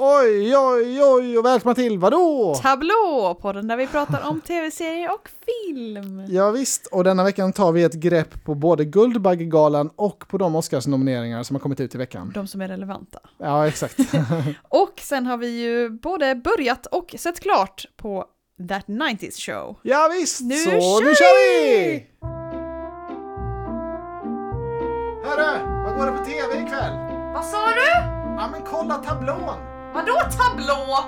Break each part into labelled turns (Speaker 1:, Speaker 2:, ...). Speaker 1: Oj, oj, oj och välkomna till vadå?
Speaker 2: Tablå! Podden där vi pratar om tv-serier och film.
Speaker 1: Ja, visst, och denna veckan tar vi ett grepp på både Guldbaggegalan och på de Oscarsnomineringar som har kommit ut i veckan.
Speaker 2: De som är relevanta.
Speaker 1: Ja, exakt.
Speaker 2: Och sen har vi ju både börjat och sett klart på That 90s Show.
Speaker 1: Ja, visst,
Speaker 2: Nu
Speaker 1: så
Speaker 2: kör
Speaker 1: nu kör vi!
Speaker 2: vi!
Speaker 1: Hörru, vad går det på tv ikväll?
Speaker 2: Vad sa du?
Speaker 1: Ja, men kolla tablån!
Speaker 2: Vadå tablå?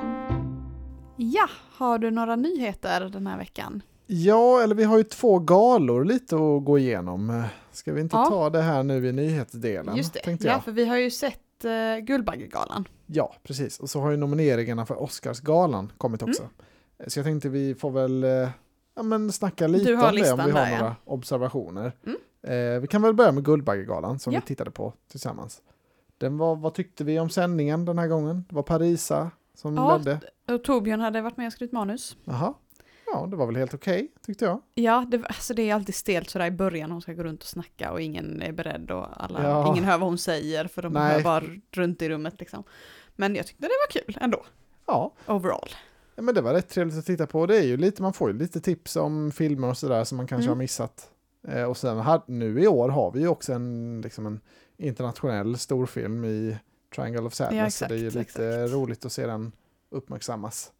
Speaker 2: Ja, har du några nyheter den här veckan?
Speaker 1: Ja, eller vi har ju två galor lite att gå igenom. Ska vi inte
Speaker 2: Ja.
Speaker 1: ta det här nu i nyhetsdelen?
Speaker 2: Just det,
Speaker 1: Tänkte jag.
Speaker 2: ja, för vi har ju sett eh, Guldbaggegalan.
Speaker 1: Ja, precis. Och så har ju nomineringarna för Oscarsgalan kommit
Speaker 2: Mm.
Speaker 1: också. Eh, Så jag tänkte vi får väl eh, ja, men snacka lite
Speaker 2: Du
Speaker 1: om
Speaker 2: har
Speaker 1: det om
Speaker 2: listan
Speaker 1: vi har
Speaker 2: där, ja. Mm.
Speaker 1: några observationer. Eh, vi kan väl börja med Guldbaggegalan som
Speaker 2: Ja.
Speaker 1: vi tittade på tillsammans. Den var, vad tyckte vi om sändningen den här gången? Det var Parisa som
Speaker 2: Ja.
Speaker 1: ledde.
Speaker 2: Och Torbjörn hade varit med och skrivit manus.
Speaker 1: Jaha. Ja, det var väl helt okej tyckte jag.
Speaker 2: Ja, det, alltså det är alltid stelt sådär i början, hon ska gå runt och snacka och ingen är beredd och alla,
Speaker 1: Ja.
Speaker 2: ingen hör vad hon säger för de
Speaker 1: Nej.
Speaker 2: hör bara runt i rummet liksom. Men jag tyckte det var kul ändå,
Speaker 1: Ja,
Speaker 2: overall.
Speaker 1: Ja, men det var rätt trevligt att titta på. Det är ju lite, man får ju lite tips om filmer och sådär som man kanske
Speaker 2: Mm.
Speaker 1: har missat. Eh, och sen här, nu i år har vi ju också en, liksom en internationell storfilm i Triangle of Sadness.
Speaker 2: Ja,
Speaker 1: så det är ju lite
Speaker 2: exakt, exakt.
Speaker 1: roligt att se den uppmärksammas.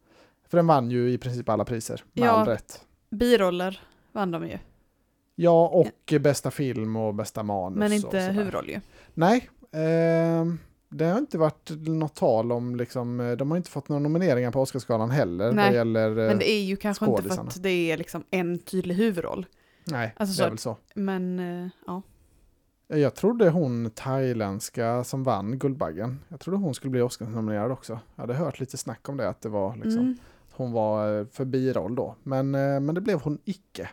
Speaker 1: För den vann ju i princip alla priser, med
Speaker 2: Ja.
Speaker 1: all rätt.
Speaker 2: Biroller vann de ju,
Speaker 1: Ja, och bästa film och bästa manus.
Speaker 2: men
Speaker 1: och
Speaker 2: inte
Speaker 1: sådär. Eh,
Speaker 2: huvudroll ju.
Speaker 1: Nej, ehm, det har inte varit något tal om, liksom, eh, de har inte fått några nomineringar på Oscarsgalan heller.
Speaker 2: Nej,
Speaker 1: vad gäller, eh,
Speaker 2: Men det är ju kanske inte för
Speaker 1: skådisarna.
Speaker 2: att det är liksom en tydlig huvudroll.
Speaker 1: nej,
Speaker 2: alltså
Speaker 1: det är
Speaker 2: så-
Speaker 1: väl så.
Speaker 2: Men eh, ja,
Speaker 1: Jag trodde hon thailändska som vann Guldbaggen, jag trodde hon skulle bli Oscarsnominerad också. Jag hade hört lite snack om det, att det var liksom,
Speaker 2: mm.
Speaker 1: hon var eh, för biroll då. Men, eh, men det blev hon icke.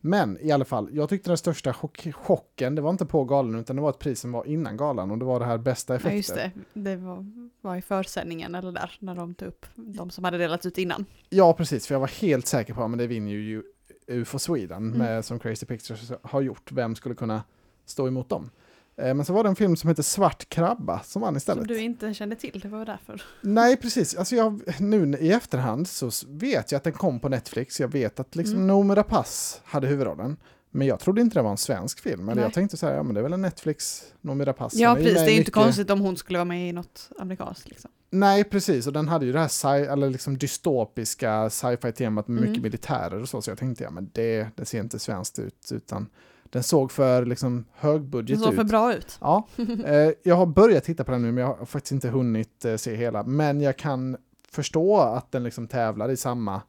Speaker 1: Men i alla fall, jag tyckte den största chock, chocken, det var inte på galan utan det var ett pris som var innan galan och det var det här bästa
Speaker 2: ja
Speaker 1: effekter.
Speaker 2: just det. Det var, var i försändningen eller där, när de tog upp de som hade delats ut innan.
Speaker 1: Ja, precis, för jag var helt säker på att det vinner ju UFO Sweden
Speaker 2: Mm.
Speaker 1: med, som Crazy Pictures har gjort. Vem skulle kunna stå emot dem? Eh, Men så var det en film som heter Svart krabba som vann istället.
Speaker 2: Som du inte kände till, det var därför.
Speaker 1: Nej, precis. Alltså jag, nu i efterhand så vet jag att den kom på Netflix. Jag vet att liksom
Speaker 2: Mm.
Speaker 1: Noomi Rapace hade huvudrollen. Men jag trodde inte det var en svensk film. Eller
Speaker 2: Nej.
Speaker 1: jag tänkte så här, ja men det är väl en Netflix, Noomi Rapace.
Speaker 2: ja
Speaker 1: Hon ju
Speaker 2: precis,
Speaker 1: med
Speaker 2: det är ju
Speaker 1: i
Speaker 2: inte
Speaker 1: mycket-
Speaker 2: konstigt om hon skulle vara med i något amerikanskt liksom.
Speaker 1: Nej, precis. Och den hade ju det här sci- eller liksom dystopiska sci-fi temat med
Speaker 2: Mm.
Speaker 1: mycket militärer och så. Så jag tänkte, ja men det, det ser inte svenskt ut. Utan den såg för liksom
Speaker 2: Det
Speaker 1: högbudget
Speaker 2: såg
Speaker 1: ut.
Speaker 2: för bra ut.
Speaker 1: Ja, eh, jag har börjat titta på den nu men jag har faktiskt inte hunnit eh, se hela. Men jag kan förstå att den liksom tävlar i samma,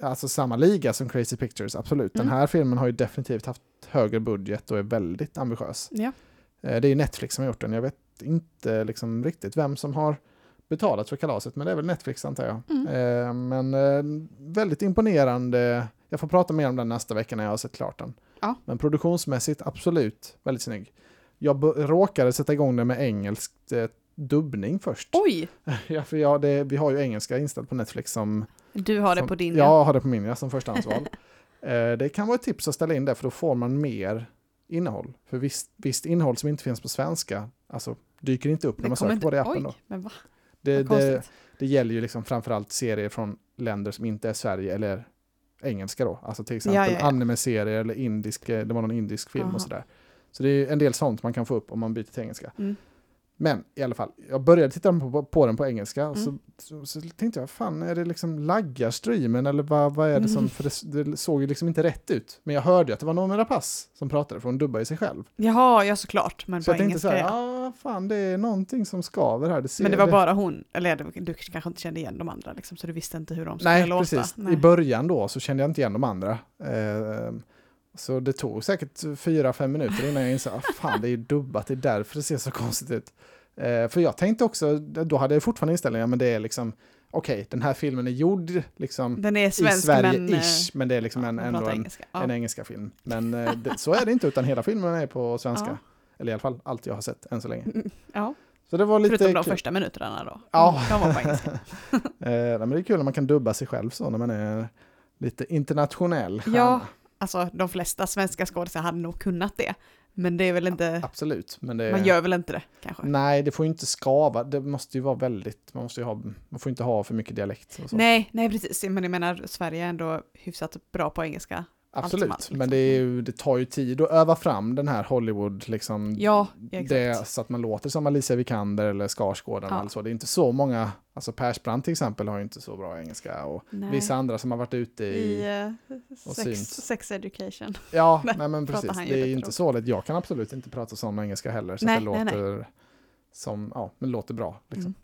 Speaker 1: alltså samma liga som Crazy Pictures, absolut. Den
Speaker 2: Mm.
Speaker 1: här filmen har ju definitivt haft högre budget och är väldigt ambitiös.
Speaker 2: Ja.
Speaker 1: Eh, det är ju Netflix som har gjort den, jag vet inte liksom riktigt vem som har betalat för kalaset, men det är väl Netflix antar jag.
Speaker 2: Mm.
Speaker 1: Eh, men eh, väldigt imponerande, jag får prata mer om den nästa vecka när jag har sett klart den.
Speaker 2: Ja.
Speaker 1: Men produktionsmässigt, absolut, väldigt snygg. Jag b- råkade sätta igång den med engelsk eh, dubbning först.
Speaker 2: Oj!
Speaker 1: Ja, för jag, det, vi har ju engelska inställt på Netflix som...
Speaker 2: Du har det
Speaker 1: som,
Speaker 2: på din.
Speaker 1: Jag har det på min, ja, som förstahandsval. eh, det kan vara ett tips att ställa in det, för då får man mer innehåll. För visst, visst innehåll som inte finns på svenska, alltså dyker inte upp när man
Speaker 2: kommer
Speaker 1: söker på det i appen
Speaker 2: Oj,
Speaker 1: då.
Speaker 2: men va?
Speaker 1: Det,
Speaker 2: Vad
Speaker 1: det,
Speaker 2: konstigt.
Speaker 1: det gäller ju liksom framförallt serier från länder som inte är Sverige eller engelska då. Alltså till exempel
Speaker 2: ja, ja.
Speaker 1: anime-serier eller indisk, eh, det var någon indisk film
Speaker 2: Aha.
Speaker 1: och sådär. Så det är ju en del sånt man kan få upp om man byter till engelska.
Speaker 2: Mm.
Speaker 1: Men i alla fall, jag började titta på, på den på engelska och så,
Speaker 2: Mm.
Speaker 1: så, så tänkte jag, fan är det liksom laggar streamen eller vad, vad är det som,
Speaker 2: Mm.
Speaker 1: för det, det såg ju liksom inte rätt ut. Men jag hörde ju att det var Noomi Rapace som pratade för hon dubbar ju sig själv.
Speaker 2: Jaha, ja såklart, men
Speaker 1: Så jag
Speaker 2: på
Speaker 1: tänkte så
Speaker 2: engelska.
Speaker 1: här,
Speaker 2: ja.
Speaker 1: ja ah, fan det är någonting som skaver här. Det ser
Speaker 2: Men det var bara hon, eller det- du kanske inte kände igen de andra liksom, så du visste inte hur de skulle
Speaker 1: Nej,
Speaker 2: låta.
Speaker 1: precis.
Speaker 2: Nej.
Speaker 1: I början då så kände jag inte igen de andra. Eh, så det tog säkert fyra, fem minuter innan jag insåg att fan, det är ju dubbat, det är därför det ser så konstigt ut. Eh, för jag tänkte också, då hade jag fortfarande inställningen, men det är liksom, okej, den här filmen är gjord liksom
Speaker 2: Den är
Speaker 1: i
Speaker 2: svensk, men... eh,
Speaker 1: Sverige-ish, men, det är liksom
Speaker 2: ja,
Speaker 1: en,
Speaker 2: de
Speaker 1: ändå
Speaker 2: pratar
Speaker 1: en,
Speaker 2: engelska. Ja.
Speaker 1: en engelska film. Men eh, det, så är det inte, utan hela filmen är på svenska.
Speaker 2: Ja.
Speaker 1: Eller i alla fall allt jag har sett än så länge.
Speaker 2: Mm, ja.
Speaker 1: Så det var lite
Speaker 2: Förutom de
Speaker 1: kul.
Speaker 2: första minuterna då. Mm,
Speaker 1: Ja.
Speaker 2: De var på engelska.
Speaker 1: Eh, nej, men det är kul när man kan dubba sig själv så, när man är lite internationell. stjärna.
Speaker 2: Ja, alltså de flesta svenska skådespelare hade nog kunnat det. Men det är väl inte,
Speaker 1: Absolut, men det...
Speaker 2: man gör väl inte det kanske?
Speaker 1: Nej, det får ju inte skava. Det måste ju vara väldigt... Man, måste ju ha, man får inte ha för mycket dialekt. Och så.
Speaker 2: Nej, nej precis. Men jag menar, Sverige är ändå hyfsat bra på engelska. allt som
Speaker 1: Absolut,
Speaker 2: allt, liksom.
Speaker 1: men det, är ju, det tar ju tid att öva fram den här Hollywood, liksom,
Speaker 2: Ja, exakt.
Speaker 1: det, alltså- så att man låter som Alicia Vikander eller Skarsgården.
Speaker 2: Ja.
Speaker 1: Eller så. Det är inte så många, alltså Persbrandt till exempel har ju inte så bra engelska och
Speaker 2: Nej.
Speaker 1: vissa andra som har varit ute i...
Speaker 2: I eh,
Speaker 1: och
Speaker 2: sex,
Speaker 1: synt.
Speaker 2: sex education.
Speaker 1: ja,
Speaker 2: Nej,
Speaker 1: nej, men
Speaker 2: pratar
Speaker 1: precis,
Speaker 2: han ju
Speaker 1: det är
Speaker 2: lite
Speaker 1: ju inte
Speaker 2: då.
Speaker 1: så lätt. Jag kan absolut inte prata sån engelska heller, så
Speaker 2: Nej,
Speaker 1: att det
Speaker 2: nej, nej.
Speaker 1: låter, Som, ja, men låter bra. Liksom.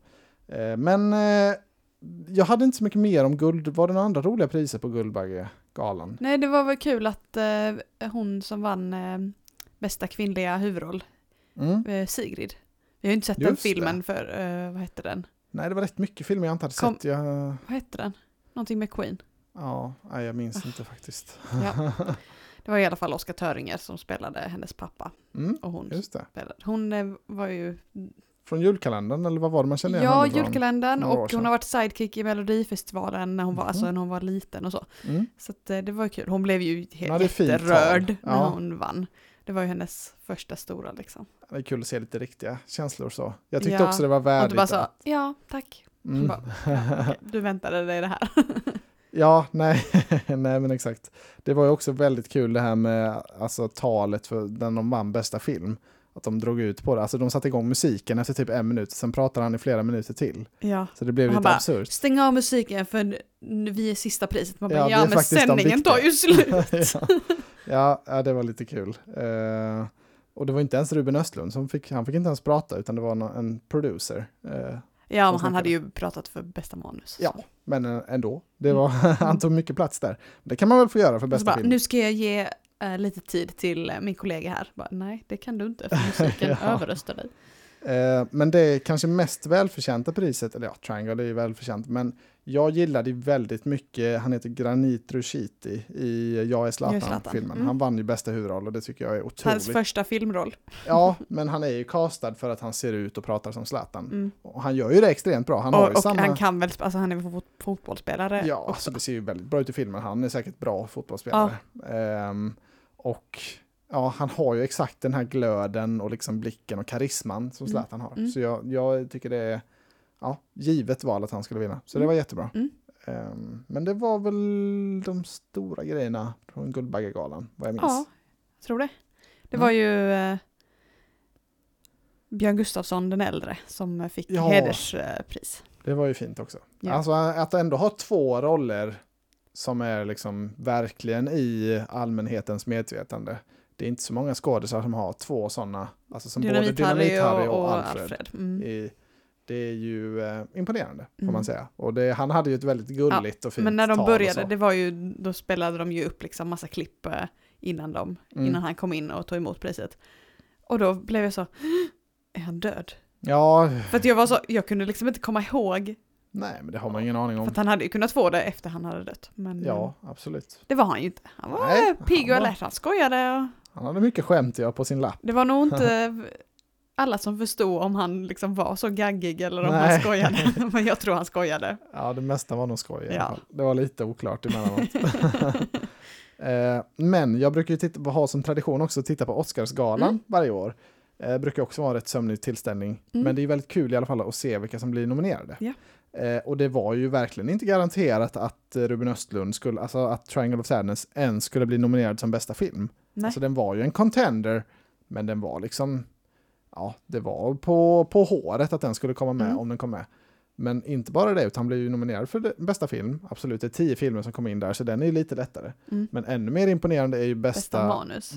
Speaker 2: Mm.
Speaker 1: Eh, men eh, jag hade inte så mycket mer om guld, var det några andra roliga priser på Guldbaggegalan?
Speaker 2: Nej, det var väl kul att eh, hon som vann eh, bästa kvinnliga huvudroll,
Speaker 1: Mm.
Speaker 2: eh, Sigrid. Vi har ju inte sett den
Speaker 1: Just det.
Speaker 2: filmen för, eh, vad hette den?
Speaker 1: Nej, det var rätt mycket filmer jag inte hade
Speaker 2: Kom-
Speaker 1: sett. Jag,
Speaker 2: Vad hette den? Någonting med Queen.
Speaker 1: ja, nej, jag
Speaker 2: Ah.
Speaker 1: minns inte faktiskt.
Speaker 2: Ja. Det var i alla fall Oskar Töringer som spelade hennes pappa
Speaker 1: Mm,
Speaker 2: och hon
Speaker 1: just det.
Speaker 2: spelade. Hon eh, var ju,
Speaker 1: Från julkalendern, eller vad var det man kände igen
Speaker 2: ja,
Speaker 1: henne från?
Speaker 2: julkalendern
Speaker 1: några år
Speaker 2: och hon
Speaker 1: sedan.
Speaker 2: har varit sidekick i Melodifestivalen när hon var, alltså,
Speaker 1: Mhm.
Speaker 2: när hon var liten och så.
Speaker 1: Mm.
Speaker 2: Så att, eh, det var ju kul. Hon blev ju
Speaker 1: Hon hade
Speaker 2: helt
Speaker 1: ett fint
Speaker 2: jätterörd
Speaker 1: tal.
Speaker 2: när
Speaker 1: Ja.
Speaker 2: hon vann. Det var ju hennes första stora liksom.
Speaker 1: Det är kul att se lite riktiga känslor och så. Jag tyckte
Speaker 2: Ja,
Speaker 1: också det var
Speaker 2: Och
Speaker 1: värdigt.
Speaker 2: du bara sa,
Speaker 1: att-
Speaker 2: ja tack.
Speaker 1: Mm.
Speaker 2: bara, Okej, Du väntade dig det här.
Speaker 1: Ja, nej, nej men exakt. Det var ju också väldigt kul det här med alltså, talet för när de vann bästa film. Att de drog ut på det. Alltså de satte igång musiken efter typ en minut, sen pratade han i flera minuter till.
Speaker 2: Ja.
Speaker 1: Så det blev
Speaker 2: Och han
Speaker 1: lite
Speaker 2: bara,
Speaker 1: absurt.
Speaker 2: Stäng av musiken för n- vi är sista priset. Man bara,
Speaker 1: Ja,
Speaker 2: ja,
Speaker 1: vi är
Speaker 2: men
Speaker 1: faktiskt de
Speaker 2: sändningen
Speaker 1: viktiga."
Speaker 2: tar ju slut.
Speaker 1: ja. Ja, ja, det var lite kul. Eh, och det var inte ens Ruben Östlund som fick, han fick inte ens prata utan det var nå- en producer. Eh,
Speaker 2: Ja, men han
Speaker 1: snackade.
Speaker 2: hade ju pratat för bästa manus.
Speaker 1: Ja,
Speaker 2: så.
Speaker 1: men eh, ändå, det var, han tog mycket plats där. Det kan man väl få göra för
Speaker 2: Mm. Och
Speaker 1: bästa
Speaker 2: så bara,
Speaker 1: film.
Speaker 2: nu ska jag ge eh, lite tid till eh, min kollega här. Bara, Nej, det kan du inte, för musiken
Speaker 1: Ja.
Speaker 2: överröstar dig.
Speaker 1: Eh, men det kanske mest välförtjänta priset, eller ja, Triangle är ju välförtjänt, men jag gillade ju väldigt mycket, han heter Granit Rushiti i Jag är
Speaker 2: Jag är Zlatan.
Speaker 1: Zlatan-filmen.
Speaker 2: Mm.
Speaker 1: Han vann ju bästa huvudroll och det tycker jag är
Speaker 2: Hans
Speaker 1: otroligt.
Speaker 2: första filmroll.
Speaker 1: Ja, men han är ju castad för att han ser ut och pratar som Zlatan.
Speaker 2: Mm.
Speaker 1: Och han gör ju det extremt bra. Han har
Speaker 2: Och,
Speaker 1: ju
Speaker 2: och
Speaker 1: samma...
Speaker 2: han kan väl, sp- alltså han är väl fot- fotbollsspelare
Speaker 1: Ja,
Speaker 2: Eh, också.
Speaker 1: alltså det ser ju väldigt bra ut i filmen. Han är säkert bra fotbollsspelare. Ehm, och ja, han har ju exakt den här glöden och liksom blicken och karisman som
Speaker 2: Mm.
Speaker 1: Zlatan har.
Speaker 2: Mm.
Speaker 1: Så jag, jag tycker det är ja, givet val att han skulle vinna. Så det
Speaker 2: Mm.
Speaker 1: var jättebra.
Speaker 2: Mm.
Speaker 1: Ehm, men det var väl de stora grejerna från Guldbaggegalan, vad jag minns.
Speaker 2: Ja, jag tror det. Det
Speaker 1: Mm.
Speaker 2: var ju eh, Björn Gustafsson den äldre som fick
Speaker 1: Ja.
Speaker 2: hederspris.
Speaker 1: Det var ju fint också.
Speaker 2: Ja.
Speaker 1: Alltså att ändå ha två roller som är liksom verkligen i allmänhetens medvetande. Det är inte så många skådespelare som har två sådana, alltså som både
Speaker 2: Dynamit-Harry
Speaker 1: Dynamit-Harry och, Alfred.
Speaker 2: Mm.
Speaker 1: I, det är ju eh, imponerande, får
Speaker 2: Mm.
Speaker 1: man säga. Och det, han hade ju ett väldigt gulligt och fint
Speaker 2: Men när
Speaker 1: tal alltså.
Speaker 2: de
Speaker 1: och
Speaker 2: började,
Speaker 1: så.
Speaker 2: det var ju, då spelade de ju upp liksom massa klipp eh, innan, de,
Speaker 1: Mm.
Speaker 2: innan han kom in och tog emot priset. Och då blev jag så, är han död?
Speaker 1: Ja,
Speaker 2: För att jag var så, jag kunde liksom inte komma ihåg,
Speaker 1: nej, men det har man ingen aning
Speaker 2: för
Speaker 1: om.
Speaker 2: att han hade ju kunnat få det efter han hade dött. Men eh,
Speaker 1: Ja, absolut.
Speaker 2: det var han ju inte. Han var
Speaker 1: Nej,
Speaker 2: eh, pigg och
Speaker 1: han var-
Speaker 2: alert, han skojade. Och
Speaker 1: Han hade mycket skämt jag på sin lapp.
Speaker 2: det var nog inte alla som förstod om han liksom var så gaggig eller om han
Speaker 1: Nej.
Speaker 2: skojade. Men jag tror han skojade.
Speaker 1: Ja, det mesta var nog skoj i alla
Speaker 2: Ja.
Speaker 1: fall. Det var lite oklart emellanåt. eh, men jag brukar ju titta, ha som tradition också att titta på Oscarsgalan
Speaker 2: Mm.
Speaker 1: varje år. Eh, brukar också vara en rätt sömnig tillställning.
Speaker 2: Mm.
Speaker 1: Men det är väldigt kul i alla fall att se vilka som blir nominerade.
Speaker 2: Ja.
Speaker 1: Eh, och det var ju verkligen inte garanterat att eh, Ruben Östlund skulle, alltså att Triangle of Sadness ens skulle bli nominerad som bästa film.
Speaker 2: Nej.
Speaker 1: Alltså den var ju en contender, men den var liksom, ja, det var på, på håret att den skulle komma med
Speaker 2: Mm.
Speaker 1: om den kom med. Men inte bara det, utan han blev ju nominerad för det- bästa film. Absolut, det är tio filmer som kom in där, så den är ju lite lättare.
Speaker 2: Mm.
Speaker 1: Men ännu mer imponerande är ju bästa,
Speaker 2: Bästa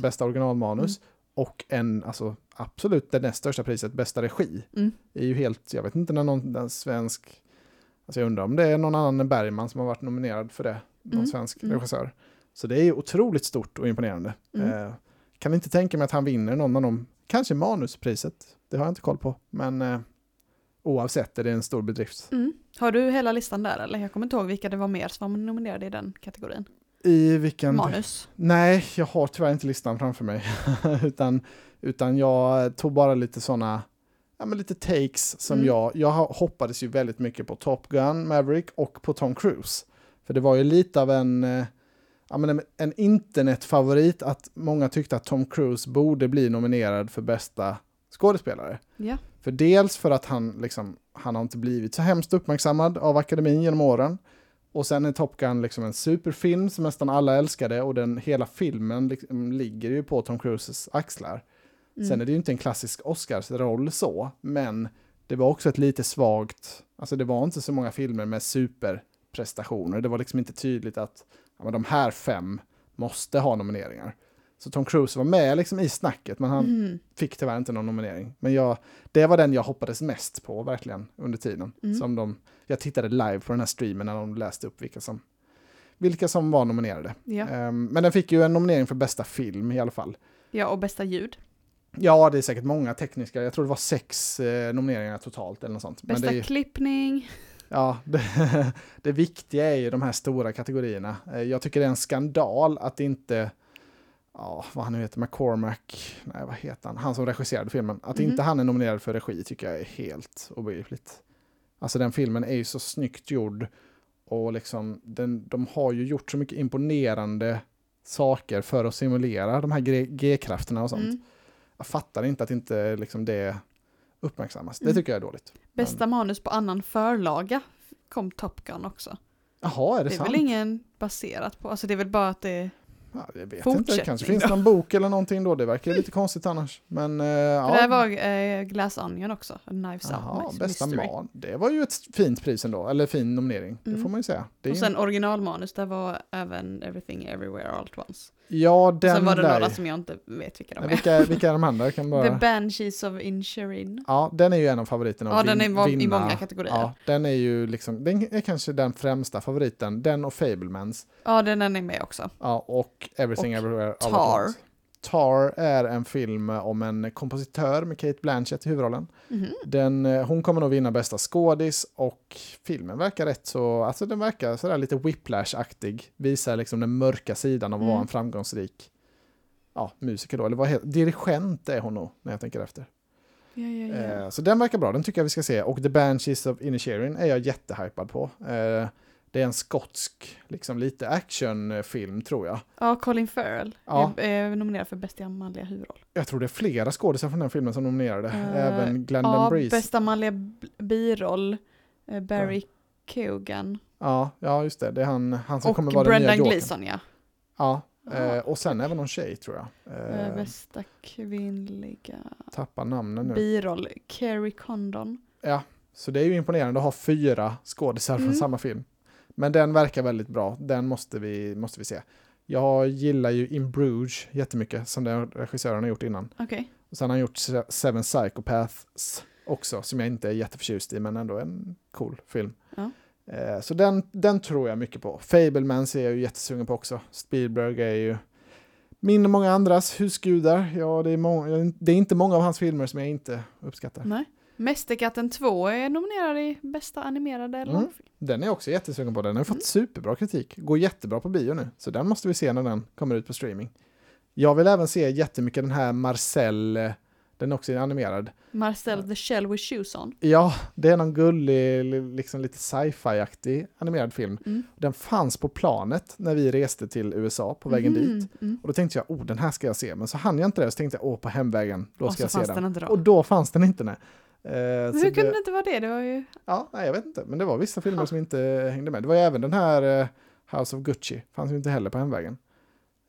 Speaker 1: bästa,
Speaker 2: manus. Mm.
Speaker 1: originalmanus och en, alltså absolut det näst största priset, bästa regi.
Speaker 2: Mm.
Speaker 1: Det är ju helt, jag vet inte när någon när en svensk, alltså jag undrar om det är någon annan än Bergman som har varit nominerad för det, någon
Speaker 2: Mm,
Speaker 1: svensk
Speaker 2: mm.
Speaker 1: regissör. Så det är ju otroligt stort och imponerande.
Speaker 2: Mm.
Speaker 1: Eh, kan inte tänka mig att han vinner någon av dem, kanske manuspriset, det har jag inte koll på, men eh, oavsett är det en stor bedrift.
Speaker 2: Mm. Har du hela listan där eller? Jag kommer inte ihåg vilka det var mer som var nominerade i den kategorin.
Speaker 1: I vilken...
Speaker 2: Manus.
Speaker 1: Nej, jag har tyvärr inte listan framför mig. utan, utan jag tog bara lite sådana, ja men lite takes som
Speaker 2: Mm.
Speaker 1: jag, jag har- hoppades ju väldigt mycket på Top Gun, Maverick och på Tom Cruise. För det var ju lite av en, eh, ja, men en, en internetfavorit att många tyckte att Tom Cruise borde bli nominerad för bästa skådespelare.
Speaker 2: Ja.
Speaker 1: För dels för att han, liksom, han har inte blivit så hemskt uppmärksammad av akademin genom åren. Och sen är Top Gun liksom en superfilm som nästan alla älskade och den hela filmen liksom ligger ju på Tom Cruises axlar.
Speaker 2: Mm.
Speaker 1: Sen är det ju inte en klassisk Oscarsroll så, men det var också ett lite svagt, alltså det var inte så många filmer med superprestationer. Det var liksom inte tydligt att ja, men de här fem måste ha nomineringar. Så Tom Cruise var med liksom i snacket, men han
Speaker 2: Mm.
Speaker 1: fick tyvärr inte någon nominering. Men jag, det var den jag hoppades mest på verkligen under tiden.
Speaker 2: Mm.
Speaker 1: Som de, jag tittade live på den här streamen när de läste upp vilka som, vilka som var nominerade.
Speaker 2: Ja.
Speaker 1: Ehm, men den fick ju en nominering för bästa film i alla fall.
Speaker 2: ja, och bästa ljud.
Speaker 1: Ja, det är säkert många tekniska. Jag tror det var sex eh, nomineringar totalt eller något sånt. Men
Speaker 2: Bästa
Speaker 1: det, är-
Speaker 2: klippning.
Speaker 1: ja, det, det viktiga är ju de här stora kategorierna. Eh, jag tycker det är en skandal att inte, ja, vad han nu heter, McCormack, nej vad heter han, han som regisserade filmen, att
Speaker 2: Mhm.
Speaker 1: inte han är nominerad för regi tycker jag är helt obegripligt. Alltså den filmen är ju så snyggt gjord och liksom den, de har ju gjort så mycket imponerande saker för att simulera de här gre- G-krafterna och sånt.
Speaker 2: Mm.
Speaker 1: Jag fattar inte att inte liksom det uppmärksammas. Det
Speaker 2: Mm.
Speaker 1: tycker jag är dåligt.
Speaker 2: Bästa manus på annan förlaga kom Top Gun också.
Speaker 1: Jaha, är det,
Speaker 2: Det är
Speaker 1: sant?
Speaker 2: väl ingen baserat på, alltså det är väl bara att det
Speaker 1: Ja, jag vet inte,
Speaker 2: fortsättning
Speaker 1: det kanske finns
Speaker 2: då?
Speaker 1: någon bok eller någonting då. Det verkar ju lite konstigt annars. Men eh,
Speaker 2: För Det här
Speaker 1: ja.
Speaker 2: var eh, Glass Onion också, A Knives
Speaker 1: Jaha,
Speaker 2: Out
Speaker 1: bästa
Speaker 2: Mystery.
Speaker 1: man. Det var ju ett fint pris ändå, eller fin nominering. Det
Speaker 2: Mm.
Speaker 1: får man ju säga. Det är
Speaker 2: Och
Speaker 1: ju-
Speaker 2: sen originalmanus, där var även Everything Everywhere All At Once.
Speaker 1: ja,
Speaker 2: Och
Speaker 1: den
Speaker 2: sen var det
Speaker 1: där.
Speaker 2: några som jag inte vet vilka de
Speaker 1: Nej,
Speaker 2: är.
Speaker 1: vilka, vilka är de andra? Jag Kan
Speaker 2: The
Speaker 1: bara...
Speaker 2: Banshees of Inisherin.
Speaker 1: Ja, den är ju en av favoriterna.
Speaker 2: Ja,
Speaker 1: att
Speaker 2: den är
Speaker 1: vin-
Speaker 2: va- i
Speaker 1: vinna.
Speaker 2: många kategorier.
Speaker 1: Ja, den är ju liksom, den är kanske den främsta favoriten. Den och Fablemans.
Speaker 2: Ja, den är med också.
Speaker 1: Ja, och Everything
Speaker 2: Och
Speaker 1: Everywhere All At
Speaker 2: Tar.
Speaker 1: Once. Tar är en film om en kompositör med Kate Blanchett i huvudrollen.
Speaker 2: Mhm.
Speaker 1: Den, eh, hon kommer nog vinna bästa skådis och filmen verkar rätt så, alltså den verkar sådär lite whiplash-aktig. Visar liksom den mörka sidan av att vara
Speaker 2: Mm.
Speaker 1: en framgångsrik ja, musiker då, eller vad heter, dirigent är hon nog när jag tänker efter.
Speaker 2: Ja, ja, ja.
Speaker 1: Eh, så den verkar bra, den tycker jag vi ska se. Och The Banshees of Inisherin är jag jättehypad på. Eh, det är en skotsk, liksom lite actionfilm tror jag.
Speaker 2: ja, Colin Farrell
Speaker 1: Ja.
Speaker 2: är, är eh, nominerad för bästa manliga huvudroll.
Speaker 1: Jag tror det är flera skådisar från den filmen som nominerade.
Speaker 2: Eh,
Speaker 1: Även Glendon
Speaker 2: Ja,
Speaker 1: Breeze.
Speaker 2: bästa manliga b- biroll, eh, Barry Keoghan.
Speaker 1: Ja, ja, just det. Det är han, han som
Speaker 2: Och
Speaker 1: kommer vara den
Speaker 2: Brendan
Speaker 1: nya
Speaker 2: Gleeson, ja.
Speaker 1: Ja, eh,
Speaker 2: Ja.
Speaker 1: och sen även någon tjej tror jag.
Speaker 2: Eh,
Speaker 1: Eh,
Speaker 2: Bästa kvinnliga
Speaker 1: tappar namnen nu.
Speaker 2: biroll, Carrie Condon.
Speaker 1: Så det är ju imponerande att ha fyra skådisar
Speaker 2: Mm.
Speaker 1: från samma film. Men den verkar väldigt bra. Den måste vi, måste vi se. Jag gillar ju In Bruges jättemycket, som den regissören har gjort innan.
Speaker 2: Okej.
Speaker 1: Och sen har han gjort Se- Seven Psychopaths också, som jag inte är jätteförtjust i, men ändå en cool film.
Speaker 2: Ja.
Speaker 1: Eh, Så den, den tror jag mycket på. Fablemans är jag ju jättesugen på också. Spielberg är ju min och många andras husgudar. Ja, det, är många, det är inte många av hans filmer som jag inte uppskattar.
Speaker 2: Nej. Mästerkatten 2 är nominerad i bästa animerade
Speaker 1: Mm.
Speaker 2: långfilm.
Speaker 1: Den är jag också jättesugen på. Den har fått superbra kritik. Går jättebra på bio nu. Så den måste vi se när den kommer ut på streaming. Jag vill även se jättemycket den här Marcel, eh, den är också animerad.
Speaker 2: Marcel the Shell with Shoes On.
Speaker 1: Ja, det är någon gullig, li- liksom lite sci-fi-aktig animerad film.
Speaker 2: Mm.
Speaker 1: Den fanns på planet när vi reste till USA på vägen
Speaker 2: Mhm,
Speaker 1: dit.
Speaker 2: Mm.
Speaker 1: Och då tänkte jag, oh den här ska jag se, men så hann jag inte det, så tänkte jag, åh på hemvägen, då
Speaker 2: Och
Speaker 1: ska
Speaker 2: så
Speaker 1: jag se
Speaker 2: fanns
Speaker 1: den.
Speaker 2: den inte då.
Speaker 1: Och då fanns den inte, nej. Eh,
Speaker 2: Men
Speaker 1: så
Speaker 2: hur kunde
Speaker 1: det,
Speaker 2: det inte vara det? Det var ju...
Speaker 1: ja, nej, jag vet inte, men det var vissa filmer
Speaker 2: Ja.
Speaker 1: som inte eh, hängde med. Det var ju även den här eh, House of Gucci, fanns ju inte heller på hemvägen.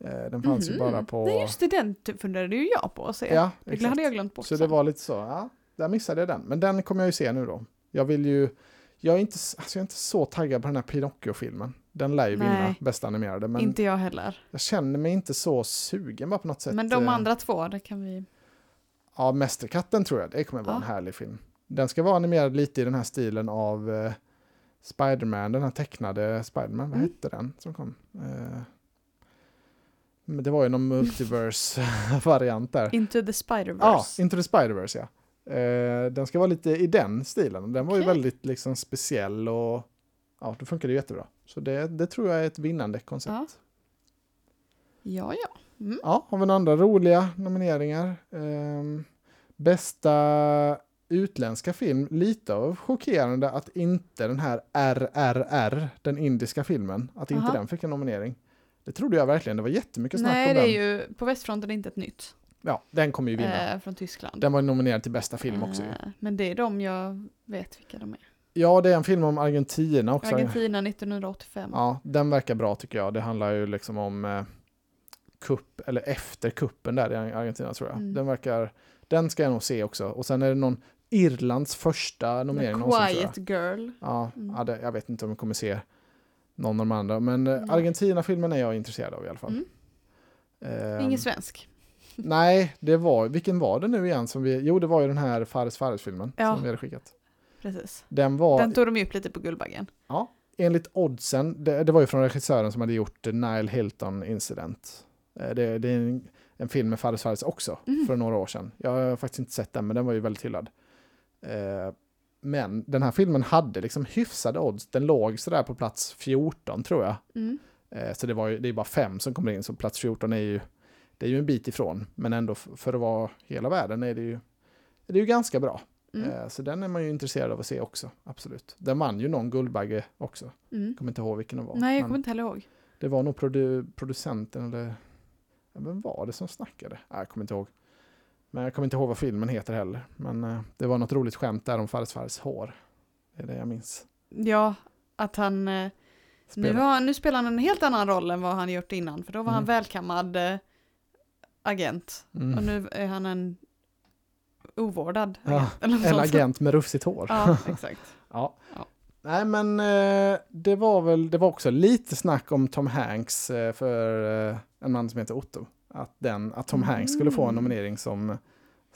Speaker 1: Eh, den fanns ju
Speaker 2: Mhm.
Speaker 1: bara på...
Speaker 2: Nej just det, den typ funderade ju jag på att se.
Speaker 1: ja,
Speaker 2: det hade jag glömt bort.
Speaker 1: Så det
Speaker 2: sen.
Speaker 1: var lite så, ja, där missade jag den. Men den kommer jag ju se nu då. Jag vill ju, jag är inte, s- alltså jag är inte så taggad på den här Pinocchio-filmen. Den lär ju vinna
Speaker 2: Nej.
Speaker 1: bästa animerade, men
Speaker 2: Inte jag heller.
Speaker 1: jag känner mig inte så sugen bara på något sätt.
Speaker 2: Men de
Speaker 1: Eh,
Speaker 2: andra två, det kan vi...
Speaker 1: Ja, Mästerkatten tror jag, det kommer vara
Speaker 2: Ja.
Speaker 1: en härlig film. Den ska vara animerad lite i den här stilen av eh, Spiderman, den här tecknade Spiderman, vad
Speaker 2: Mm.
Speaker 1: hette den som kom? Eh, men det var ju någon multiverse-variant där.
Speaker 2: Into the
Speaker 1: Ja,
Speaker 2: Spider-Verse.
Speaker 1: Into the Spider-Verse ja. Eh, den ska vara lite i den stilen. Den var ju
Speaker 2: Okej.
Speaker 1: väldigt liksom speciell och ja, det funkade jättebra. Så det, det tror jag är ett vinnande koncept. Ja,
Speaker 2: Ja. ja, ja.
Speaker 1: har vi några andra roliga nomineringar? Ehm, bästa utländska film, lite av chockerande att inte den här RRR, den indiska filmen, att inte
Speaker 2: Aha.
Speaker 1: den fick en nominering. Det trodde jag verkligen, det var jättemycket snack
Speaker 2: Nej,
Speaker 1: om
Speaker 2: det är
Speaker 1: den.
Speaker 2: ju på västfronten inte ett nytt.
Speaker 1: Ja, den kommer ju vinna.
Speaker 2: Eh, från Tyskland.
Speaker 1: Den var nominerad till bästa film också. ju.
Speaker 2: Eh, Men det är de jag vet vilka de är.
Speaker 1: Ja, det är en film om Argentina också.
Speaker 2: Argentina 1985.
Speaker 1: Ja, den verkar bra tycker jag. Det handlar ju liksom om eh, kupp, eller efter kuppen där i Argentina tror jag.
Speaker 2: Mm.
Speaker 1: Den verkar, den ska jag nog se också. Och sen är det någon Irlands första
Speaker 2: The
Speaker 1: nominering någonsin tror jag.
Speaker 2: Quiet Girl.
Speaker 1: Ja,
Speaker 2: Mm.
Speaker 1: ja det, jag vet inte om jag kommer se någon av de andra, men eh,
Speaker 2: Nej.
Speaker 1: Argentina-filmen är jag intresserad av i alla fall.
Speaker 2: Mm.
Speaker 1: Ehm,
Speaker 2: Ingen svensk.
Speaker 1: nej, det var, vilken var det nu igen som vi, jo det var ju den här Fares Fares-filmen
Speaker 2: Ja.
Speaker 1: som vi hade skickat.
Speaker 2: Precis.
Speaker 1: Den var,
Speaker 2: Den tog de ju upp lite på Guldbaggen.
Speaker 1: enligt oddsen, det, det var ju från regissören som hade gjort eh, Nile Hilton Incident. Eh, Det, det är en, en film med Fares Fares också,
Speaker 2: Mm.
Speaker 1: för några år sedan. Jag har faktiskt inte sett den, men den var ju väldigt hyllad. Eh, Men den här filmen hade liksom hyfsade odds. Den låg sådär på plats 14 tror jag.
Speaker 2: Mm.
Speaker 1: Eh, Så det, var ju, det är bara fem som kommer in, så plats 14 är ju, det är ju en bit ifrån. Men ändå f- för att vara hela världen är det ju, är det ju ganska bra.
Speaker 2: Mm.
Speaker 1: Eh, Så den är man ju intresserad av att se också, absolut. Den vann ju någon Guldbagge också,
Speaker 2: Mm.
Speaker 1: jag kommer inte ihåg vilken det var.
Speaker 2: Nej,
Speaker 1: men
Speaker 2: jag kommer inte heller ihåg.
Speaker 1: Det var nog produ- producenten eller, ja, vem var det som snackade? Nej, jag kommer inte ihåg. Men jag kommer inte ihåg vad filmen heter heller. Men eh, det var något roligt skämt där om Fares Fares hår. Det är det jag minns.
Speaker 2: Ja, att han... eh, Nu,
Speaker 1: Spelar-
Speaker 2: har, nu spelar han en helt annan roll än vad han gjort innan, för då var han
Speaker 1: Mm.
Speaker 2: välkammad eh, agent.
Speaker 1: Mm.
Speaker 2: Och nu är han en ovårdad
Speaker 1: Ja,
Speaker 2: agent. eller något
Speaker 1: En
Speaker 2: sånt.
Speaker 1: agent med rufsigt hår.
Speaker 2: Ja, exakt.
Speaker 1: Ja.
Speaker 2: Ja.
Speaker 1: Nej men eh, det var väl, det var också lite snack om Tom Hanks eh, för eh, en man som heter Otto. Att, den, att Tom Hanks skulle få en
Speaker 2: Mm.
Speaker 1: nominering som,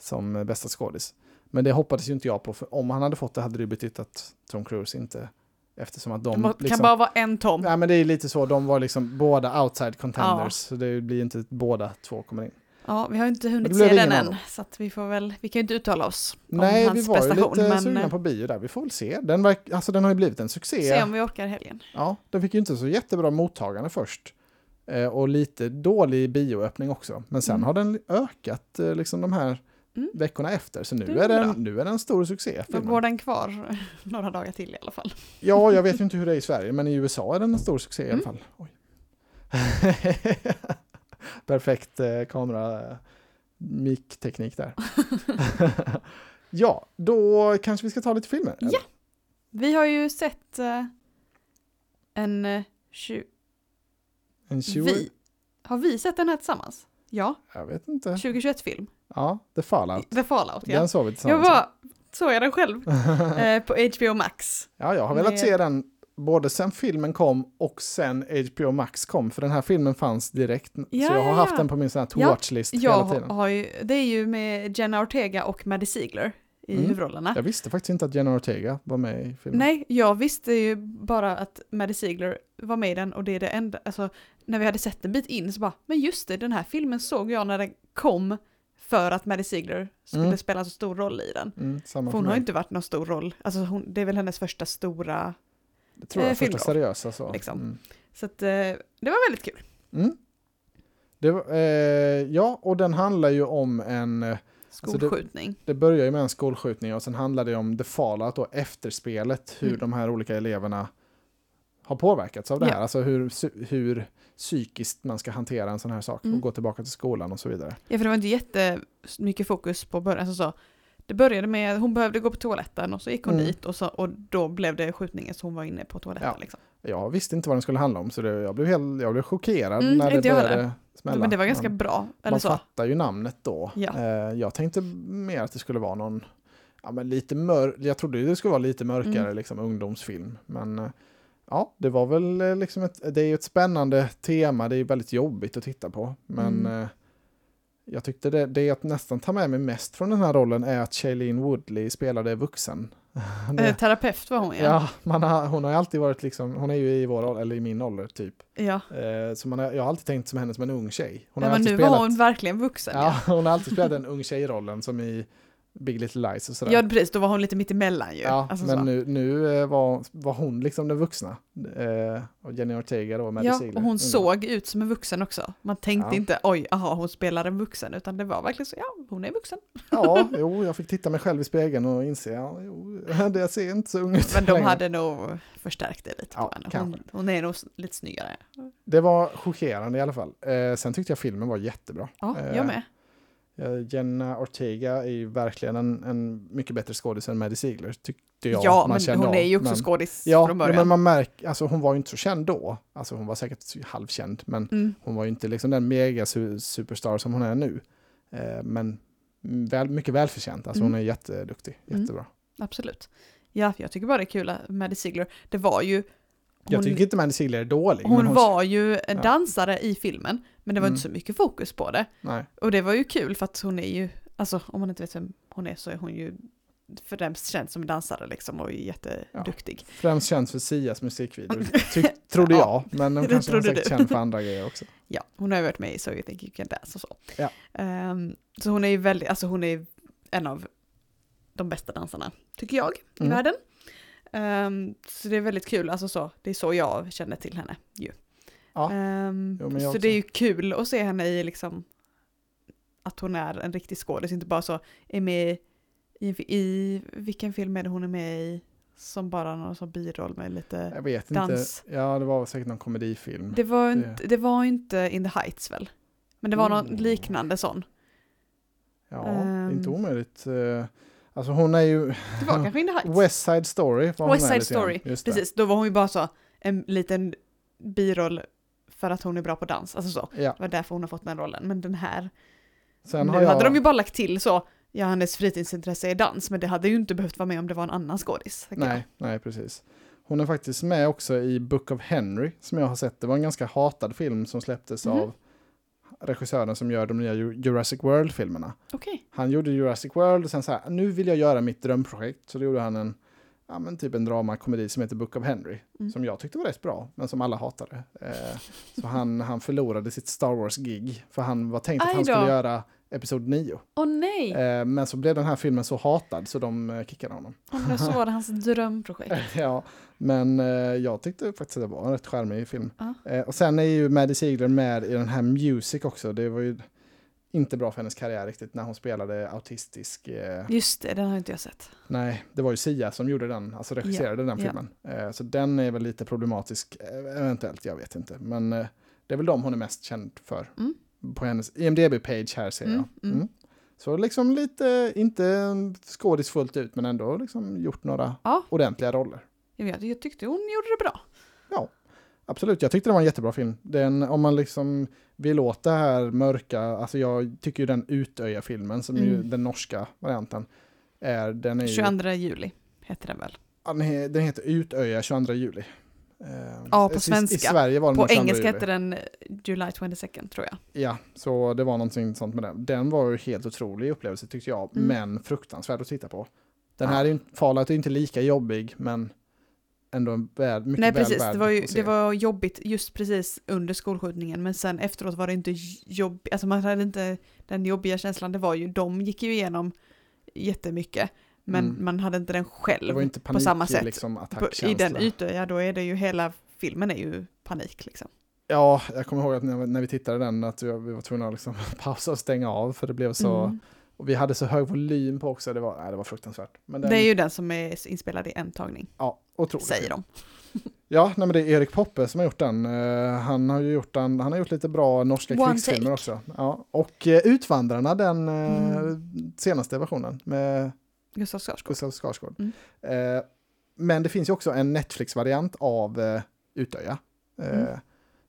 Speaker 1: som eh, bästa skådis. Men det hoppades ju inte jag på, för om han hade fått det hade det ju betytt att Tom Cruise inte, eftersom att
Speaker 2: Det
Speaker 1: de... liksom-
Speaker 2: må- kan bara vara en Tom.
Speaker 1: Nej men det är lite så, de var liksom båda outside contenders,
Speaker 2: Ja.
Speaker 1: så det blir ju inte att båda två kommer in.
Speaker 2: Ja, vi har inte
Speaker 1: Det
Speaker 2: hunnit
Speaker 1: blev
Speaker 2: se
Speaker 1: ingen
Speaker 2: den
Speaker 1: av dem.
Speaker 2: än, så att vi får väl, vi kan ju inte uttala oss
Speaker 1: Nej,
Speaker 2: om
Speaker 1: vi
Speaker 2: hans
Speaker 1: var ju
Speaker 2: prestation,
Speaker 1: lite
Speaker 2: men
Speaker 1: sugna
Speaker 2: eh,
Speaker 1: på bio där, vi får väl se. Den, verk, alltså, den har ju blivit en succé.
Speaker 2: se om vi orkar i helgen.
Speaker 1: Ja, den fick ju inte så jättebra mottagande först. Eh, och lite dålig bioöppning också. Men sen
Speaker 2: Mm.
Speaker 1: har den ökat eh, liksom de här
Speaker 2: Mm.
Speaker 1: veckorna efter. Så nu
Speaker 2: Det är
Speaker 1: är,
Speaker 2: bra.
Speaker 1: den, nu är den en stor succé.
Speaker 2: Då
Speaker 1: filmen.
Speaker 2: går den kvar några dagar till i alla fall.
Speaker 1: Ja, jag vet ju inte hur det är i Sverige, men i USA är den en stor succé i alla
Speaker 2: Mm.
Speaker 1: fall. Oj. Perfekt eh, kamera eh, mic-teknik där. ja, då kanske vi ska ta lite filmer.
Speaker 2: Ja. Vi har ju sett eh, en eh, tju-
Speaker 1: En 20...
Speaker 2: Vi? Har vi sett den här tillsammans? Ja,
Speaker 1: Jag vet inte.
Speaker 2: 2021-film.
Speaker 1: Ja, The Fallout.
Speaker 2: The Fallout, ja.
Speaker 1: Den såg vi
Speaker 2: Jag
Speaker 1: tillsammans.
Speaker 2: var, såg jag den själv eh, på HBO Max.
Speaker 1: Ja, jag har velat
Speaker 2: Med-
Speaker 1: se den både sen filmen kom och sen HBO Max kom, för den här filmen fanns direkt.
Speaker 2: Ja,
Speaker 1: så jag har
Speaker 2: ja,
Speaker 1: haft
Speaker 2: ja.
Speaker 1: den på min sån här to
Speaker 2: Ja,
Speaker 1: watch-list
Speaker 2: Jag
Speaker 1: hela tiden.
Speaker 2: har ju, det är ju med Jenna Ortega och Maddie Ziegler i
Speaker 1: Mm.
Speaker 2: huvudrollerna.
Speaker 1: Jag visste faktiskt inte att Jenna Ortega var med i filmen.
Speaker 2: Nej, jag visste ju bara att Maddie Ziegler var med i den och det är det enda, alltså när vi hade sett en bit in så bara, men just det, den här filmen såg jag när den kom för att Maddie Ziegler skulle
Speaker 1: Mm.
Speaker 2: spela så stor roll i den.
Speaker 1: Mm, samma
Speaker 2: För hon
Speaker 1: för
Speaker 2: har
Speaker 1: mig.
Speaker 2: ju inte varit någon stor roll, alltså hon, det är väl hennes första stora,
Speaker 1: Det tror jag,
Speaker 2: eh,
Speaker 1: första
Speaker 2: filmroll,
Speaker 1: seriösa så.
Speaker 2: liksom.
Speaker 1: Mm.
Speaker 2: så att eh, det var väldigt kul.
Speaker 1: Mm. Det var, eh, ja, och den handlar ju om en... eh, Alltså, det-
Speaker 2: Skolskjutning.
Speaker 1: Det börjar ju med en skolskjutning och sen handlar det om The Fallout och efterspelet, hur
Speaker 2: Mm.
Speaker 1: de här olika eleverna har påverkats av det här.
Speaker 2: Ja.
Speaker 1: Alltså hur, psy- hur psykiskt man ska hantera en sån här sak
Speaker 2: Mm.
Speaker 1: och gå tillbaka till skolan och så vidare.
Speaker 2: Ja, för det var inte jättemycket fokus på början. Alltså, så, det började med att hon behövde gå på toaletten och så gick hon
Speaker 1: Mm.
Speaker 2: dit och, så, och då blev det skjutningen så hon var inne på toaletten.
Speaker 1: Ja,
Speaker 2: liksom.
Speaker 1: Jag visste inte vad den skulle handla om så det, jag, blev helt, jag blev chockerad
Speaker 2: Mm,
Speaker 1: när det
Speaker 2: inte jag
Speaker 1: började
Speaker 2: heller.
Speaker 1: smälla. Mm.
Speaker 2: Men det var ganska
Speaker 1: man,
Speaker 2: bra. Eller
Speaker 1: man
Speaker 2: så.
Speaker 1: fattar ju namnet då.
Speaker 2: Ja.
Speaker 1: Eh, jag tänkte mer att det skulle vara någon, ja, men lite mör- jag trodde ju det skulle vara lite mörkare
Speaker 2: Mm.
Speaker 1: liksom, ungdomsfilm. Men eh, ja, det var väl eh, liksom ett, det är ju ett spännande tema, det är ju väldigt jobbigt att titta på. Men
Speaker 2: Mm.
Speaker 1: eh, jag tyckte det, det jag nästan tar med mig mest från den här rollen är att Shailene Woodley spelade vuxen. Det-
Speaker 2: Eh, terapeut var hon ja.
Speaker 1: Ja, man har, hon har ju alltid varit liksom, hon är ju i vår ålder, eller i min ålder typ.
Speaker 2: ja.
Speaker 1: Eh, så man har, jag har alltid tänkt som henne som en ung tjej. Hon har
Speaker 2: Nej, men
Speaker 1: alltid
Speaker 2: nu
Speaker 1: spelat,
Speaker 2: var hon verkligen vuxen. Ja.
Speaker 1: ja, hon har alltid spelat den ung tjej-rollen som i Big Little Lies och sådär.
Speaker 2: Ja, precis. Då var hon lite mittemellan ju.
Speaker 1: Ja,
Speaker 2: Alltså så.
Speaker 1: men nu, nu eh, var, var hon liksom den vuxna. Eh, och Jenny Ortega då, med Mm.
Speaker 2: ja, och hon såg ut som en vuxen också. Man tänkte
Speaker 1: Ja.
Speaker 2: inte oj, aha, hon spelar en vuxen, utan det var verkligen så, ja, hon är vuxen.
Speaker 1: Ja, jo, jag fick titta mig själv i spegeln och inse, ja, jo, det jag ser inte så ung ut
Speaker 2: Men de
Speaker 1: längre.
Speaker 2: hade nog förstärkt det lite
Speaker 1: Ja,
Speaker 2: på henne.
Speaker 1: kanske.
Speaker 2: Hon, hon är nog s- lite snyggare.
Speaker 1: Det var chockerande i alla fall. Eh, sen tyckte jag filmen var jättebra.
Speaker 2: Ja,
Speaker 1: Eh,
Speaker 2: jag med.
Speaker 1: Eh, Jenna Ortega är ju verkligen en, en mycket bättre skådis än Maddie Ziegler, tyckte jag.
Speaker 2: Ja,
Speaker 1: Man
Speaker 2: men
Speaker 1: kände
Speaker 2: hon
Speaker 1: av,
Speaker 2: är ju också
Speaker 1: men-
Speaker 2: skådis
Speaker 1: Ja,
Speaker 2: från
Speaker 1: men
Speaker 2: början.
Speaker 1: man märker, alltså hon var ju inte så känd då. Alltså hon var säkert halvkänd, men
Speaker 2: mm.
Speaker 1: Hon var ju inte liksom den mega su- superstar som hon är nu. Eh, men väl, mycket välförtjänt. Alltså
Speaker 2: Mm.
Speaker 1: hon är jätteduktig,
Speaker 2: Mm.
Speaker 1: jättebra.
Speaker 2: Absolut. Ja, jag tycker bara det är kul att Maddie Ziegler, det var ju...
Speaker 1: Jag tycker inte Mandy Ziegler är dålig.
Speaker 2: hon,
Speaker 1: men
Speaker 2: hon var ju en
Speaker 1: Ja.
Speaker 2: dansare i filmen, men det var
Speaker 1: Mm.
Speaker 2: inte så mycket fokus på det.
Speaker 1: Nej,
Speaker 2: Och det var ju kul för att hon är ju, alltså om man inte vet vem hon är så är hon ju främst känd som dansare liksom och är jätteduktig.
Speaker 1: främst känd för Sias musikvideo, ty- trodde jag. Men hon
Speaker 2: Det
Speaker 1: kanske var
Speaker 2: trodde
Speaker 1: säkert
Speaker 2: du.
Speaker 1: känd för andra grejer också.
Speaker 2: Ja, hon har ju varit med i So You Think You Can Dance och så.
Speaker 1: Ja.
Speaker 2: Ehm, så hon är ju väldigt, alltså hon är en av de bästa dansarna, tycker jag, i
Speaker 1: Mm.
Speaker 2: världen. Ehm, så det är väldigt kul, alltså så, det är så jag känner till henne ju.
Speaker 1: Ja.
Speaker 2: Ehm,
Speaker 1: Jo, men jag
Speaker 2: så
Speaker 1: också.
Speaker 2: det är ju kul att se henne i liksom, att hon är en riktig skådis, inte bara så, är med i, en fi- i vilken film är det hon är med i? Som bara någon sån biroll med lite...
Speaker 1: Jag vet
Speaker 2: Dans.
Speaker 1: inte. Ja, det var säkert någon komedifilm.
Speaker 2: Det var, inte, det var inte In the Heights väl? Men det var någon
Speaker 1: Mm.
Speaker 2: liknande sån.
Speaker 1: Ja,
Speaker 2: Ehm.
Speaker 1: inte omöjligt. Eh, Alltså hon är ju
Speaker 2: Det var kanske In the Heights?
Speaker 1: West Side Story. var hon
Speaker 2: West
Speaker 1: är
Speaker 2: Side
Speaker 1: lite grann.
Speaker 2: Story,
Speaker 1: Just det.
Speaker 2: Precis, då var hon ju bara så en liten biroll för att hon är bra på dans, alltså så.
Speaker 1: Ja.
Speaker 2: Det var därför hon har fått den rollen. Men den här,
Speaker 1: Sen
Speaker 2: nu
Speaker 1: har jag...
Speaker 2: hade de ju bara lagt till så, ja hennes fritidsintresse är dans, men det hade ju inte behövt vara med om det var en annan skådis. tänker jag.
Speaker 1: Nej, nej, precis. Hon är faktiskt med också i Book of Henry, som jag har sett. Det var en ganska hatad film som släpptes
Speaker 2: Mhm.
Speaker 1: av regissören som gör de nya Ju- Jurassic World-filmerna.
Speaker 2: Okej.
Speaker 1: Han gjorde Jurassic World och sen så här, nu vill jag göra mitt drömprojekt. Så då gjorde han en, ja men typ en dramakomedi som heter Book of Henry.
Speaker 2: Mm.
Speaker 1: Som jag tyckte var rätt bra, men som alla hatade. Eh, så han, han förlorade sitt Star Wars-gig, för han var tänkt att
Speaker 2: Aj
Speaker 1: han
Speaker 2: då.
Speaker 1: skulle göra Episod 9.
Speaker 2: Åh nej!
Speaker 1: Eh, men så blev den här filmen så hatad så de eh, kickade honom.
Speaker 2: Undrar så var det hans drömprojekt.
Speaker 1: Ja, men eh, jag tyckte faktiskt att det var en rätt charmig film.
Speaker 2: Ja.
Speaker 1: Eh, och sen är ju Maddie Ziegler med i den här Music också. Det var ju inte bra för hennes karriär riktigt när hon spelade autistisk. Eh,
Speaker 2: Just det, den har inte jag sett.
Speaker 1: nej, det var ju Sia som gjorde den, alltså regisserade den
Speaker 2: ja.
Speaker 1: filmen. Eh, så den är väl lite problematisk, eh, eventuellt, jag vet inte. Men eh, det är väl de hon är mest känd för.
Speaker 2: Mm.
Speaker 1: På hennes IMDB-page här ser
Speaker 2: Mm,
Speaker 1: jag.
Speaker 2: mm.
Speaker 1: Så liksom lite, inte skådis fullt ut, men ändå liksom gjort några
Speaker 2: Ja.
Speaker 1: ordentliga roller.
Speaker 2: Jag, jag tyckte hon gjorde det bra.
Speaker 1: Absolut, jag tyckte det var en jättebra film. Den, om man liksom vill åt det här mörka, alltså jag tycker ju den utöja filmen som ju
Speaker 2: Mm.
Speaker 1: den norska varianten är, den är ju,
Speaker 2: 22 juli heter den väl?
Speaker 1: Ja, den he- den heter Utöja 22 juli. Eh,
Speaker 2: Ja, på
Speaker 1: i- I,
Speaker 2: svenska.
Speaker 1: i Sverige var den
Speaker 2: På
Speaker 1: 22
Speaker 2: engelska
Speaker 1: juli.
Speaker 2: heter den eh, July 22 tror jag.
Speaker 1: Ja, så det var någonting sånt med den. Den var ju helt otrolig upplevelse tyckte jag,
Speaker 2: Mm.
Speaker 1: men fruktansvärd att titta på. Den
Speaker 2: Ja.
Speaker 1: här är ju, Fallout är ju inte lika jobbig, men ändå en värd, mycket
Speaker 2: Nej
Speaker 1: väl
Speaker 2: precis,
Speaker 1: värd
Speaker 2: det var, ju,
Speaker 1: att se.
Speaker 2: det var jobbigt just precis under skolskjutningen men sen efteråt var det inte jobbigt, alltså man hade inte den jobbiga känslan, det var ju, de gick ju igenom jättemycket men
Speaker 1: Mm.
Speaker 2: man hade inte den
Speaker 1: det
Speaker 2: själv.
Speaker 1: var ju inte
Speaker 2: på
Speaker 1: panik,
Speaker 2: samma sätt.
Speaker 1: liksom,
Speaker 2: På- I
Speaker 1: attackkänsla.
Speaker 2: den ytan, ja då är det ju hela filmen är ju panik liksom.
Speaker 1: Ja, jag kommer ihåg att när, när vi tittade den att vi, vi var tvungna att liksom pausa och stänga av för det blev så,
Speaker 2: Mm.
Speaker 1: och vi hade så hög volym på också, det var, nej, det var fruktansvärt. Men den,
Speaker 2: Det är ju den som är inspelad i en tagning,
Speaker 1: ja, otroligt.
Speaker 2: säger de.
Speaker 1: Ja, nej, men det är Erik Poppe som har gjort den. Eh, han, har ju gjort den han har gjort lite bra norska
Speaker 2: One
Speaker 1: krigsfilmer
Speaker 2: take.
Speaker 1: också. Ja, och eh, Utvandrarna, den eh,
Speaker 2: Mm.
Speaker 1: senaste versionen med
Speaker 2: Gustav Skarsgård.
Speaker 1: Gustav Skarsgård.
Speaker 2: Mm.
Speaker 1: Eh, men det finns ju också en Netflix-variant av eh, Utöja. Eh,
Speaker 2: Mm.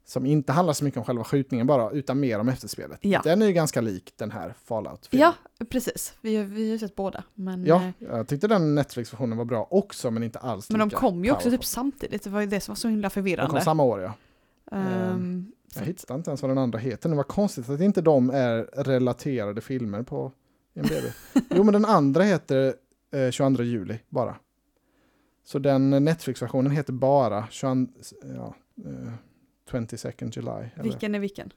Speaker 1: Som inte handlar så mycket om själva skjutningen bara, utan mer om efterspelet.
Speaker 2: Ja.
Speaker 1: Den är ju ganska lik den här Fallout-filmen.
Speaker 2: Ja, precis. Vi, har- vi har ju sett båda. Men, eh,
Speaker 1: ja, jag tyckte den Netflix-versionen var bra också, men inte alls
Speaker 2: men de
Speaker 1: lika
Speaker 2: kom ju också
Speaker 1: powerful.
Speaker 2: typ samtidigt, det var ju det som var så himla
Speaker 1: De kom
Speaker 2: förvirrande.
Speaker 1: samma år, ja.
Speaker 2: Ehm, så
Speaker 1: Jag
Speaker 2: att-
Speaker 1: hittade inte ens vad den andra heter. Det var konstigt att inte de är relaterade filmer på IMDB. jo, men den andra heter eh, 22 juli bara. Så den Netflix-versionen heter bara 22, ja, eh, 22nd July. Eller.
Speaker 2: Vilken är vilken?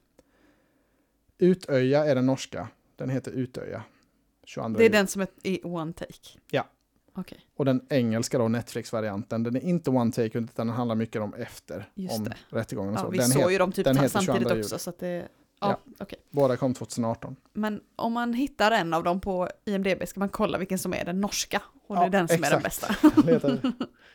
Speaker 1: Utöja är den norska. Den heter Utöja. 22
Speaker 2: Det är
Speaker 1: juli.
Speaker 2: den som är i one take?
Speaker 1: Ja.
Speaker 2: Okej,
Speaker 1: Och den engelska då, Netflix-varianten, den är inte one take utan den handlar mycket om efter,
Speaker 2: Just
Speaker 1: om
Speaker 2: det.
Speaker 1: rättegången och
Speaker 2: ja,
Speaker 1: så.
Speaker 2: vi
Speaker 1: Den
Speaker 2: såg
Speaker 1: heter-
Speaker 2: ju dem typ
Speaker 1: den heter
Speaker 2: samtidigt
Speaker 1: 22 juli.
Speaker 2: också så att det... Ja,
Speaker 1: Ja.
Speaker 2: okej.
Speaker 1: Båda kom 2018.
Speaker 2: Men om man hittar en av dem på IMDB ska man kolla vilken som är den norska. Och det är
Speaker 1: Ja,
Speaker 2: den som är den bästa.
Speaker 1: exakt. Leta,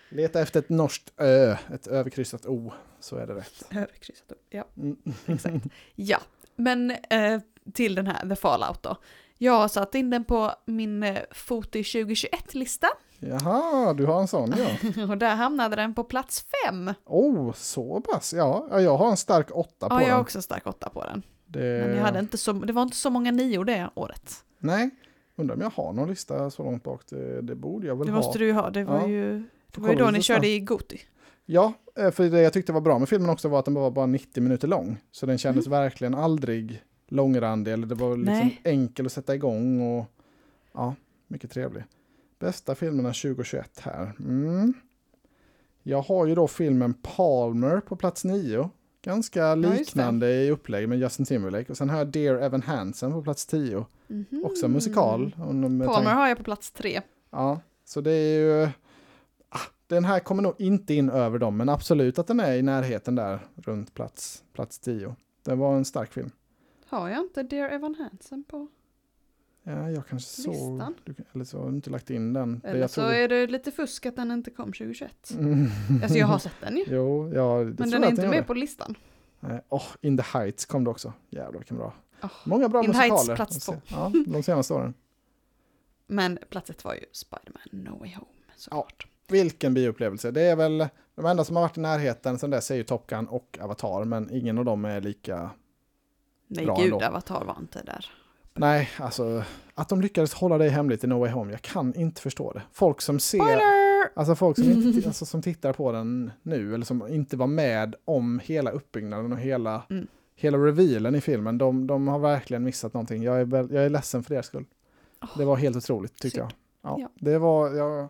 Speaker 1: leta efter ett norskt ö, ett överkryssat o, så är det rätt.
Speaker 2: Överkryssat upp, ja.
Speaker 1: Mm.
Speaker 2: Exakt. Ja, men eh, till den här The Fallout då. Jag har satt in den på min eh, Foti 2021-lista
Speaker 1: Jaha, du har en sån ja.
Speaker 2: och där hamnade den på plats fem.
Speaker 1: Oh, så pass. Ja, ja, jag har en stark åtta på
Speaker 2: Ja, jag har
Speaker 1: den. Eh.
Speaker 2: också stark åtta på den.
Speaker 1: Det...
Speaker 2: Men jag hade inte så, det var inte så många nior det året.
Speaker 1: Nej, undrar om jag har någon lista så långt bak. Det, det borde jag väl
Speaker 2: Det
Speaker 1: ha.
Speaker 2: måste du ju ha, det var
Speaker 1: Ja.
Speaker 2: ju, det
Speaker 1: Får
Speaker 2: var ju
Speaker 1: kolla
Speaker 2: då ni
Speaker 1: lite
Speaker 2: körde
Speaker 1: snabbt.
Speaker 2: i Goti.
Speaker 1: Ja, eh, för det jag tyckte var bra med filmen också var att den var bara 90 minuter lång. Så den kändes verkligen aldrig långrandig. Eller det var liksom
Speaker 2: Mm. Nej.
Speaker 1: enkel att sätta igång och ja, mycket trevlig. Bästa filmerna 2021 här. Mm. Jag har ju då filmen Palmer på plats 9. Ganska
Speaker 2: just det.
Speaker 1: liknande i upplägg med Justin Timberlake. Och sen har jag Dear Evan Hansen på plats 10.
Speaker 2: Mhm.
Speaker 1: Också en musikal. och med tanke-
Speaker 2: Palmer har jag på plats tre.
Speaker 1: Ja, så det är ju... ah, Den här kommer nog inte in över dem, men absolut att den är i närheten där runt plats, plats 10. Den var en stark film.
Speaker 2: Har jag inte Dear Evan Hansen på?
Speaker 1: Ja, jag kanske såg...
Speaker 2: Listan.
Speaker 1: Du, eller så har du inte lagt in den.
Speaker 2: Eller så är det lite fusk att den inte kom 2021.
Speaker 1: Mm.
Speaker 2: Alltså jag har sett den ju,
Speaker 1: Jo, ja, det
Speaker 2: men
Speaker 1: tror
Speaker 2: den
Speaker 1: jag
Speaker 2: är
Speaker 1: att
Speaker 2: inte
Speaker 1: den
Speaker 2: med
Speaker 1: gjorde.
Speaker 2: på listan.
Speaker 1: Nej, Åh, In the Heights kom det också. Jävlar vilken bra.
Speaker 2: Åh,
Speaker 1: Många bra
Speaker 2: In the Heights,
Speaker 1: musikaler.
Speaker 2: plats
Speaker 1: de
Speaker 2: två.
Speaker 1: se- Ja, de senaste åren.
Speaker 2: Men plats ett var ju Spider-Man No Way Home såklart.
Speaker 1: Vilken bioupplevelse. Det är väl de enda som har varit i närheten sen dess är ju Top Gun och Avatar, men ingen av dem är lika
Speaker 2: Nej
Speaker 1: Bra
Speaker 2: gud,
Speaker 1: ändå.
Speaker 2: Avatar var inte där.
Speaker 1: Nej, alltså att de lyckades hålla det hemligt i No Way Home, jag kan inte förstå det. Folk som ser,
Speaker 2: Spoiler!
Speaker 1: alltså folk som, inte, alltså, som tittar på den nu, eller som inte var med om hela uppbyggnaden och hela,
Speaker 2: Mm.
Speaker 1: hela revealen i filmen, de, de har verkligen missat någonting. Jag är, väl- jag är ledsen för deras skull.
Speaker 2: Åh,
Speaker 1: Det var helt otroligt, tycker jag.
Speaker 2: synd.
Speaker 1: Ja,
Speaker 2: Ja.
Speaker 1: Det var ja,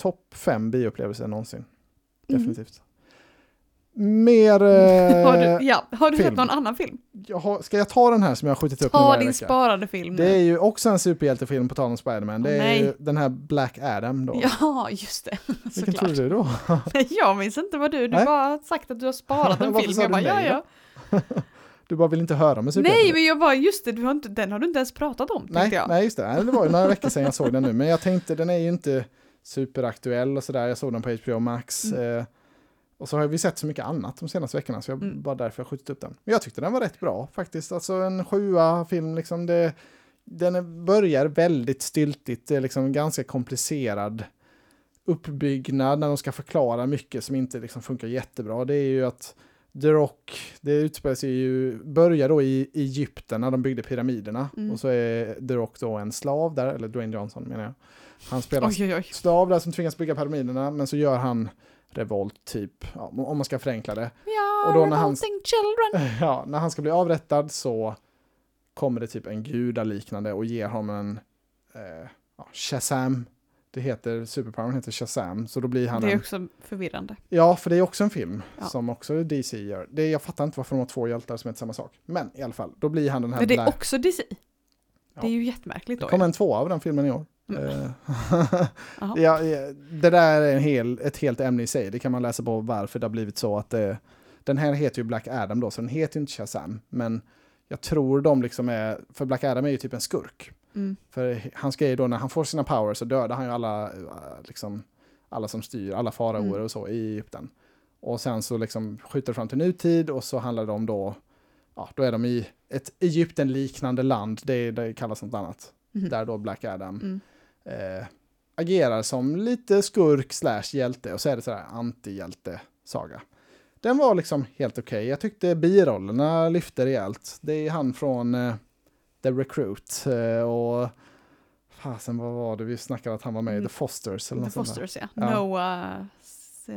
Speaker 1: topp fem bioupplevelser någonsin,
Speaker 2: Mhm.
Speaker 1: definitivt. Mer...
Speaker 2: Har du,
Speaker 1: Eh,
Speaker 2: ja, har du sett
Speaker 1: film.
Speaker 2: någon annan film?
Speaker 1: jag har, ska jag ta den här som jag har skjutit upp nu
Speaker 2: Ta
Speaker 1: varje
Speaker 2: din
Speaker 1: vecka?
Speaker 2: sparade film
Speaker 1: Det är
Speaker 2: nu.
Speaker 1: ju också en superhjältefilm på tal om Spiderman. Det
Speaker 2: Åh,
Speaker 1: är ju
Speaker 2: nej.
Speaker 1: den här Black Adam då.
Speaker 2: Ja, just det.
Speaker 1: Vilken tror
Speaker 2: Såklart.
Speaker 1: du då?
Speaker 2: Nej, Jag minns inte vad du, du
Speaker 1: Nej.
Speaker 2: bara har sagt att du har sparat en
Speaker 1: Varför
Speaker 2: film.
Speaker 1: sa
Speaker 2: Jag
Speaker 1: du
Speaker 2: bara, ja,
Speaker 1: nej
Speaker 2: ja.
Speaker 1: Du bara vill inte höra om en
Speaker 2: Nej,
Speaker 1: superhjältefilm.
Speaker 2: men jag bara, just det, du har inte, den har du inte ens pratat om, tänkte
Speaker 1: nej,
Speaker 2: jag.
Speaker 1: nej, just det. Nej, Det var ju några veckor sedan jag såg den nu. Men jag tänkte, den är ju inte superaktuell och sådär. Jag såg den på HBO Max. Eh, och så har vi sett så mycket annat de senaste veckorna, så jag
Speaker 2: Mm.
Speaker 1: bara därför jag skjutit upp den. Men jag tyckte den var rätt bra faktiskt. Alltså en sjua film, liksom det, den är- börjar väldigt styltigt. Det är liksom ganska komplicerad uppbyggnad när de ska förklara mycket som inte liksom funkar jättebra. Det är ju att The Rock, det utspelar sig ju, börjar då i Egypten när de byggde pyramiderna.
Speaker 2: Mm.
Speaker 1: Och så är The Rock då en slav där, eller Dwayne Johnson menar jag. Han spelar
Speaker 2: Oj, oj, oj.
Speaker 1: slav där som tvingas bygga pyramiderna, men så gör han revolt typ, ja, om man ska förenkla det.
Speaker 2: Ja,
Speaker 1: Och då när han-
Speaker 2: Revolting Children.
Speaker 1: Ja, när han ska bli avrättad så kommer det typ en gudaliknande och ger honom en eh, ja, Shazam. Det heter, superpowern heter Shazam, så då blir han
Speaker 2: Det är
Speaker 1: en...
Speaker 2: också förvirrande.
Speaker 1: Ja, för det är också en film
Speaker 2: Ja.
Speaker 1: som också DC gör. Det, jag fattar inte varför de har två hjältar som heter samma sak. Men i alla fall, då blir han den här...
Speaker 2: Men det är
Speaker 1: Black-
Speaker 2: också DC. Det
Speaker 1: Ja.
Speaker 2: är ju jättemärkligt då.
Speaker 1: kom en tvåa av den filmen i år.
Speaker 2: Mm.
Speaker 1: Eh,
Speaker 2: Jaha.
Speaker 1: ja, ja, det där är en hel, ett helt ämne i sig. Det kan man läsa på varför det har blivit så att det, den här heter ju Black Adam då, så den heter ju inte Shazam. Men jag tror de liksom är, för Black Adam är ju typ en skurk.
Speaker 2: Mm.
Speaker 1: För hans grej då, när han får sina powers så dödar han ju alla, eh, liksom, alla som styr, alla faraoer
Speaker 2: Mm.
Speaker 1: och så i Egypten. Och sen så liksom skjuter det fram till nutid och så handlar det om då, ja, då är de i ett Egypten-liknande land, det, det kallas något annat.
Speaker 2: Mhm.
Speaker 1: Där då Black Adam
Speaker 2: Mm.
Speaker 1: eh, agerar som lite skurk slash hjälte och så är det sådär antihjälte-saga. Den var liksom helt okej. Jag tyckte birollerna lyfte rejält. Det är han från eh, The Recruit eh, och fasen vad var det vi snackade att han var med i
Speaker 2: Mm.
Speaker 1: The Fosters eller
Speaker 2: The
Speaker 1: något sånt där.
Speaker 2: Fosters, ja.
Speaker 1: Ja.
Speaker 2: Noah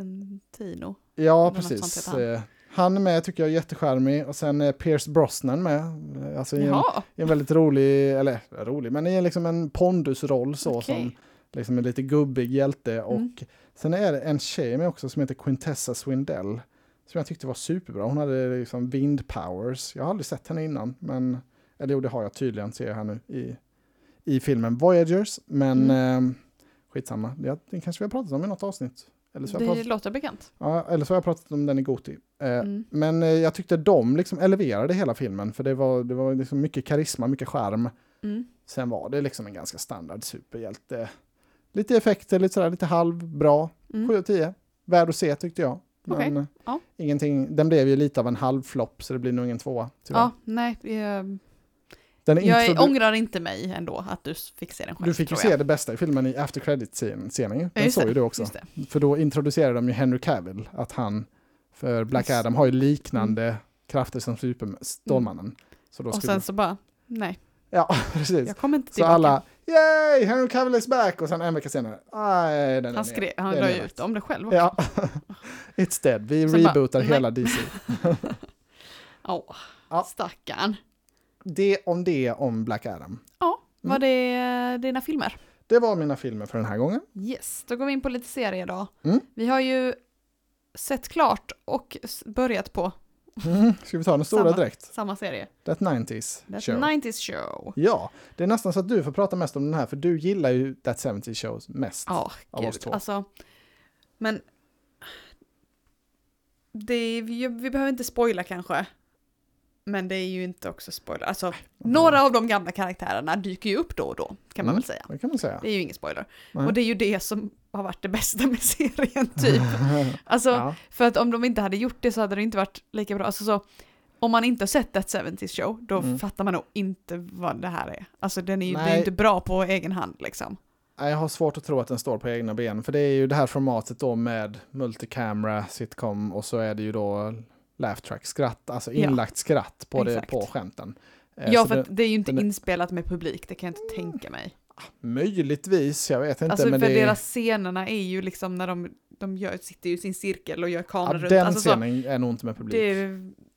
Speaker 2: Centino.
Speaker 1: Ja,
Speaker 2: något
Speaker 1: precis.
Speaker 2: sånt heter
Speaker 1: Eh, Han är med tycker jag är jättecharmig och sen är Pierce Brosnan med. Eh, Alltså i en,
Speaker 2: Jaha,
Speaker 1: i en väldigt rolig, eller rolig, men i en, liksom en pondusroll så
Speaker 2: Okej.
Speaker 1: som liksom en lite gubbig hjälte. Och
Speaker 2: Mm.
Speaker 1: Sen är det en tjej med också som heter Quintessa Swindell. Som jag tyckte var superbra. Hon hade liksom vind powers. Jag har aldrig sett henne innan. Men, eller jo, det har jag tydligen, ser jag här nu i, i filmen Voyagers, men
Speaker 2: Mm.
Speaker 1: eh, skitsamma. Ja, den kanske vi har pratat om i något avsnitt. Eller så har
Speaker 2: det
Speaker 1: jag pratat,
Speaker 2: låter bekant.
Speaker 1: ja, eller så har jag pratat om den i Goti. Eh,
Speaker 2: Mm.
Speaker 1: Men eh, jag tyckte de liksom eleverade hela filmen, för det var, det var liksom mycket karisma, mycket charm.
Speaker 2: Mm.
Speaker 1: Sen var det liksom en ganska standard superhjälte. Lite effekter, lite sådär, lite halvbra.
Speaker 2: Mm.
Speaker 1: 7 av 10. Värd att se tyckte jag. Men
Speaker 2: Okej,
Speaker 1: eh,
Speaker 2: ja.
Speaker 1: ingenting, den blev ju lite av en halvflopp så det blir nog ingen tvåa. tyvärr.
Speaker 2: Ja, nej, jag,
Speaker 1: den är
Speaker 2: jag
Speaker 1: introdu-
Speaker 2: ångrar inte mig ändå att du fick se den själv.
Speaker 1: du fick ju
Speaker 2: tror
Speaker 1: se
Speaker 2: jag.
Speaker 1: det bästa i filmen i after credit-scenen ju.
Speaker 2: Ja,
Speaker 1: Den
Speaker 2: just
Speaker 1: såg
Speaker 2: det,
Speaker 1: ju du också.
Speaker 2: Just det.
Speaker 1: För då introducerade de ju Henry Cavill, att han, för Black
Speaker 2: Just- Mm.
Speaker 1: Adam har ju liknande krafter som Superman, Stålmannen. Så då
Speaker 2: Och
Speaker 1: skulle...
Speaker 2: sen så bara, nej,
Speaker 1: Ja, precis.
Speaker 2: jag kommer inte
Speaker 1: Så
Speaker 2: tillbaka.
Speaker 1: alla, yay, Henry Cavill is back! Och sen en vecka senare, nej, den är
Speaker 2: han
Speaker 1: ner."
Speaker 2: skrev, han
Speaker 1: Det är
Speaker 2: la
Speaker 1: nedlagt.
Speaker 2: ju ut om det själv också.
Speaker 1: Ja, it's dead. Vi
Speaker 2: Sen bara,
Speaker 1: rebootar
Speaker 2: nej.
Speaker 1: hela DC.
Speaker 2: Åh,
Speaker 1: Ja.
Speaker 2: stackarn.
Speaker 1: Det om det om Black Adam.
Speaker 2: Ja,
Speaker 1: Mm.
Speaker 2: var det eh, dina filmer?
Speaker 1: Det var mina filmer för den här gången.
Speaker 2: Yes, då går vi in på lite serier då.
Speaker 1: Mm.
Speaker 2: Vi har ju sett klart och s- börjat på
Speaker 1: Mm. Ska vi ta den stora
Speaker 2: Samma.
Speaker 1: direkt?
Speaker 2: samma serie.
Speaker 1: That 90s
Speaker 2: That
Speaker 1: show.
Speaker 2: 90s show.
Speaker 1: ja, det är nästan så att du får prata mest om den här, för du gillar ju That 70s show mest.
Speaker 2: Ja,
Speaker 1: Av oss
Speaker 2: gud.
Speaker 1: två.
Speaker 2: Alltså, men... Det är, vi, vi behöver inte spoila kanske. Men det är ju inte också spoiler. Alltså, några av de gamla karaktärerna dyker ju upp då och då, kan man
Speaker 1: Mm.
Speaker 2: väl säga.
Speaker 1: Det kan man säga.
Speaker 2: Det är ju ingen spoiler.
Speaker 1: Nej.
Speaker 2: Och det är ju det som har varit det bästa med serien, typ. Alltså,
Speaker 1: Ja.
Speaker 2: för att om de inte hade gjort det så hade det inte varit lika bra. Alltså, så, om man inte har sett That 70s Show, då
Speaker 1: Mm.
Speaker 2: fattar man nog inte vad det här är. Alltså, den är ju, det är ju
Speaker 1: Nej.
Speaker 2: inte bra på egen hand, liksom.
Speaker 1: Nej, Jag har svårt att tro att den står på egna ben, för det är ju det här formatet då med multicamera, sitcom och så är det ju då laugh track, skratt, alltså
Speaker 2: Ja.
Speaker 1: inlagt skratt på, det,
Speaker 2: Exakt.
Speaker 1: på skämten. Eh,
Speaker 2: Ja,
Speaker 1: så
Speaker 2: för
Speaker 1: det-
Speaker 2: att det är ju inte
Speaker 1: den är-
Speaker 2: inspelat med publik, det kan jag inte tänka mig.
Speaker 1: Möjligtvis, jag vet inte.
Speaker 2: Alltså, för
Speaker 1: men det är-
Speaker 2: deras scenerna är ju liksom när de, de gör, sitter ju i sin cirkel och gör
Speaker 1: ja,
Speaker 2: kameror
Speaker 1: den
Speaker 2: Alltså, så,
Speaker 1: scenen är nog inte med publik.
Speaker 2: det,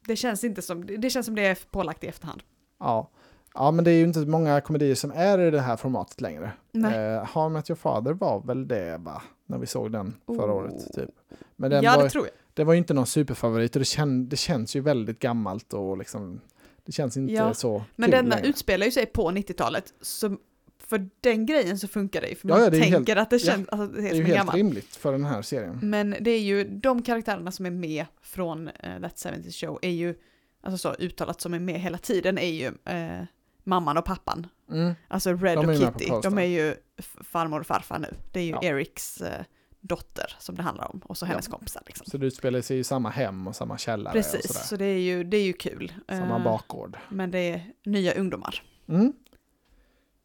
Speaker 2: det känns inte som, det det känns som det är pålagt i efterhand.
Speaker 1: Ja. ja, men det är ju inte många komedier som är i det här formatet längre.
Speaker 2: Nej.
Speaker 1: Eh, How I Met Your Father var väl det, va? När vi såg den förra
Speaker 2: Oh.
Speaker 1: året, typ. Men den
Speaker 2: ja,
Speaker 1: var,
Speaker 2: det tror jag.
Speaker 1: det var ju inte någon superfavorit och det, kän, det känns ju väldigt gammalt och liksom, det känns inte
Speaker 2: Ja,
Speaker 1: så
Speaker 2: Men
Speaker 1: kul
Speaker 2: denna
Speaker 1: längre.
Speaker 2: utspelar ju sig på 90-talet, så för den grejen så funkar det ju, för
Speaker 1: Ja,
Speaker 2: man
Speaker 1: ja, det är ju
Speaker 2: tänker att det känns, alltså, det är
Speaker 1: Det är
Speaker 2: som
Speaker 1: ju
Speaker 2: en
Speaker 1: helt
Speaker 2: gammal.
Speaker 1: rimligt för den här serien.
Speaker 2: Men det är ju de karaktärerna som är med från eh, That 70 Show är ju, alltså så uttalat som är med hela tiden är ju eh, mamman och pappan.
Speaker 1: Mm.
Speaker 2: Alltså Red
Speaker 1: De är
Speaker 2: och
Speaker 1: ju med på
Speaker 2: Kitty,
Speaker 1: Karlstad.
Speaker 2: de är ju f- farmor och farfar nu. Det är ju
Speaker 1: Ja.
Speaker 2: Eriks eh, dotter som det handlar om och så hennes
Speaker 1: Ja.
Speaker 2: kompisar. Liksom.
Speaker 1: Så det utspelar sig i samma hem och samma källare och
Speaker 2: Precis,
Speaker 1: sådär.
Speaker 2: så det är ju, det är ju kul.
Speaker 1: Samma
Speaker 2: Eh,
Speaker 1: bakgård.
Speaker 2: Men det är nya ungdomar.
Speaker 1: Mm.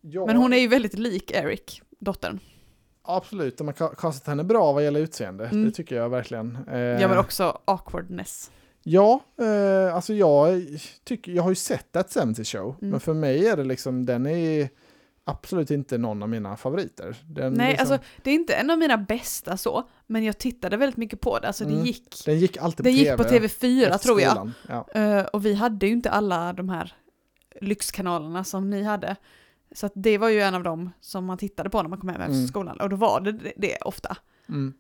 Speaker 1: Ja.
Speaker 2: Men hon är ju väldigt lik Eric, dottern.
Speaker 1: Absolut, de har ka- castat henne bra vad gäller utseende.
Speaker 2: Mm.
Speaker 1: Det tycker jag verkligen. Eh,
Speaker 2: Ja men också awkwardness.
Speaker 1: Ja, eh, alltså jag, tycker, jag har ju sett That 70 Show,
Speaker 2: Mm.
Speaker 1: men för mig är det liksom, den är absolut inte någon av mina favoriter. Den,
Speaker 2: Nej,
Speaker 1: liksom,
Speaker 2: alltså det är inte en av mina bästa så, men jag tittade väldigt mycket på det. Alltså
Speaker 1: Mm.
Speaker 2: det gick,
Speaker 1: den gick alltid
Speaker 2: det
Speaker 1: på
Speaker 2: gick på
Speaker 1: tv
Speaker 2: TV4
Speaker 1: efter
Speaker 2: tror jag.
Speaker 1: skolan. Ja.
Speaker 2: Eh, och vi hade ju inte alla de här lyxkanalerna som ni hade. Så att det var ju en av dem som man tittade på när man kom hem efter
Speaker 1: Mm.
Speaker 2: skolan. Och då var det det, det ofta.
Speaker 1: Mm.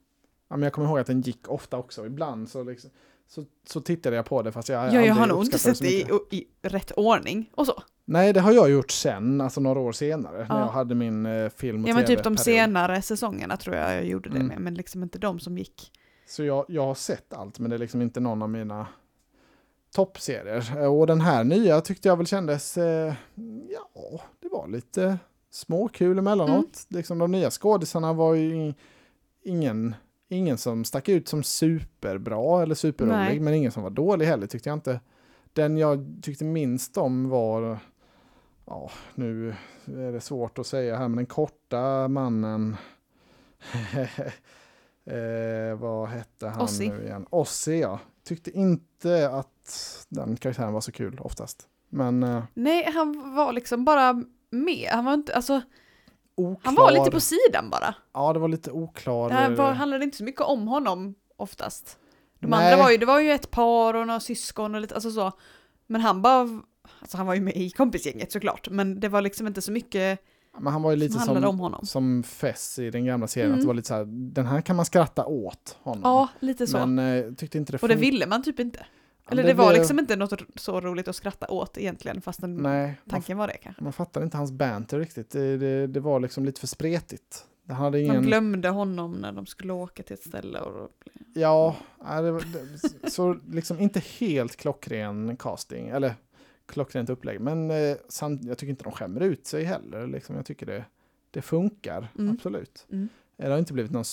Speaker 1: ja, men jag kommer ihåg att den gick ofta också, ibland så, liksom, så, så tittade jag på det fast jag
Speaker 2: Ja, jag
Speaker 1: aldrig
Speaker 2: har nog inte
Speaker 1: uppskattade
Speaker 2: sett
Speaker 1: så
Speaker 2: det i,
Speaker 1: mycket.
Speaker 2: i rätt ordning och så.
Speaker 1: Nej, det har jag gjort sen, alltså några år senare, när
Speaker 2: Ja.
Speaker 1: jag hade min eh, film och
Speaker 2: Ja men typ de
Speaker 1: TV-period.
Speaker 2: senare säsongerna tror jag jag gjorde det
Speaker 1: Mm.
Speaker 2: med, men liksom inte de som gick.
Speaker 1: Så jag, jag har sett allt, men det är liksom inte någon av mina toppserier. Eh, Och den här nya tyckte jag väl kändes, eh, ja, det var lite småkul emellanåt.
Speaker 2: Mm.
Speaker 1: Liksom de nya skådisarna var ju in- ingen, ingen som stack ut som superbra eller
Speaker 2: Nej.
Speaker 1: superrolig, men ingen som var dålig heller tyckte jag inte. Den jag tyckte minst om var, ja, nu är det svårt att säga här, men den korta mannen. eh, vad hette han
Speaker 2: Ozzy.
Speaker 1: nu igen? Ossi, ja. Tyckte inte att den karaktären var så kul oftast. Men eh,
Speaker 2: Nej, han var liksom bara med. Han var inte, alltså,
Speaker 1: oklar.
Speaker 2: han var lite på sidan bara.
Speaker 1: Ja, det var lite oklar.
Speaker 2: Det här var, handlade inte så mycket om honom oftast. De
Speaker 1: Nej.
Speaker 2: andra var ju, det var ju ett par och några syskon och lite, alltså så. Men han bara, alltså han var ju med i kompisgänget såklart, men det var liksom inte så mycket
Speaker 1: Men han var ju lite
Speaker 2: som
Speaker 1: som,
Speaker 2: handlade
Speaker 1: som,
Speaker 2: om honom.
Speaker 1: Fess i den gamla serien.
Speaker 2: Mm.
Speaker 1: Att det var lite så här, den här kan man skratta åt honom.
Speaker 2: Ja, lite så.
Speaker 1: Men eh, tyckte inte det
Speaker 2: och det
Speaker 1: fun-
Speaker 2: ville man typ inte. Eller
Speaker 1: det
Speaker 2: det var
Speaker 1: blev-
Speaker 2: liksom inte något r- så roligt att skratta åt egentligen, fast den
Speaker 1: Nej, man,
Speaker 2: tanken var det kanske.
Speaker 1: man fattade inte hans banter riktigt. Det, det, det var liksom lite för spretigt. Han hade
Speaker 2: De
Speaker 1: ingen...
Speaker 2: glömde honom när de skulle åka till ett ställe. Och...
Speaker 1: Ja, nej, det, var- det, så liksom inte helt klockren casting, eller klockrent upplägg, men eh, samt, jag tycker inte de skämmer ut sig heller. Liksom, jag tycker det, det funkar,
Speaker 2: Mm.
Speaker 1: absolut.
Speaker 2: Mm.
Speaker 1: Eh, Det har inte blivit någon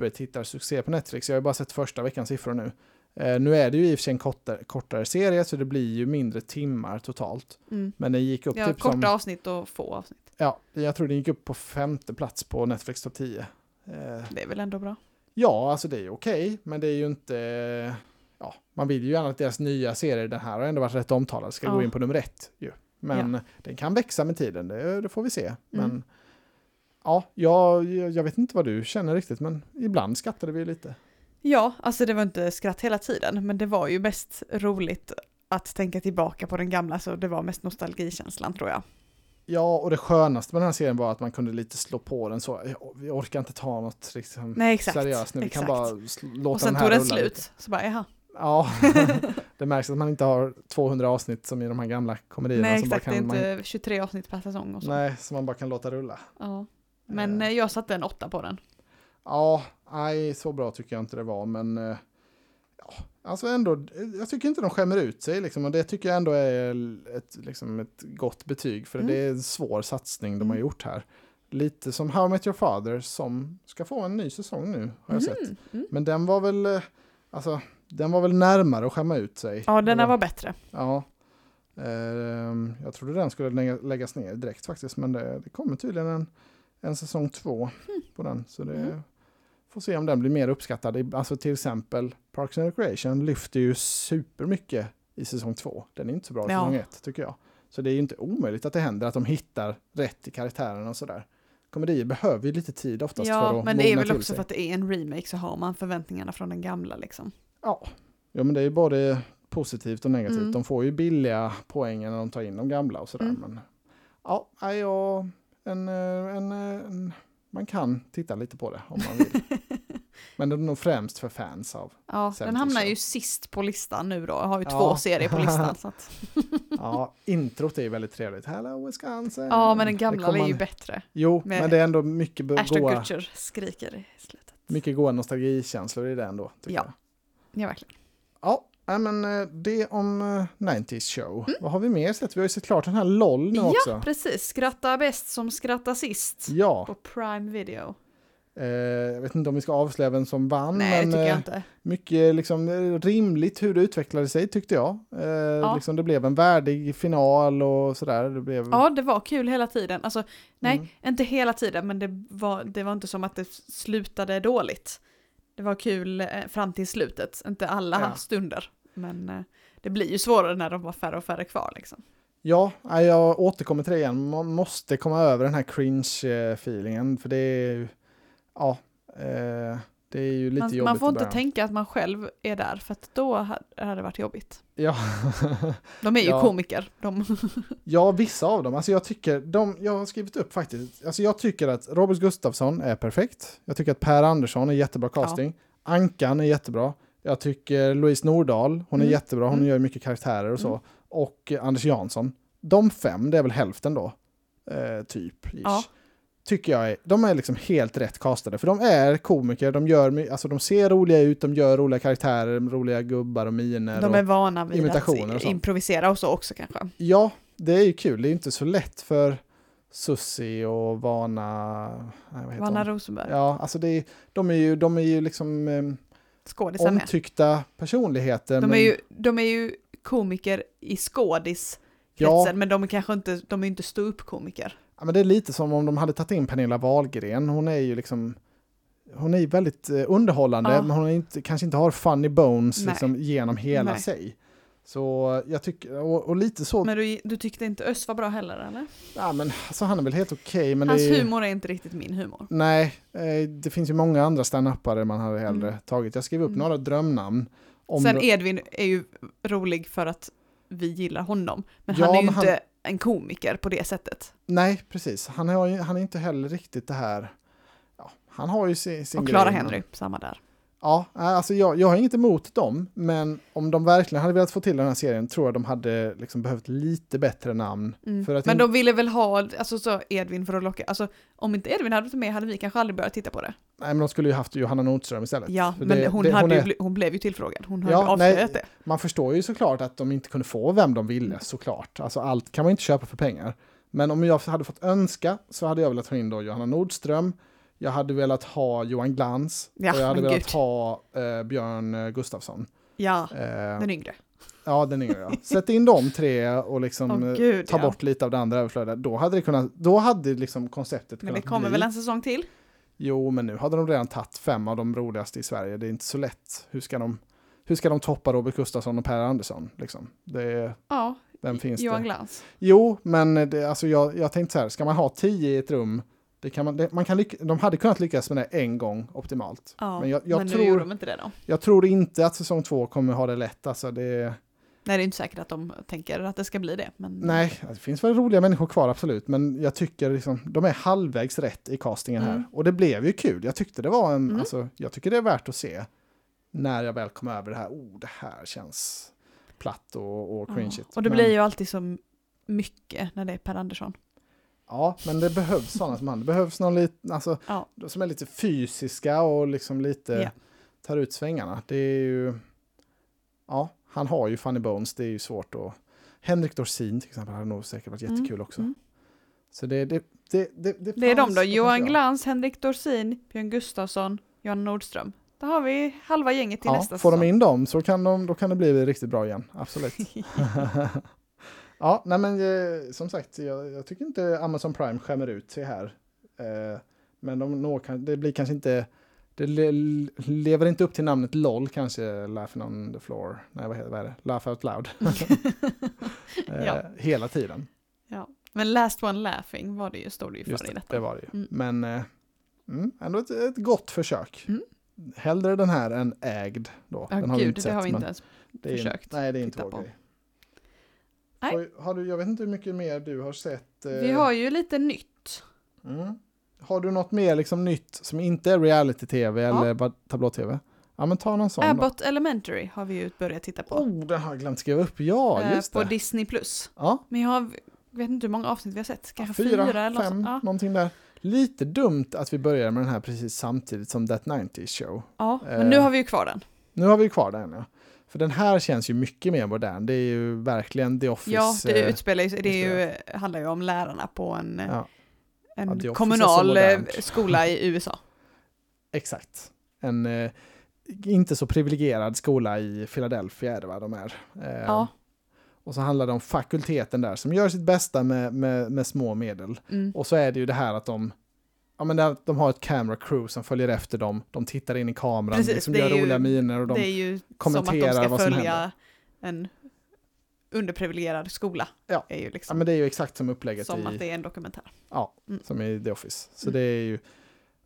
Speaker 1: supertittarsuccé på Netflix, jag har ju bara sett första veckans siffror nu. Eh, nu är det ju i och för sig en kortare, kortare serie, så det blir ju mindre timmar totalt.
Speaker 2: Mm.
Speaker 1: Men den gick upp
Speaker 2: Ja,
Speaker 1: typ
Speaker 2: korta
Speaker 1: som...
Speaker 2: avsnitt och få avsnitt.
Speaker 1: Ja, jag tror den gick upp på femte plats på Netflix topp 10. Eh,
Speaker 2: Det är väl ändå bra.
Speaker 1: Ja, alltså det är ju okej, men det är ju inte... Ja, man vill ju gärna att deras nya serie, den här har ändå varit rätt omtalad, ska gå
Speaker 2: Ja.
Speaker 1: in på nummer ett. Ju. Men den kan växa med tiden, det, det får vi
Speaker 2: Mm.
Speaker 1: se. Men ja, jag, jag vet inte vad du känner riktigt, men ibland skrattade vi lite.
Speaker 2: Ja, alltså det var inte skratt hela tiden, men det var ju mest roligt att tänka tillbaka på den gamla, så det var mest nostalgikänslan tror jag.
Speaker 1: Ja, och det skönaste med den här serien var att man kunde lite slå på den så. "Jag- Vi orkar inte ta något liksom,
Speaker 2: Nej, exakt.
Speaker 1: seriöst nu, vi
Speaker 2: exakt.
Speaker 1: kan bara sl- låta
Speaker 2: och sen
Speaker 1: den här
Speaker 2: tog den
Speaker 1: rulla
Speaker 2: slut,
Speaker 1: lite."
Speaker 2: så bara jaha.
Speaker 1: Ja, det märks att man inte har 200 avsnitt som i de här gamla komedierna.
Speaker 2: Nej,
Speaker 1: som bara
Speaker 2: exakt, det är
Speaker 1: kan man-
Speaker 2: inte 23 avsnitt per säsong och så.
Speaker 1: Nej, som man bara kan låta rulla.
Speaker 2: Ja. Men
Speaker 1: Eh.
Speaker 2: eh, jag satte en åtta på den.
Speaker 1: Ja, nej, så bra tycker jag inte det var, men eh, ja, alltså ändå, eh, jag tycker inte de skämmer ut sig liksom, och det tycker jag ändå är l- ett, liksom ett gott betyg, för
Speaker 2: Mm.
Speaker 1: det är en svår satsning de har
Speaker 2: Mm.
Speaker 1: gjort här. Lite som How I Met Your Father som ska få en ny säsong nu, har jag sett.
Speaker 2: Mm, mm.
Speaker 1: Men den var väl, eh, alltså, den var väl närmare att skämma ut sig.
Speaker 2: Ja,
Speaker 1: Det
Speaker 2: den här var bättre.
Speaker 1: Ja. Ehm, jag trodde den skulle lä- läggas ner direkt faktiskt, men det, det kommer tydligen en, en säsong två på den. Så det
Speaker 2: Mm.
Speaker 1: får se om den blir mer uppskattad. I- Alltså till exempel Parks and Recreation lyfter ju supermycket i säsong två. Den är inte så bra i
Speaker 2: Ja.
Speaker 1: säsong ett tycker jag. Så det är ju inte omöjligt att det händer att de hittar rätt i karaktärerna och sådär. Komedier behöver ju lite tid oftast för
Speaker 2: Ja,
Speaker 1: att
Speaker 2: men det är
Speaker 1: mogna
Speaker 2: väl
Speaker 1: till
Speaker 2: också
Speaker 1: sig.
Speaker 2: för att det är en remake så har man förväntningarna från den gamla liksom.
Speaker 1: Ja. ja, men det är ju både positivt och negativt.
Speaker 2: Mm.
Speaker 1: De får ju billiga poängen när de tar in de gamla och sådär.
Speaker 2: Mm.
Speaker 1: Men ja, nej, ja en, eh, en, eh, en, man kan titta lite på det om man vill. men det är nog främst för fans av.
Speaker 2: Ja,
Speaker 1: Sen
Speaker 2: den hamnar
Speaker 1: så-
Speaker 2: ju sist på listan nu då. Jag har ju
Speaker 1: Ja.
Speaker 2: två serier på listan. Så att,
Speaker 1: Ja, introt är ju väldigt trevligt. Hello Wisconsin!
Speaker 2: ja, men den
Speaker 1: Det
Speaker 2: gamla
Speaker 1: kommer
Speaker 2: är ju
Speaker 1: man-
Speaker 2: bättre.
Speaker 1: Jo,
Speaker 2: med
Speaker 1: men det är ändå mycket b-
Speaker 2: Ashton
Speaker 1: goa,
Speaker 2: Kutcher skriker i slutet.
Speaker 1: mycket goa nostalgikänslor i det ändå. Tycker
Speaker 2: Ja.
Speaker 1: Jag.
Speaker 2: Ja, verkligen.
Speaker 1: Ja, nej, men eh, det om eh, 90s show. Vad har vi mer sett? Vi har ju sett klart den här LOL nu
Speaker 2: Mm. Ja,
Speaker 1: också.
Speaker 2: Precis, skratta bäst som skratta sist.
Speaker 1: Ja,
Speaker 2: På Prime Video.
Speaker 1: Eh, jag vet inte om vi ska avslöja vem som vann,
Speaker 2: Nej, det
Speaker 1: men
Speaker 2: tycker jag
Speaker 1: eh,
Speaker 2: inte.
Speaker 1: mycket liksom, eh, rimligt hur det utvecklade sig tyckte jag. Eh, liksom, det blev en värdig final och sådär. Det blev,
Speaker 2: Ja, det var kul hela tiden. Alltså, nej,
Speaker 1: Mm.
Speaker 2: inte hela tiden, men det var, det var inte som att det slutade dåligt. Det var kul eh, fram till slutet, inte alla
Speaker 1: Ja.
Speaker 2: stunder. Men eh, det blir ju svårare när de var färre och färre kvar liksom.
Speaker 1: Ja, nej, jag återkommer till det igen. Man måste komma över den här cringe-feelingen, för det är ju... Ja, eh, det är ju lite
Speaker 2: Man,
Speaker 1: jobbigt
Speaker 2: man får
Speaker 1: i
Speaker 2: inte
Speaker 1: början.
Speaker 2: tänka att man själv är där, för att då ha- hade det varit jobbigt.
Speaker 1: Ja.
Speaker 2: De är ju
Speaker 1: Ja.
Speaker 2: komiker. De,
Speaker 1: Ja, vissa av dem. Alltså jag tycker, de, jag har skrivit upp faktiskt, alltså jag tycker att Robert Gustafsson är perfekt. Jag tycker att Per Andersson är jättebra casting. Ankan är jättebra. Jag tycker Louise Nordahl, hon är
Speaker 2: Mm.
Speaker 1: jättebra, hon
Speaker 2: Mm.
Speaker 1: gör mycket karaktärer och så.
Speaker 2: Mm.
Speaker 1: Och eh, Anders Jansson. De fem, det är väl hälften då, eh, typ. Ish.
Speaker 2: Ja.
Speaker 1: Tycker jag är, de är liksom helt rätt castade, för de är komiker, de, gör, my- alltså de ser roliga ut, de gör roliga karaktärer, roliga gubbar och miner.
Speaker 2: de
Speaker 1: och,
Speaker 2: är vana vid att
Speaker 1: imitationer och sånt.
Speaker 2: improvisera och så också kanske.
Speaker 1: Ja, det är ju kul. Det är ju inte så lätt för Sussi och Vana... Nej, vad heter
Speaker 2: Vanna
Speaker 1: hon?
Speaker 2: Rosenberg,
Speaker 1: Ja, alltså det är, de, är ju, de är ju liksom eh,
Speaker 2: skådisar med.
Speaker 1: omtyckta personligheter.
Speaker 2: De är, ju, de är ju komiker i skådis
Speaker 1: ja,
Speaker 2: men de är kanske inte, de är inte ståuppkomiker.
Speaker 1: ja, men det är lite som om de hade tagit in Pernilla Wahlgren. Hon är ju liksom... Hon är ju väldigt eh, underhållande,
Speaker 2: Ja.
Speaker 1: men hon är inte, kanske inte har funny bones
Speaker 2: Nej.
Speaker 1: liksom, genom hela
Speaker 2: Nej.
Speaker 1: sig. Så jag tycker, och, och lite så,
Speaker 2: Men du, du tyckte inte Öss var bra heller eller?
Speaker 1: ja, men, alltså, han är väl helt okej. men
Speaker 2: Hans
Speaker 1: det är, ju-
Speaker 2: humor är inte riktigt min humor.
Speaker 1: Nej, eh, det finns ju många andra standupare man hade hellre tagit. Jag skrev upp
Speaker 2: Mm.
Speaker 1: några drömnamn. Om
Speaker 2: Sen
Speaker 1: de-
Speaker 2: Edvin är ju rolig för att vi gillar honom, men
Speaker 1: Ja,
Speaker 2: han är ju
Speaker 1: men han-
Speaker 2: inte en komiker på det sättet.
Speaker 1: Nej, precis. Han, har ju, han är inte heller riktigt det här... Ja, han har ju sin, sin
Speaker 2: Och Clara
Speaker 1: grej, men-
Speaker 2: Henry, samma där.
Speaker 1: Ja, nej, alltså jag, jag har inget emot dem, men om de verkligen hade velat få till den här serien tror jag de hade liksom behövt lite bättre namn.
Speaker 2: Mm.
Speaker 1: För att
Speaker 2: men
Speaker 1: in-
Speaker 2: de ville väl ha, alltså så Edvin för att locka, alltså om inte Edvin hade varit med hade vi kanske aldrig börjat titta på det.
Speaker 1: Nej, men de skulle ju haft Johanna Nordström istället.
Speaker 2: Ja,
Speaker 1: För
Speaker 2: men
Speaker 1: det-
Speaker 2: hon,
Speaker 1: det-
Speaker 2: hade
Speaker 1: är-
Speaker 2: ju, bli- hon blev ju tillfrågad, hon har
Speaker 1: Ja,
Speaker 2: ju avslöjat
Speaker 1: nej.
Speaker 2: det.
Speaker 1: Man förstår ju såklart att de inte kunde få vem de ville, såklart. Alltså allt kan man inte köpa för pengar. Men om jag hade fått önska så hade jag velat ha in då Johanna Nordström, jag hade velat ha Johan Glans
Speaker 2: Ja,
Speaker 1: och jag hade
Speaker 2: men
Speaker 1: velat
Speaker 2: gud.
Speaker 1: ha eh, Björn eh, Gustafsson.
Speaker 2: Ja,
Speaker 1: Eh,
Speaker 2: den yngre.
Speaker 1: ja, den yngre. ja. Sätt in de tre och liksom
Speaker 2: Åh,
Speaker 1: eh,
Speaker 2: gud,
Speaker 1: ta
Speaker 2: ja.
Speaker 1: bort lite av det andra överflödet. Då hade, det kunnat, då hade liksom konceptet
Speaker 2: Men
Speaker 1: kunnat
Speaker 2: det kommer
Speaker 1: bli...
Speaker 2: väl en säsong till?
Speaker 1: Jo, men nu hade de redan tagit fem av de roligaste i Sverige. Det är inte så lätt. Hur ska de, hur ska de toppa Robert Gustafsson och Per Andersson? Liksom? Det är,
Speaker 2: Ja,
Speaker 1: vem finns
Speaker 2: Johan
Speaker 1: det?
Speaker 2: Glans.
Speaker 1: Jo, men det, alltså jag, jag tänkte så här, ska man ha tio i ett rum, det kan man, det, man kan lyck- de hade kunnat lyckas med det en gång optimalt.
Speaker 2: Ja,
Speaker 1: Men
Speaker 2: men
Speaker 1: jag- jag
Speaker 2: nu
Speaker 1: tror-
Speaker 2: gjorde de inte det då.
Speaker 1: Jag tror inte att säsong två kommer ha det lätt. Alltså det,
Speaker 2: Nej, det är inte säkert att de tänker att det ska bli det. Men...
Speaker 1: nej, alltså det finns väl roliga människor kvar absolut, men jag tycker liksom, de är halvvägs rätt i castingen här.
Speaker 2: Mm.
Speaker 1: Och det blev ju kul. Jag tyckte det var en,
Speaker 2: Mm.
Speaker 1: alltså, jag tycker det är värt att se när jag väl kom över det här. Oh, det här känns platt och, och
Speaker 2: Ja.
Speaker 1: cringeigt.
Speaker 2: Och det
Speaker 1: Men-
Speaker 2: blir ju alltid så mycket när det är Per Andersson.
Speaker 1: Ja, men det behövs sådana som han. Det behövs någon lite, alltså,
Speaker 2: Ja.
Speaker 1: som är lite fysiska och liksom lite
Speaker 2: Ja.
Speaker 1: tar ut svängarna. Det är ju, ja, han har ju funny bones, det är ju svårt att... Henrik Dorsin till exempel hade nog säkert varit
Speaker 2: Mm,
Speaker 1: jättekul också.
Speaker 2: mm.
Speaker 1: Så det, det, det, det,
Speaker 2: Det är de
Speaker 1: fanns
Speaker 2: då, Johan
Speaker 1: potential.
Speaker 2: Glans, Henrik Dorsin, Björn Gustafsson, Johan Nordström. Där har vi halva gänget till
Speaker 1: Ja,
Speaker 2: nästa
Speaker 1: får de
Speaker 2: säsong.
Speaker 1: in dem så kan, de, då kan det bli riktigt bra igen, absolut. ja, nej men eh, som sagt, jag, jag tycker inte Amazon Prime skämmer ut sig här. Eh, men de når, kan- det blir kanske inte, det le, lever inte upp till namnet LOL kanske, Laughing on the floor, nej vad heter vad är det, Laugh out loud. eh,
Speaker 2: Ja.
Speaker 1: Hela tiden.
Speaker 2: Men Last One Laughing var det ju, stod det ju för
Speaker 1: Just
Speaker 2: i
Speaker 1: det,
Speaker 2: detta.
Speaker 1: det var det ju.
Speaker 2: Mm.
Speaker 1: Men eh, mm, ändå ett, ett gott försök.
Speaker 2: Mm.
Speaker 1: Hellre den här än ägd då.
Speaker 2: Ja,
Speaker 1: den
Speaker 2: gud, det har vi
Speaker 1: men-
Speaker 2: inte ens.
Speaker 1: Det är,
Speaker 2: försökt
Speaker 1: Nej, det är inte
Speaker 2: titta
Speaker 1: vår
Speaker 2: på.
Speaker 1: grej.
Speaker 2: Nej.
Speaker 1: Har, har du, jag vet inte hur mycket mer du har sett. eh,
Speaker 2: Vi har ju lite nytt.
Speaker 1: mm. Har du något mer liksom, nytt som inte är reality-tv
Speaker 2: Ja. Äh,
Speaker 1: eller bara tablå-tv? Ja, men ta någon sån då.
Speaker 2: Abbott Elementary har vi ju börjat titta på.
Speaker 1: Oh, den har jag glömt skriva upp. Ja,
Speaker 2: eh,
Speaker 1: just
Speaker 2: på
Speaker 1: det.
Speaker 2: Disney+. Plus.
Speaker 1: ja,
Speaker 2: Men jag har, vet inte hur många avsnitt vi har sett, kanske
Speaker 1: fyra,
Speaker 2: fyra, eller något
Speaker 1: fem,
Speaker 2: sånt. Ja,
Speaker 1: någonting där. Lite dumt att vi börjar med den här precis samtidigt som That 90 Show.
Speaker 2: ja,
Speaker 1: Eh.
Speaker 2: men nu har vi ju kvar den.
Speaker 1: Nu har vi kvar den, ja. För den här känns ju mycket mer modern. Det är ju verkligen The Office.
Speaker 2: Ja, det
Speaker 1: eh,
Speaker 2: utspelar ju, det är ju, handlar ju om lärarna på en, eh,
Speaker 1: Ja. Ja,
Speaker 2: en
Speaker 1: det är också så
Speaker 2: kommunal eh,
Speaker 1: modernt.
Speaker 2: skola i USA.
Speaker 1: Exakt. En eh, inte så privilegierad skola i Philadelphia är det va, de är. Eh,
Speaker 2: Ja.
Speaker 1: Och så handlar det om fakulteten där som gör sitt bästa med, med, med små medel.
Speaker 2: Mm.
Speaker 1: Och så är det ju det här att de, ja, men det är att de har ett camera crew som följer efter dem, de tittar in i kameran,
Speaker 2: Precis,
Speaker 1: liksom
Speaker 2: det
Speaker 1: gör
Speaker 2: är ju-
Speaker 1: roliga miner och
Speaker 2: det
Speaker 1: de,
Speaker 2: är ju som att de
Speaker 1: kommenterar
Speaker 2: ska
Speaker 1: vad som
Speaker 2: följa en underprivilegierad skola.
Speaker 1: Ja.
Speaker 2: Är ju
Speaker 1: ja,
Speaker 2: liksom,
Speaker 1: men det är ju exakt som upplägget
Speaker 2: som
Speaker 1: i,
Speaker 2: att det är en dokumentär.
Speaker 1: ja,
Speaker 2: Mm.
Speaker 1: som i The Office. Så
Speaker 2: Mm.
Speaker 1: det är ju,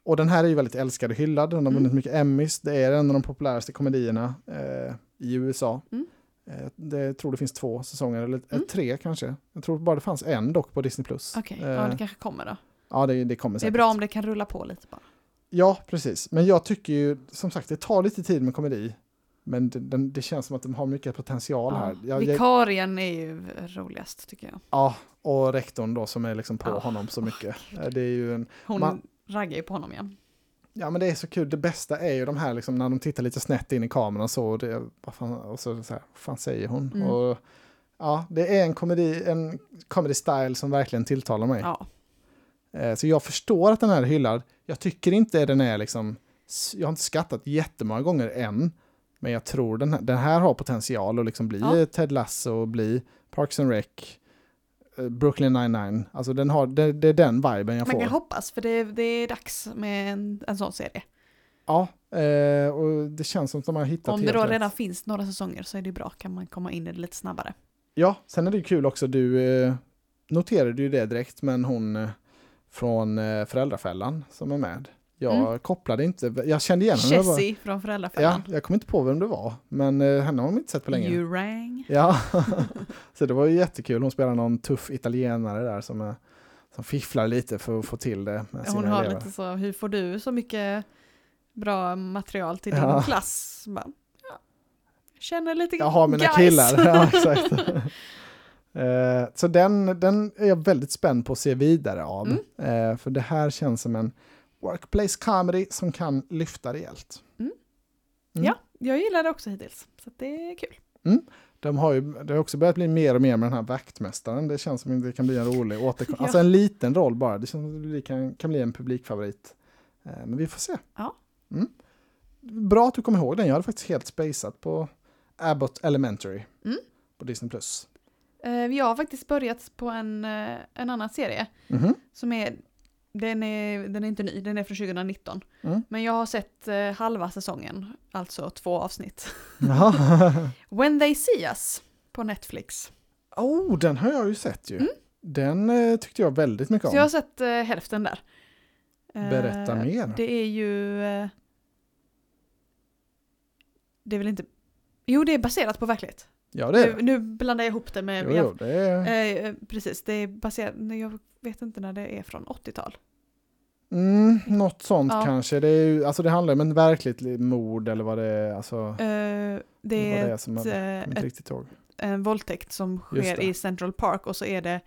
Speaker 1: och den här är ju väldigt älskad och hyllad, den har vunnit
Speaker 2: Mm.
Speaker 1: mycket Emmys, det är en av de populäraste komedierna eh, i USA.
Speaker 2: Mm.
Speaker 1: Eh, det, jag tror det finns två säsonger, eller eh,
Speaker 2: Mm.
Speaker 1: tre kanske. Jag tror bara det fanns en dock på Disney+. Plus.
Speaker 2: Okej,
Speaker 1: eh,
Speaker 2: ja, det kanske kommer då.
Speaker 1: ja det, det kommer
Speaker 2: Det är
Speaker 1: säkert.
Speaker 2: bra om det kan rulla på lite bara.
Speaker 1: Ja, precis. Men jag tycker ju, som sagt, det tar lite tid med komedi. Men det, den, det känns som att de har mycket potential här.
Speaker 2: Ja.
Speaker 1: Jag, jag,
Speaker 2: Vikarien är ju roligast tycker jag.
Speaker 1: ja, och rektorn då som är liksom på
Speaker 2: Ja.
Speaker 1: honom så mycket. Eh, Det är ju en
Speaker 2: Hon
Speaker 1: Man-
Speaker 2: raggar ju på honom igen.
Speaker 1: Ja men det är så kul, det bästa är ju de här liksom när de tittar lite snett in i kameran och så, och, det, vad fan, och så, så här, vad fan säger hon?
Speaker 2: Mm.
Speaker 1: Och, ja, det är en komedi, en comedy style som verkligen tilltalar mig.
Speaker 2: Ja.
Speaker 1: Eh, Så jag förstår att den här är hyllad, jag tycker inte den är liksom, s- jag har inte skattat jättemånga gånger än, men jag tror den här, den här har potential att liksom bli
Speaker 2: Ja.
Speaker 1: Ted Lasso, bli Parks and Rec, eh, Brooklyn 99, alltså den har, det, det är den viben jag
Speaker 2: Man
Speaker 1: får.
Speaker 2: kan hoppas för det, det är dags med en, en sån serie.
Speaker 1: Ja, eh, och det känns som att de har hittat
Speaker 2: Om det
Speaker 1: helt
Speaker 2: då
Speaker 1: rätt.
Speaker 2: redan finns några säsonger så är det bra, kan man komma in i det lite snabbare.
Speaker 1: Ja, sen är det ju kul också, du eh, noterade ju det direkt, men hon eh, från eh, Föräldrafällan som är med. Jag
Speaker 2: Mm.
Speaker 1: kopplade inte, jag kände igen henne. jag bara-
Speaker 2: Jessie från
Speaker 1: Ja,
Speaker 2: Föräldrafällan.
Speaker 1: jag kom inte på vem det var, men eh, henne har man inte sett på länge.
Speaker 2: you rang.
Speaker 1: Ja, så det var ju jättekul. Hon spelar någon tuff italienare där som, eh, som fifflar lite för att få till det med sina
Speaker 2: Hon har
Speaker 1: elever.
Speaker 2: lite så, hur får du så mycket bra material till din
Speaker 1: Ja.
Speaker 2: klass. Bara, ja. Känner lite
Speaker 1: Jag har mina
Speaker 2: guys.
Speaker 1: killar. Ja, exakt. Eh, Så den, den är jag väldigt spänd på att se vidare av.
Speaker 2: Mm.
Speaker 1: Eh, För det här känns som en workplace comedy som kan lyfta rejält. Mm.
Speaker 2: Ja, jag gillar det också hittills. Så att det är kul.
Speaker 1: De har ju, det har också börjat bli mer och mer med den här vaktmästaren. Det känns som att det kan bli en rolig återkomst.
Speaker 2: Ja.
Speaker 1: Alltså en liten roll bara. Det känns som att det kan, kan bli en publikfavorit. Eh, Men vi får se.
Speaker 2: Ja.
Speaker 1: Mm. Bra att du kom ihåg den. Jag hade faktiskt helt spacat på Abbott Elementary
Speaker 2: Mm.
Speaker 1: på Disney+. Plus.
Speaker 2: Eh, Jag har faktiskt börjat på en, eh, en annan serie.
Speaker 1: Mhm.
Speaker 2: Som är, den, är, den är inte ny, den är från 2019.
Speaker 1: Mm.
Speaker 2: Men jag har sett eh, halva säsongen, alltså två avsnitt.
Speaker 1: Jaha.
Speaker 2: When they see us på Netflix.
Speaker 1: Oh, den har jag ju sett ju.
Speaker 2: Mm.
Speaker 1: Den eh, tyckte jag väldigt mycket om.
Speaker 2: Så jag har sett eh, hälften där. Eh,
Speaker 1: Berätta mer.
Speaker 2: Det är ju... Eh, det är väl inte... Jo, det är baserat på verklighet.
Speaker 1: Ja, det är
Speaker 2: Nu,
Speaker 1: det.
Speaker 2: nu blandar jag ihop det med...
Speaker 1: Jo,
Speaker 2: jag,
Speaker 1: jo, det är...
Speaker 2: eh, precis, det är baserat... nej, Jag vet inte när det är från, 80-tal.
Speaker 1: Mm, något sånt
Speaker 2: Ja.
Speaker 1: kanske. Det, är ju, alltså, det handlar om en verkligt li- mord eller vad det är. Alltså,
Speaker 2: Eh, det
Speaker 1: vad
Speaker 2: är
Speaker 1: det är som man
Speaker 2: ett, eh,
Speaker 1: inte
Speaker 2: ett
Speaker 1: riktigt ihåg.
Speaker 2: en eh, våldtäkt som
Speaker 1: Just
Speaker 2: sker
Speaker 1: det.
Speaker 2: i Central Park och så är det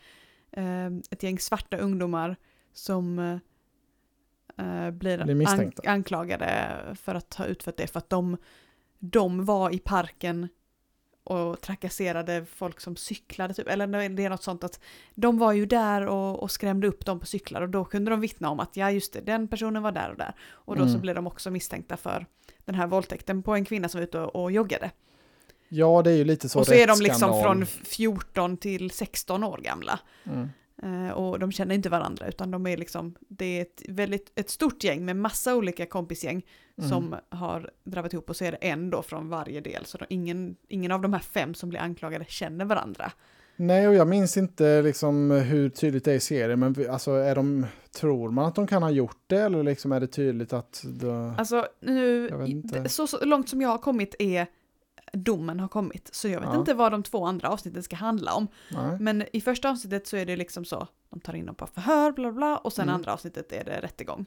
Speaker 2: eh, ett gäng svarta ungdomar som eh, blir,
Speaker 1: Blir misstänkta.
Speaker 2: ank- anklagade för att ha utfört det för att de, de var i parken och trakasserade folk som cyklade typ, eller det är något sånt att de var ju där och, och skrämde upp dem på cyklar och då kunde de vittna om att ja just det, den personen var där och där. Och då så
Speaker 1: Mm.
Speaker 2: blev de också misstänkta för den här våldtäkten på en kvinna som var ute och, och joggade.
Speaker 1: Ja, det är ju lite så
Speaker 2: Och så är de liksom
Speaker 1: rättsskandal.
Speaker 2: från 14 till 16 år gamla.
Speaker 1: Mm.
Speaker 2: Eh, och de känner inte varandra utan de är liksom, det är ett väldigt, ett stort gäng med massa olika kompisgäng
Speaker 1: Mm.
Speaker 2: som har drabbat ihop och så är det en då från varje del. Så de, ingen, ingen av de här fem som blir anklagade känner varandra.
Speaker 1: Nej, och jag minns inte liksom hur tydligt det är i serien, men vi- alltså, är de, tror man att de kan ha gjort det eller liksom är det tydligt att... Det...
Speaker 2: Alltså nu,
Speaker 1: Jag vet inte.
Speaker 2: så, så långt som jag har kommit är domen har kommit. Så jag vet
Speaker 1: Ja.
Speaker 2: inte vad de två andra avsnitten ska handla om.
Speaker 1: Nej.
Speaker 2: Men i första avsnittet så är det liksom så, de tar in dem på förhör, bla bla, bla, och sen
Speaker 1: Mm.
Speaker 2: andra avsnittet är det rättegång.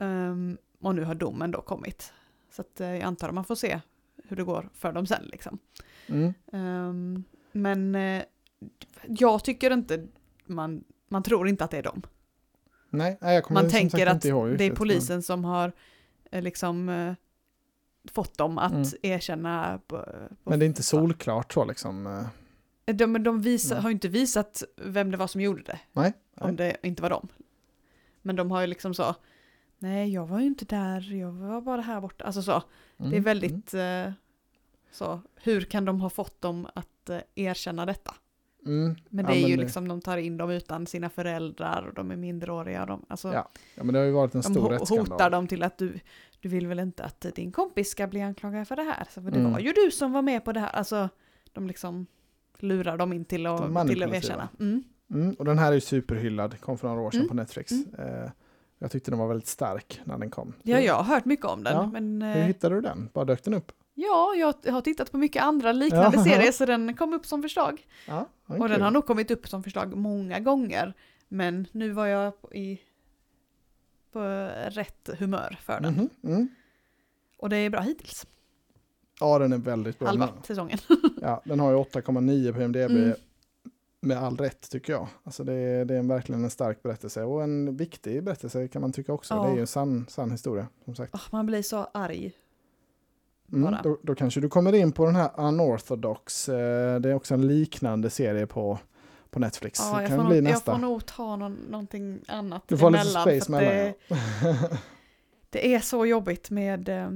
Speaker 2: Ehm, och nu har domen då kommit. Så att, eh, jag antar att man får se hur det går för dem sen liksom.
Speaker 1: Mm.
Speaker 2: Ehm, men eh, jag tycker inte man, man tror inte att det är dem.
Speaker 1: Nej, nej, jag kommer
Speaker 2: Man
Speaker 1: som
Speaker 2: tänker
Speaker 1: sagt
Speaker 2: att
Speaker 1: inte ihåg
Speaker 2: det är
Speaker 1: riktigt, men-
Speaker 2: polisen som har eh, liksom eh, fått dem att
Speaker 1: Mm.
Speaker 2: erkänna. På, eh, på
Speaker 1: Men det är inte solklart så liksom. eh,
Speaker 2: De, de visa,
Speaker 1: Mm.
Speaker 2: har ju inte visat vem det var som gjorde det.
Speaker 1: Nej, nej.
Speaker 2: Om det inte var dem. Men de har ju liksom så, nej jag var ju inte där, jag var bara här borta. Alltså så, det är
Speaker 1: mm, mm.
Speaker 2: väldigt eh, så, hur kan de ha fått dem att eh, erkänna detta?
Speaker 1: Mm.
Speaker 2: Men
Speaker 1: Ja,
Speaker 2: det är ju
Speaker 1: det-
Speaker 2: liksom, de tar in dem utan sina föräldrar och de är minderåriga. och De, alltså,
Speaker 1: Ja, Ja, men det har ju varit en
Speaker 2: de
Speaker 1: stor
Speaker 2: ho-
Speaker 1: rättsskandal.
Speaker 2: hotar dem till att du, du vill väl inte att din kompis ska bli anklagad för det här? Så, för det
Speaker 1: Mm.
Speaker 2: var ju du som var med på det här. Alltså, de liksom lurar dem in till
Speaker 1: De
Speaker 2: att, till att
Speaker 1: manipulativa.
Speaker 2: erkänna. Mm.
Speaker 1: Mm, och den här är ju superhyllad, kom för några år sedan
Speaker 2: Mm.
Speaker 1: på Netflix. Eh, jag tyckte den var väldigt stark när den kom.
Speaker 2: Ja,
Speaker 1: Hur-
Speaker 2: jag har hört mycket om den.
Speaker 1: Ja,
Speaker 2: Men,
Speaker 1: Hur
Speaker 2: eh,
Speaker 1: hittade du den? Bara dök den upp?
Speaker 2: Ja, jag har tittat på mycket andra liknande
Speaker 1: Ja.
Speaker 2: serier så den kom upp som förslag.
Speaker 1: Ja, vad
Speaker 2: Och
Speaker 1: kul.
Speaker 2: den har nog kommit upp som förslag många gånger. Men nu var jag på- i, på rätt humör för den.
Speaker 1: Mhm, mm.
Speaker 2: Och det är bra hittills.
Speaker 1: Ja, den är väldigt bra.
Speaker 2: Halva säsongen.
Speaker 1: Ja, den har ju 8,9 på IMDB
Speaker 2: Mm.
Speaker 1: med all rätt tycker jag. Alltså det är, det är en, verkligen en stark berättelse och en viktig berättelse kan man tycka också.
Speaker 2: Ja.
Speaker 1: Det är ju en sann, sann historia som sagt.
Speaker 2: Åh, man blir så arg.
Speaker 1: Mm,
Speaker 2: bara.
Speaker 1: då, då kanske du kommer in på den här Unorthodox. Eh, det är också en liknande serie på, på Netflix.
Speaker 2: Ja,
Speaker 1: det
Speaker 2: jag,
Speaker 1: kan
Speaker 2: får
Speaker 1: bli
Speaker 2: nog, jag
Speaker 1: nästa.
Speaker 2: får nog ta någon, någonting annat
Speaker 1: du får lite
Speaker 2: emellan,
Speaker 1: space
Speaker 2: för att
Speaker 1: mellan.
Speaker 2: det, det är så jobbigt med eh,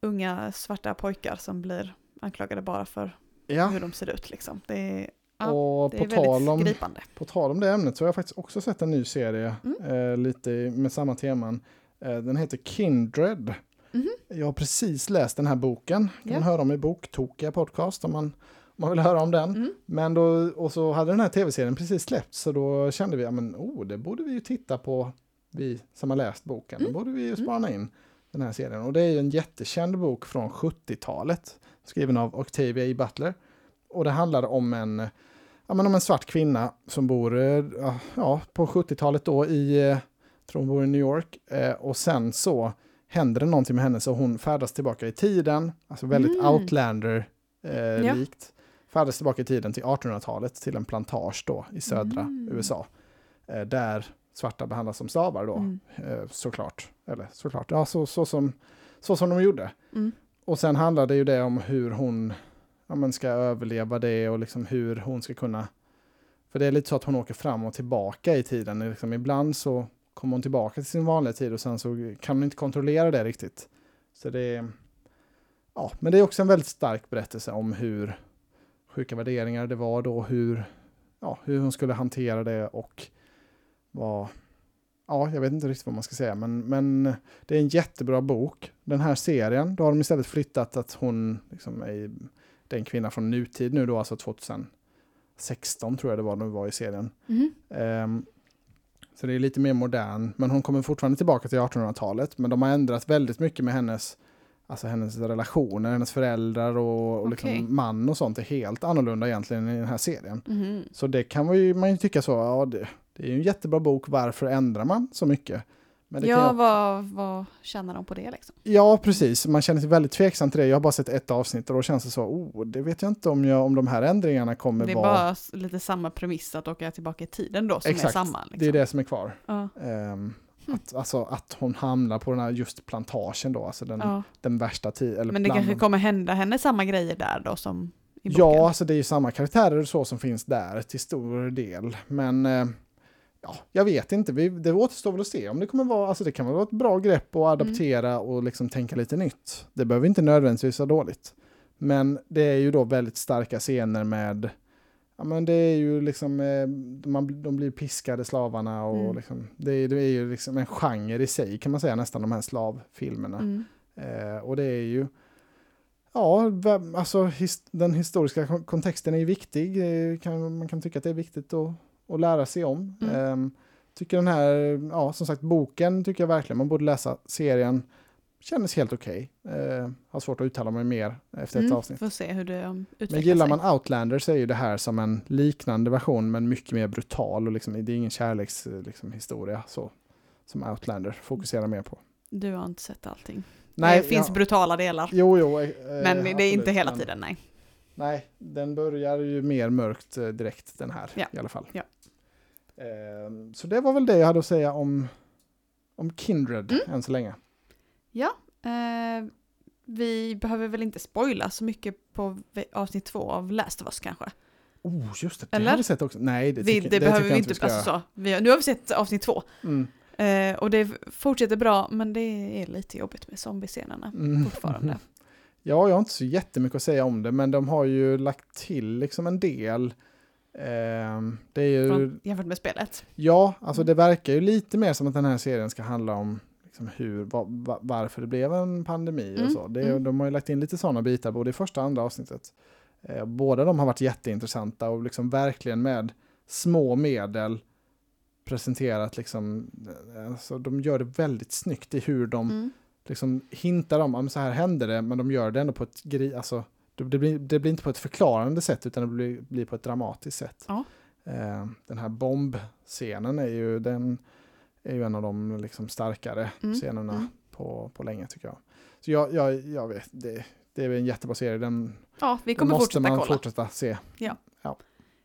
Speaker 2: unga svarta pojkar som blir anklagade bara för
Speaker 1: Ja,
Speaker 2: hur de ser ut. Liksom. Det är,
Speaker 1: ja
Speaker 2: ja,
Speaker 1: och
Speaker 2: det
Speaker 1: på
Speaker 2: är väldigt
Speaker 1: tal, om,
Speaker 2: gripande.
Speaker 1: på tal om det ämnet så har jag faktiskt också sett en ny serie
Speaker 2: Mm.
Speaker 1: eh, lite i- med samma teman. Eh, den heter Kindred.
Speaker 2: Mhm.
Speaker 1: Jag har precis läst den här boken. Kan
Speaker 2: Ja.
Speaker 1: man höra om i Boktokiga podcast om man, om man vill höra om den.
Speaker 2: Mm.
Speaker 1: Men då, och så hade den här tv-serien precis släppts så då kände vi att men oh, det borde vi ju titta på, vi som har läst boken,
Speaker 2: Mm.
Speaker 1: då borde vi ju spana in den här serien. Och det är ju en jättekänd bok från 70-talet, skriven av Octavia E. Butler. Och det handlar om en, ja, men om en svart kvinna som bor eh, ja, på 70-talet då i eh, tror hon bor i New York. Eh, och sen så händer det någonting med henne så hon färdas tillbaka i tiden, alltså väldigt
Speaker 2: Mm. Ja.
Speaker 1: Outlander-likt. Färdas tillbaka i tiden till 1800-talet, till en plantage då i södra
Speaker 2: Mm.
Speaker 1: USA. Eh, där svarta behandlas som slavar då,
Speaker 2: Mm.
Speaker 1: eh, såklart. Eller såklart, ja så, så, som, så som de gjorde.
Speaker 2: Mm.
Speaker 1: Och sen handlar det ju det om hur hon ja, men ska överleva det och liksom hur hon ska kunna... För det är lite så att hon åker fram och tillbaka i tiden. Liksom ibland så kommer hon tillbaka till sin vanliga tid och sen så kan hon inte kontrollera det riktigt. Så det är... Ja, men det är också en väldigt stark berättelse om hur sjuka värderingar det var då, hur, ja, hur hon skulle hantera det och vad... Ja, jag vet inte riktigt vad man ska säga, men, men det är en jättebra bok. Den här serien, då har de istället flyttat att hon liksom är, i- det är en kvinna från nutid nu då, alltså 2016 tror jag det var när hon var i serien.
Speaker 2: Mhm.
Speaker 1: Ehm, så det är lite mer modern, men hon kommer fortfarande tillbaka till 1800-talet. Men de har ändrat väldigt mycket med hennes, alltså hennes relationer, hennes föräldrar och, och
Speaker 2: Okej.
Speaker 1: liksom man och sånt är helt annorlunda egentligen i den här serien.
Speaker 2: Mhm.
Speaker 1: Så det kan man ju, man ju tycka så, ja det, det är ju en jättebra bok, varför ändrar man så mycket? Men det kan
Speaker 2: Ja,
Speaker 1: jag-
Speaker 2: vad, vad tjänar de på det liksom?
Speaker 1: Ja, precis. Man känner sig väldigt tveksam till det. Jag har bara sett ett avsnitt och då känns det så, oh, det vet jag inte om, jag, om de här ändringarna kommer
Speaker 2: det är
Speaker 1: vara...
Speaker 2: bara s- lite samma premiss att åka tillbaka i tiden då som är
Speaker 1: Exakt,
Speaker 2: samma. Liksom. Hm.
Speaker 1: Det är det som är kvar.
Speaker 2: Ja,
Speaker 1: Ehm, att, alltså, att hon hamnar på den här just plantagen då, alltså den,
Speaker 2: ja.
Speaker 1: den värsta tiden.
Speaker 2: Men det kanske kommer hända henne samma grejer där då som i boken?
Speaker 1: Ja, alltså det är ju samma karaktärer och så som finns där till stor del. Men eh, ja, jag vet inte, vi, det återstår väl att se om det kommer vara, alltså det kan väl vara ett bra grepp
Speaker 2: Mm.
Speaker 1: att adaptera och liksom tänka lite nytt. Det behöver inte nödvändigtvis vara dåligt. Men det är ju då väldigt starka scener med, ja men det är ju liksom, eh, man, de blir piskade slavarna och
Speaker 2: Mm.
Speaker 1: liksom, det, är- det är ju liksom en genre i sig kan man säga nästan de här slavfilmerna.
Speaker 2: Mm.
Speaker 1: Eh, och det är ju, ja, vem, alltså his, den historiska kon- kontexten är ju viktig. Eh, kan, man kan tycka att det är viktigt att, att lära sig om.
Speaker 2: Mm.
Speaker 1: Ehm, tycker den här, ja som sagt boken tycker jag verkligen man borde läsa. Serien kändes helt okej. Eh, har svårt att uttala mig mer efter ett
Speaker 2: Mm.
Speaker 1: avsnitt.
Speaker 2: Får se hur det um, utvecklar
Speaker 1: Men gillar
Speaker 2: sig.
Speaker 1: man Outlander så är ju det här som en liknande version men mycket mer brutal och liksom, det är ingen kärlekshistoria liksom, historia, så, som Outlander fokuserar mer på.
Speaker 2: Du har inte sett allting.
Speaker 1: Nej,
Speaker 2: det finns
Speaker 1: ja.
Speaker 2: brutala delar.
Speaker 1: Jo, jo. eh,
Speaker 2: Men det är
Speaker 1: absolut,
Speaker 2: inte hela
Speaker 1: men-
Speaker 2: tiden, nej.
Speaker 1: Nej, den börjar ju mer mörkt eh, direkt den här
Speaker 2: Ja.
Speaker 1: i alla fall.
Speaker 2: Ja.
Speaker 1: Ehm, Så det var väl det jag hade att säga om, om Kindred
Speaker 2: Mm.
Speaker 1: än så länge.
Speaker 2: Eh, vi behöver väl inte spoila så mycket på v- avsnitt två av Last of Us kanske.
Speaker 1: Oh, just det, det
Speaker 2: Eller?
Speaker 1: har vi sett också. Nej, det,
Speaker 2: Det,
Speaker 1: tycker-
Speaker 2: det,
Speaker 1: det
Speaker 2: behöver
Speaker 1: tycker
Speaker 2: vi
Speaker 1: jag
Speaker 2: inte,
Speaker 1: ska
Speaker 2: alltså
Speaker 1: göra.
Speaker 2: så, vi, har- nu har vi sett avsnitt två.
Speaker 1: Mm.
Speaker 2: Eh, och det fortsätter bra, men det är lite jobbigt med zombiescenerna
Speaker 1: Mm.
Speaker 2: fortfarande.
Speaker 1: Ja, jag har inte så jättemycket att säga om det, men de har ju lagt till liksom en del. Ehm, det är ju...
Speaker 2: Från, jämfört med spelet.
Speaker 1: Ja,
Speaker 2: Mm.
Speaker 1: alltså det verkar ju lite mer som att den här serien ska handla om liksom hur, va, va, varför det blev en pandemi
Speaker 2: Mm,
Speaker 1: och så. Det,
Speaker 2: mm.
Speaker 1: De har ju lagt in lite sådana bitar både i första och andra avsnittet. Eh, båda de har varit jätteintressanta och liksom verkligen med små medel presenterat liksom, eh, alltså de gör det väldigt snyggt i hur de
Speaker 2: Mm.
Speaker 1: liksom hintar om, "Ja, men så här händer det, men de gör det ändå på ett gri, alltså det, det, blir, det blir inte på ett förklarande sätt utan det blir, blir på ett dramatiskt sätt.
Speaker 2: Ja.
Speaker 1: Eh, den här bombscenen är ju, den är ju en av de liksom starkare
Speaker 2: Mm,
Speaker 1: scenerna
Speaker 2: mm.
Speaker 1: På, på länge tycker jag. Så jag, jag, jag vet, det, det är en jättebra serie, den,
Speaker 2: Ja, vi
Speaker 1: den
Speaker 2: kommer
Speaker 1: måste
Speaker 2: fortsätta
Speaker 1: man
Speaker 2: kolla.
Speaker 1: fortsätta se.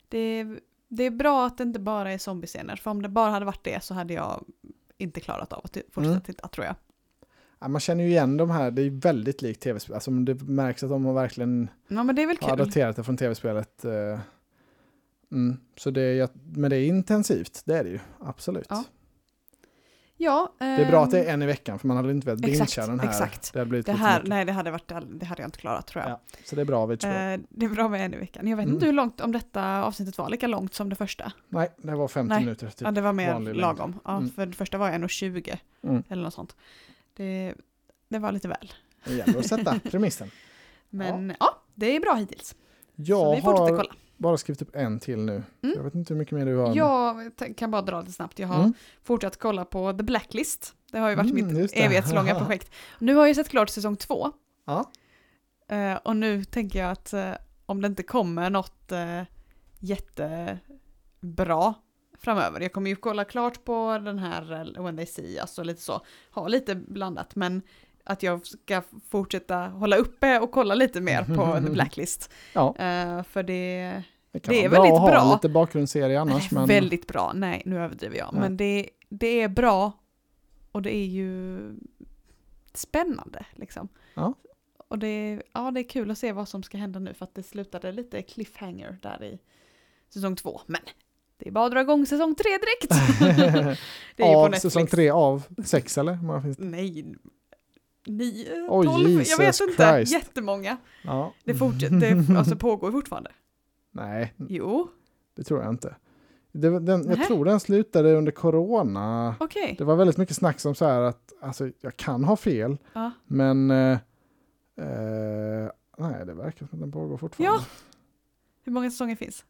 Speaker 2: Det, är, det är bra att det inte bara är zombiescener, för om det bara hade varit det så hade jag inte klarat av att fortsätta
Speaker 1: Mm.
Speaker 2: titta, tror jag.
Speaker 1: Ja, man känner ju igen de här, det är väldigt likt tv-spel, alltså det märks att de har verkligen
Speaker 2: Ja, men det är väl
Speaker 1: Jag har
Speaker 2: kul.
Speaker 1: adapterat det från tv-spelet. eh, Mm. Så det är, jag- men det är intensivt, det är det ju. Absolut.
Speaker 2: Ja. Ja,
Speaker 1: Det är bra att det är en i veckan, för man hade inte velat
Speaker 2: exakt,
Speaker 1: bincha den här.
Speaker 2: exakt.
Speaker 1: Det hade blivit
Speaker 2: det
Speaker 1: lite
Speaker 2: här,
Speaker 1: mycket.
Speaker 2: nej det hade, varit, det hade jag inte klarat tror jag.
Speaker 1: Ja, Så det är bra av HBO.
Speaker 2: Eh, det är bra med en i veckan. Jag vet
Speaker 1: Mm.
Speaker 2: inte hur långt, om detta avsnittet var lika långt som det första.
Speaker 1: Nej, det var 50
Speaker 2: nej.
Speaker 1: minuter. Typ.
Speaker 2: ja, det var mer
Speaker 1: vanlig längd.
Speaker 2: lagom. Ja,
Speaker 1: Mm.
Speaker 2: För det första var 1,20
Speaker 1: Mm.
Speaker 2: eller något sånt. Det, det var lite väl.
Speaker 1: Det gäller att sätta premissen.
Speaker 2: Men ja, det är bra hittills. så
Speaker 1: Jag
Speaker 2: vi fortsätter
Speaker 1: har
Speaker 2: kolla.
Speaker 1: bara skrivit upp en till nu.
Speaker 2: Mm.
Speaker 1: Jag vet inte hur mycket mer du har.
Speaker 2: Jag t- kan bara dra lite snabbt. Jag har
Speaker 1: Mm.
Speaker 2: fortsatt kolla på The Blacklist. Det har ju varit
Speaker 1: Mm,
Speaker 2: mitt
Speaker 1: just det.
Speaker 2: evighetslånga projekt. Nu har jag sett klart säsong två.
Speaker 1: Ja.
Speaker 2: Eh, och nu tänker jag att eh, om det inte kommer något eh, jättebra framöver. Jag kommer ju kolla klart på den här eh, When They See Us och lite så. Ha lite blandat men att jag ska fortsätta hålla uppe och kolla lite mer på The Blacklist.
Speaker 1: Ja,
Speaker 2: Eh, för det
Speaker 1: det, kan
Speaker 2: Det är
Speaker 1: vara bra
Speaker 2: väldigt
Speaker 1: att ha
Speaker 2: bra.
Speaker 1: lite bakgrundsserie annars.
Speaker 2: Nej,
Speaker 1: Men,
Speaker 2: Väldigt bra, nej nu överdriver jag.
Speaker 1: Ja.
Speaker 2: Men det, det är bra och det är ju spännande liksom.
Speaker 1: Ja.
Speaker 2: Och det, ja, det är kul att se vad som ska hända nu för att det slutade lite cliffhanger där i säsong två. Men det är bara att dra igång säsong tre direkt. det är ju på
Speaker 1: av
Speaker 2: Netflix.
Speaker 1: säsong tre av sex eller? Hur många finns det?
Speaker 2: Nej, nio,
Speaker 1: Oj,
Speaker 2: tolv, jag vet
Speaker 1: Jesus
Speaker 2: inte.
Speaker 1: Christ.
Speaker 2: Jättemånga.
Speaker 1: Ja. Mm.
Speaker 2: Det, fortsätter, det alltså, pågår fortfarande.
Speaker 1: Nej,
Speaker 2: Jo,
Speaker 1: det tror jag inte. Det, var- den, jag
Speaker 2: Nej.
Speaker 1: tror den slutade under corona.
Speaker 2: okej.
Speaker 1: Det var väldigt mycket snack om så här att alltså, jag kan ha fel,
Speaker 2: Ja.
Speaker 1: men eh, eh, nej, det verkar som att den pågår fortfarande.
Speaker 2: Hur många säsonger finns?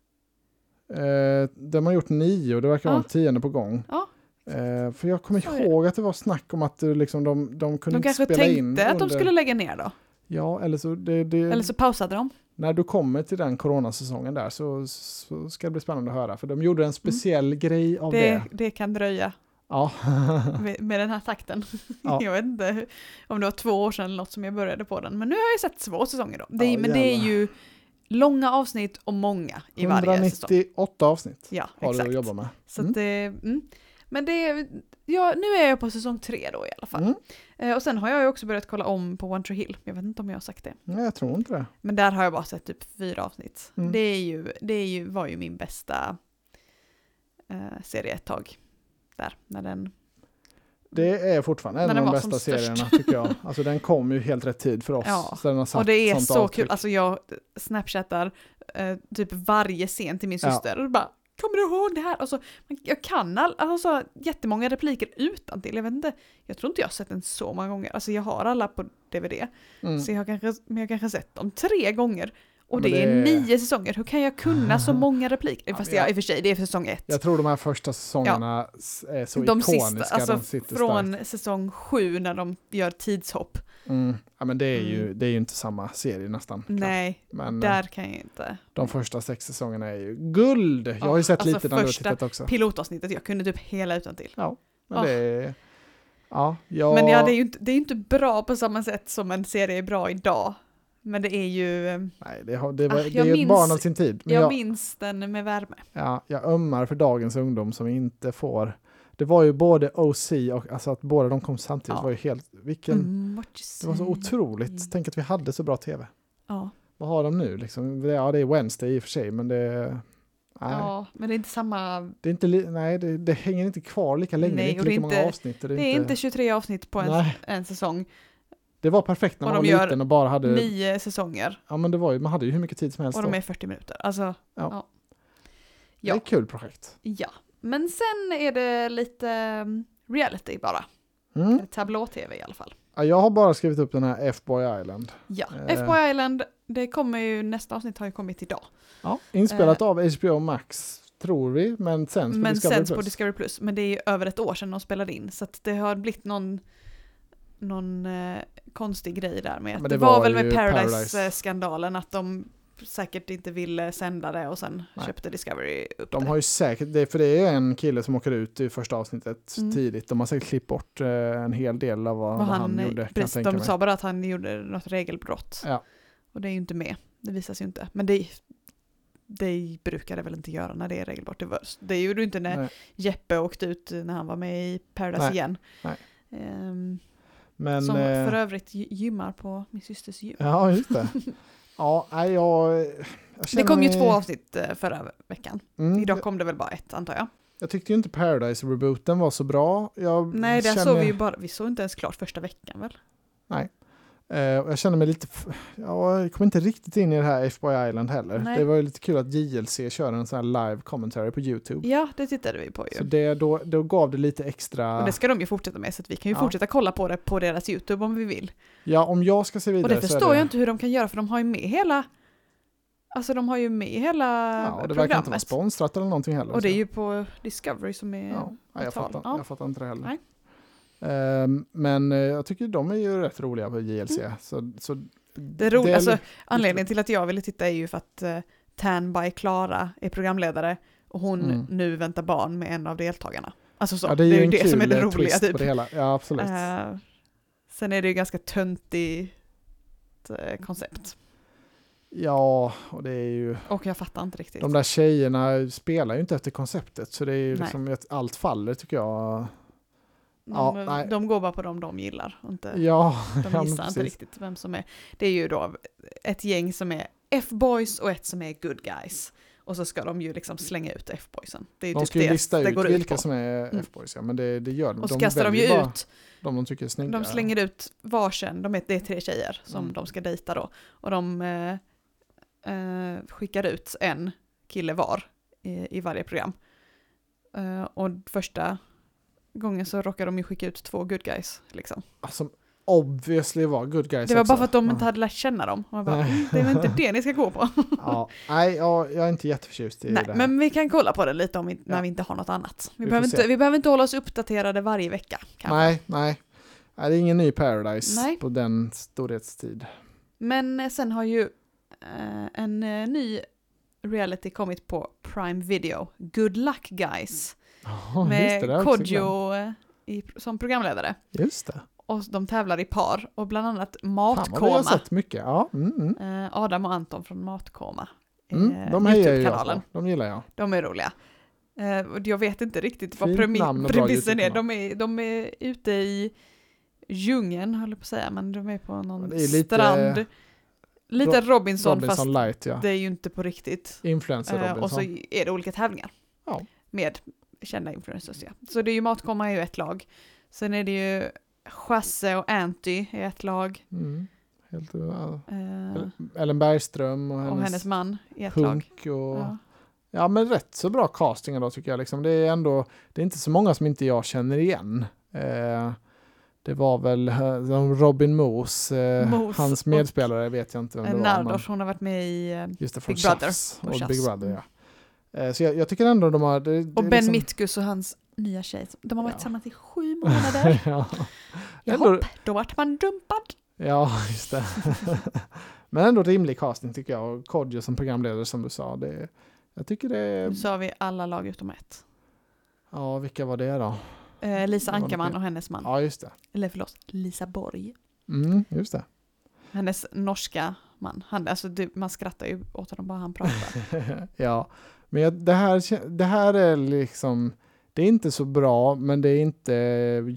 Speaker 1: Eh, de har gjort nio och det verkar vara
Speaker 2: Ja.
Speaker 1: en tionde på gång.
Speaker 2: Ja,
Speaker 1: Eh, för jag kommer
Speaker 2: Så är det.
Speaker 1: ihåg att det var snack om att eh, liksom, de, de kunde
Speaker 2: De
Speaker 1: inte
Speaker 2: kanske
Speaker 1: spela in.
Speaker 2: tänkte att de
Speaker 1: under- Mm.
Speaker 2: skulle lägga ner då.
Speaker 1: Ja, eller så, det, det,
Speaker 2: Eller så pausade de.
Speaker 1: När du kommer till den coronasäsongen där så, så ska det bli spännande att höra. För de gjorde en speciell grej av det.
Speaker 2: Mm. Det, det kan dröja
Speaker 1: Ja.
Speaker 2: med, med den här takten.
Speaker 1: Ja.
Speaker 2: jag vet inte hur, om det var två år sedan eller något som jag började på den. Men nu har jag ju sett två säsonger då. Det, är-
Speaker 1: Ja,
Speaker 2: men det är
Speaker 1: jävlar.
Speaker 2: ju långa avsnitt och många i varje säsong.
Speaker 1: 198 avsnitt
Speaker 2: Ja,
Speaker 1: har du
Speaker 2: exakt.
Speaker 1: att jobba med.
Speaker 2: Så att det, mm. Men det, är- ja, nu är jag på säsong tre då i alla fall.
Speaker 1: Mm.
Speaker 2: Eh, och sen har jag ju också börjat kolla om på One Tree Hill. Jag vet inte om jag har sagt det.
Speaker 1: Nej, jag tror inte det.
Speaker 2: Men där har jag bara sett typ fyra avsnitt.
Speaker 1: Mm.
Speaker 2: Det, är ju, det är ju, var ju min bästa eh, serie ett tag. Där, när den...
Speaker 1: Det är fortfarande en
Speaker 2: När
Speaker 1: av
Speaker 2: den
Speaker 1: de
Speaker 2: var som
Speaker 1: bästa
Speaker 2: störst.
Speaker 1: serierna tycker jag. Alltså den kom ju helt rätt tid för oss.
Speaker 2: Ja,
Speaker 1: Så den har satt
Speaker 2: och det är
Speaker 1: sånt
Speaker 2: så
Speaker 1: avtryck.
Speaker 2: kul, alltså jag snapchattar eh, typ varje scen till min
Speaker 1: Ja.
Speaker 2: syster och bara Kommer du ihåg det här? Och så, man- jag kan all, alltså, jättemånga repliker utantill. Jag vet inte, jag tror inte jag har sett den så många gånger. Alltså jag har alla på DVD.
Speaker 1: Mm.
Speaker 2: Så jag har kanske, men jag har kanske sett dem tre gånger. Och det,
Speaker 1: Men
Speaker 2: är
Speaker 1: det-
Speaker 2: nio säsonger, hur kan jag kunna så många repliker?
Speaker 1: Ja,
Speaker 2: Fast
Speaker 1: men jag-
Speaker 2: jag, i och för sig, det är för säsong ett.
Speaker 1: Jag tror de här första säsongerna s- är så
Speaker 2: de
Speaker 1: ikoniska.
Speaker 2: sista,
Speaker 1: de
Speaker 2: alltså
Speaker 1: sitter
Speaker 2: från
Speaker 1: starkt.
Speaker 2: säsong sju när de gör tidshopp.
Speaker 1: Mm. Ja, men det är, ju, det är ju inte samma serie nästan. kanske.
Speaker 2: Nej,
Speaker 1: Men eh,
Speaker 2: där kan jag inte.
Speaker 1: de första sex säsongerna är ju guld. Jag har ju
Speaker 2: Ja,
Speaker 1: sett
Speaker 2: alltså
Speaker 1: lite när du har
Speaker 2: första
Speaker 1: tittat också.
Speaker 2: Pilotavsnittet, jag kunde typ hela utan till.
Speaker 1: Ja, men
Speaker 2: Ah.
Speaker 1: det är... Ja, jag...
Speaker 2: Men ja, det är ju inte, det är ju inte bra på samma sätt som en serie är bra idag. Men det är ju, eh,
Speaker 1: Nej, det, har, det, var,
Speaker 2: Ah,
Speaker 1: det
Speaker 2: jag
Speaker 1: är ett
Speaker 2: minns-
Speaker 1: barn av sin tid. Men
Speaker 2: jag,
Speaker 1: jag,
Speaker 2: minns den med värme.
Speaker 1: ja, jag ömmar för dagens ungdom som inte får... Det var ju både OC och alltså att båda de kom samtidigt
Speaker 2: Ja.
Speaker 1: var ju helt... Vilken...
Speaker 2: Mm, what you
Speaker 1: Det var så
Speaker 2: say.
Speaker 1: otroligt.
Speaker 2: Mm.
Speaker 1: Tänk att vi hade så bra tv.
Speaker 2: Ja.
Speaker 1: Vad har de nu liksom? Det- Ja, det är Wednesday i och för sig, men det... Nej,
Speaker 2: ja, men det är inte samma
Speaker 1: det, är inte li... nej det, det hänger inte kvar lika länge.
Speaker 2: Nej,
Speaker 1: det är inte
Speaker 2: och det är
Speaker 1: lika många
Speaker 2: inte-
Speaker 1: avsnitt. och
Speaker 2: Det är inte 23 avsnitt på en,
Speaker 1: Nej,
Speaker 2: en säsong,
Speaker 1: det var perfekt när
Speaker 2: Och
Speaker 1: man var
Speaker 2: de gör
Speaker 1: liten och bara hade...
Speaker 2: nio säsonger
Speaker 1: Ja, men det var ju, man hade ju hur mycket tid som helst
Speaker 2: och
Speaker 1: då.
Speaker 2: de är 40 minuter. Alltså,
Speaker 1: Ja.
Speaker 2: ja. ja.
Speaker 1: Det är ett kul projekt.
Speaker 2: Men sen är det lite mm, reality bara.
Speaker 1: Mm.
Speaker 2: Tablå-tv i alla fall.
Speaker 1: Ja, Jag har bara skrivit upp den här F-Boy Island.
Speaker 2: Ja,
Speaker 1: Eh.
Speaker 2: FBO Island, det kommer ju, nästa avsnitt har ju kommit idag.
Speaker 1: Inspelat av HBO Max, tror vi, men sen på
Speaker 2: men
Speaker 1: Discovery
Speaker 2: sänds
Speaker 1: Plus.
Speaker 2: på Discovery Plus. Men det är ju över ett år sedan de spelade in, så att det har blivit någon, någon eh, konstig grej där med.
Speaker 1: men det
Speaker 2: att det var,
Speaker 1: var
Speaker 2: väl
Speaker 1: ju
Speaker 2: med
Speaker 1: Paradise.
Speaker 2: Paradise-skandalen att de säkert inte ville sända det och sen
Speaker 1: Nej.
Speaker 2: köpte Discovery upp
Speaker 1: De
Speaker 2: det.
Speaker 1: har ju säkert, det, för det är en kille som åker ut i första avsnittet
Speaker 2: Mm.
Speaker 1: tidigt. De har säkert klippt bort eh, en hel del av vad,
Speaker 2: vad
Speaker 1: vad
Speaker 2: han, eh,
Speaker 1: han, gjorde. Kan
Speaker 2: precis,
Speaker 1: jag tänka
Speaker 2: de
Speaker 1: mig.
Speaker 2: sa bara att han gjorde något regelbrott.
Speaker 1: Ja.
Speaker 2: Och det är ju inte med. Det visas ju inte. Men det, det brukar det väl inte göra när det är regelbrott. Det, var, det gjorde ju inte när
Speaker 1: Nej.
Speaker 2: Jeppe åkte ut när han var med i Paradise
Speaker 1: Nej.
Speaker 2: igen.
Speaker 1: Nej.
Speaker 2: Ehm,
Speaker 1: Men,
Speaker 2: som
Speaker 1: eh,
Speaker 2: för övrigt gy- gymmar på min systers gym.
Speaker 1: Ja, just det. ja, nej, jag, jag
Speaker 2: Det
Speaker 1: känner
Speaker 2: kom ju
Speaker 1: mig-
Speaker 2: två avsnitt eh, förra veckan.
Speaker 1: Mm,
Speaker 2: Idag kom det väl bara ett antar jag.
Speaker 1: Jag tyckte ju inte Paradise-rebooten var så bra. Jag
Speaker 2: Nej, där
Speaker 1: känner-
Speaker 2: såg vi ju bara, vi såg inte ens klart första veckan väl?
Speaker 1: Eh, och jag känner mig lite, f- ja, jag kom inte riktigt in i det här FBI Island heller.
Speaker 2: Nej.
Speaker 1: Det var ju lite kul att JLC kör en sån här live commentary på YouTube.
Speaker 2: Ja, det tittade vi på ju.
Speaker 1: Så det, då, då gav det lite extra,
Speaker 2: Och det ska de ju fortsätta med så att vi kan ju
Speaker 1: Ja.
Speaker 2: fortsätta kolla på det på deras YouTube om vi vill.
Speaker 1: ja om jag ska se
Speaker 2: Och
Speaker 1: vidare
Speaker 2: det
Speaker 1: så är
Speaker 2: förstår jag inte hur de kan göra för de har ju med hela Alltså de har ju med hela
Speaker 1: ja, och det verkar inte vara
Speaker 2: programmet.
Speaker 1: sponsrat eller någonting heller.
Speaker 2: och det är
Speaker 1: så-
Speaker 2: ju på Discovery som är...
Speaker 1: ja, nej, jag,
Speaker 2: tal.
Speaker 1: fattar,
Speaker 2: Ja.
Speaker 1: jag fattar inte det heller.
Speaker 2: Nej.
Speaker 1: Ehm, men eh, jag tycker de är ju rätt roliga på JLC. Så, så det
Speaker 2: är roligt,
Speaker 1: är
Speaker 2: Mm. alltså,
Speaker 1: li-
Speaker 2: Anledningen till att jag ville titta är ju för att eh, Tan by Klara är programledare och hon
Speaker 1: Mm.
Speaker 2: nu väntar barn med en av deltagarna. Alltså så,
Speaker 1: Ja,
Speaker 2: det är ju det som är
Speaker 1: kul,
Speaker 2: det
Speaker 1: eh,
Speaker 2: roliga.
Speaker 1: twist
Speaker 2: Typ.
Speaker 1: på det hela. Ja, absolut.
Speaker 2: Eh, sen är det ju ganska töntigt eh, koncept.
Speaker 1: Ja, och det är ju...
Speaker 2: Och jag fattar inte riktigt.
Speaker 1: De där tjejerna spelar ju inte efter konceptet, så det är ju
Speaker 2: Nej.
Speaker 1: liksom att allt faller tycker jag.
Speaker 2: de,
Speaker 1: ja, nej.
Speaker 2: de går bara på dem de gillar. och Inte,
Speaker 1: Ja,
Speaker 2: de
Speaker 1: men
Speaker 2: gissar inte
Speaker 1: precis.
Speaker 2: riktigt vem som är. Det är ju då ett gäng som är F-boys och ett som är good guys. Och så ska de ju liksom slänga ut F-boysen. Det är ju
Speaker 1: de
Speaker 2: typ
Speaker 1: ska ju
Speaker 2: det
Speaker 1: lista
Speaker 2: det
Speaker 1: ut
Speaker 2: går
Speaker 1: vilka
Speaker 2: på.
Speaker 1: som är
Speaker 2: Mm.
Speaker 1: F-boys, ja, men det, det gör de.
Speaker 2: Och så kastar de
Speaker 1: väljer
Speaker 2: ju
Speaker 1: bara
Speaker 2: ut
Speaker 1: De de tycker är snygga.
Speaker 2: De slänger ut varsin, de är, det är tre tjejer som
Speaker 1: Mm.
Speaker 2: de ska dejta då. Och de eh, eh, skickar ut en kille var i, i varje program. Eh, och första gången så råkar de ju skicka ut två good guys. Liksom.
Speaker 1: Ja, Som obviously var good guys
Speaker 2: Det var
Speaker 1: också.
Speaker 2: bara för att de
Speaker 1: Ja.
Speaker 2: inte hade lärt känna dem. Och man bara,
Speaker 1: Nej.
Speaker 2: "Mm, det är väl inte det ni ska gå på.
Speaker 1: Ja, nej, ja, jag är inte jätteförtjust i
Speaker 2: Nej,
Speaker 1: det här.
Speaker 2: men vi kan kolla på det lite om vi, när
Speaker 1: Ja.
Speaker 2: vi inte har något annat.
Speaker 1: Vi
Speaker 2: Vi,
Speaker 1: får
Speaker 2: behöver,
Speaker 1: se.
Speaker 2: inte, vi behöver inte hålla oss uppdaterade varje vecka. kanske.
Speaker 1: nej, nej. Nej, det är ingen ny Paradise
Speaker 2: Nej.
Speaker 1: på den storhetstid.
Speaker 2: Men eh, sen har ju eh, en eh, ny reality kommit på Prime Video, Good Luck Guys,
Speaker 1: Oh, har
Speaker 2: med
Speaker 1: jag också glömt.
Speaker 2: Kodjo eh, i, som programledare.
Speaker 1: Just det.
Speaker 2: Och de tävlar i par och bland annat
Speaker 1: Fan vad vi har
Speaker 2: Matkoma.
Speaker 1: sett mycket. Ja, mm, mm.
Speaker 2: Eh, Adam och Anton från Matkoma.
Speaker 1: Mm,
Speaker 2: eh,
Speaker 1: de hejar ju jag
Speaker 2: YouTube-kanalen.
Speaker 1: på. De gillar jag.
Speaker 2: De är roliga. Eh, och jag vet inte riktigt vad
Speaker 1: Fint namn
Speaker 2: premi-
Speaker 1: och bra
Speaker 2: premissen är.
Speaker 1: YouTube-kanal.
Speaker 2: De är. De är ute i djungeln, höll jag på att säga, men de är på någon
Speaker 1: Det är lite-
Speaker 2: strand. Lite Robinson,
Speaker 1: Robinson
Speaker 2: fast
Speaker 1: Light, ja.
Speaker 2: det är ju inte på riktigt.
Speaker 1: Influencer
Speaker 2: Eh,
Speaker 1: Robinson.
Speaker 2: och så är det olika tävlingar.
Speaker 1: Ja.
Speaker 2: Med kända influencers, ja. Så det är ju Matkomma är ju ett lag. Sen är det ju Chasse och Anty är ett lag.
Speaker 1: mm. Helt, ja.
Speaker 2: Eh,
Speaker 1: Ellen Bergström och hennes,
Speaker 2: och hennes man är ett lag.
Speaker 1: Hunk och... Ja.
Speaker 2: Ja.
Speaker 1: men rätt så bra casting då tycker jag. Liksom. Det är ändå, det är inte så många som inte jag känner igen. Eh, det var väl eh, som Robin Moos, eh,
Speaker 2: Moos
Speaker 1: hans
Speaker 2: och-
Speaker 1: medspelare vet jag inte vem det
Speaker 2: Eh,
Speaker 1: var.
Speaker 2: Nardos,
Speaker 1: men-
Speaker 2: hon har varit med i... eh,
Speaker 1: just det, från
Speaker 2: Big Brother
Speaker 1: Tjafs
Speaker 2: och
Speaker 1: och,
Speaker 2: Tjafs.
Speaker 1: Big Brother, ja. Eh, så jag, jag tycker ändå de har... Det, det
Speaker 2: Och
Speaker 1: är
Speaker 2: Ben
Speaker 1: liksom-
Speaker 2: Mitkus och hans nya tjej. De har varit
Speaker 1: Ja.
Speaker 2: tillsammans i sju månader.
Speaker 1: ja. Ändå,
Speaker 2: Jaha, då vart man dumpad.
Speaker 1: ja, just det. men ändå rimlig casting tycker jag. Och Kodjo som programledare som du sa. Det, jag tycker det är...
Speaker 2: Nu sa vi alla lag utom ett.
Speaker 1: Ja, vilka var det då?
Speaker 2: Eh, Lisa
Speaker 1: Det var
Speaker 2: Ankarman
Speaker 1: mycket.
Speaker 2: och hennes man.
Speaker 1: Ja, just det.
Speaker 2: Eller förlåt, Lisa Borg.
Speaker 1: Mm, just det.
Speaker 2: Hennes norska man. Han, alltså, det, man skrattar ju åt honom bara han pratar.
Speaker 1: ja, men jag, det, här, kän- det här är liksom, det är inte så bra, men det är inte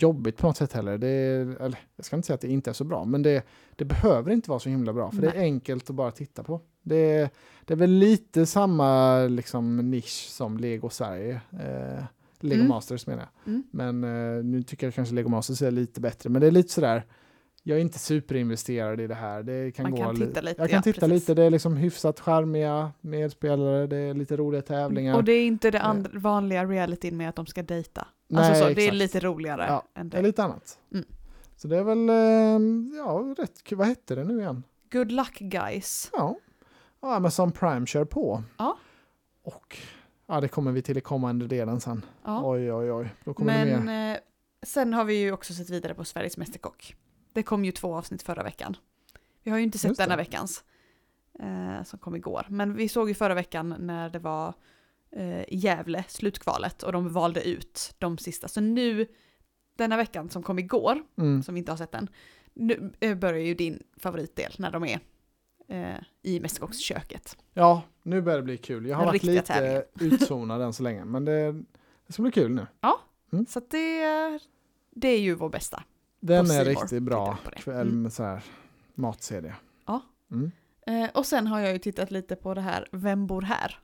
Speaker 1: jobbigt på något sätt heller. Det är, eller, jag ska inte säga att det inte är så bra, men det, det behöver inte vara så himla bra, för det är enkelt att bara titta på. Det, är- det är väl lite samma liksom, nisch som Lego Sverige. Eh, Lego
Speaker 2: Mm.
Speaker 1: Masters menar jag.
Speaker 2: Mm.
Speaker 1: Men eh, nu tycker jag kanske Lego Masters är lite bättre. Men det är lite sådär, jag är inte superinvesterad i det här. Det kan
Speaker 2: Man
Speaker 1: gå
Speaker 2: kan
Speaker 1: li-
Speaker 2: titta lite,
Speaker 1: Jag kan
Speaker 2: ja,
Speaker 1: titta
Speaker 2: precis.
Speaker 1: lite, det är liksom hyfsat charmiga medspelare, det är lite roliga tävlingar. Eh.
Speaker 2: Och det är inte det andra, vanliga realityn med att de ska dejta.
Speaker 1: Nej,
Speaker 2: alltså, så, det
Speaker 1: exakt.
Speaker 2: är lite roligare
Speaker 1: Ja,
Speaker 2: än
Speaker 1: Det är
Speaker 2: det.
Speaker 1: lite annat.
Speaker 2: Mm.
Speaker 1: Så det är väl, eh, ja, rätt kul. Vad hette det nu igen?
Speaker 2: Good luck guys.
Speaker 1: Ja, ja Amazon Prime kör på.
Speaker 2: Ja.
Speaker 1: Och, ja det kommer vi till i kommande delen sen.
Speaker 2: Ja.
Speaker 1: Oj, oj, oj. Då kommer det
Speaker 2: Men
Speaker 1: mer.
Speaker 2: eh, sen har vi ju också sett vidare på Sveriges Mästerkock. Det kom ju två avsnitt förra veckan. Vi har ju inte sett
Speaker 1: Just det.
Speaker 2: denna veckans eh, som kom igår. Men vi såg ju förra veckan när det var eh, i Gävle, slutkvalet, och de valde ut de sista. Så nu, denna veckan som kom igår,
Speaker 1: Mm.
Speaker 2: som vi inte har sett än, nu eh, börjar ju din favoritdel när de är eh, i Mästerkocksköket.
Speaker 1: Ja, nu börjar det bli kul. Jag har
Speaker 2: Den
Speaker 1: varit
Speaker 2: riktiga
Speaker 1: lite utzonad än så länge, men det, det ska bli kul nu.
Speaker 2: Så att det, det är ju vår bästa.
Speaker 1: Den
Speaker 2: På
Speaker 1: är
Speaker 2: C More
Speaker 1: riktigt bra
Speaker 2: tittar vi på det.
Speaker 1: kväll med så här matserie.
Speaker 2: Mm. Ja.
Speaker 1: Mm.
Speaker 2: Eh, och sen har jag ju tittat lite på det här Vem bor här?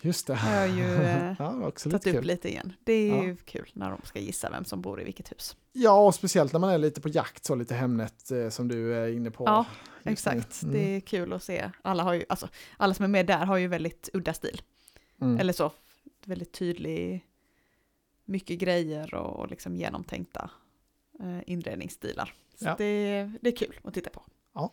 Speaker 1: Just det.
Speaker 2: Har jag ju eh,
Speaker 1: Ja, det var också
Speaker 2: tagit
Speaker 1: lite
Speaker 2: upp
Speaker 1: kul.
Speaker 2: lite igen. Det är
Speaker 1: Ja.
Speaker 2: ju kul när de ska gissa vem som bor i vilket hus.
Speaker 1: Ja, och speciellt när man är lite på jakt så lite Hemnet eh, som du är inne på.
Speaker 2: Ja,
Speaker 1: just nu.
Speaker 2: Exakt,
Speaker 1: Mm.
Speaker 2: det är kul att se. Alla, har ju, alltså, alla som är med där har ju väldigt udda stil.
Speaker 1: Mm.
Speaker 2: Eller så, väldigt tydlig, mycket grejer och, och liksom genomtänkta eh, inredningsstilar. Så
Speaker 1: Ja.
Speaker 2: det, det är kul att titta på.
Speaker 1: Ja.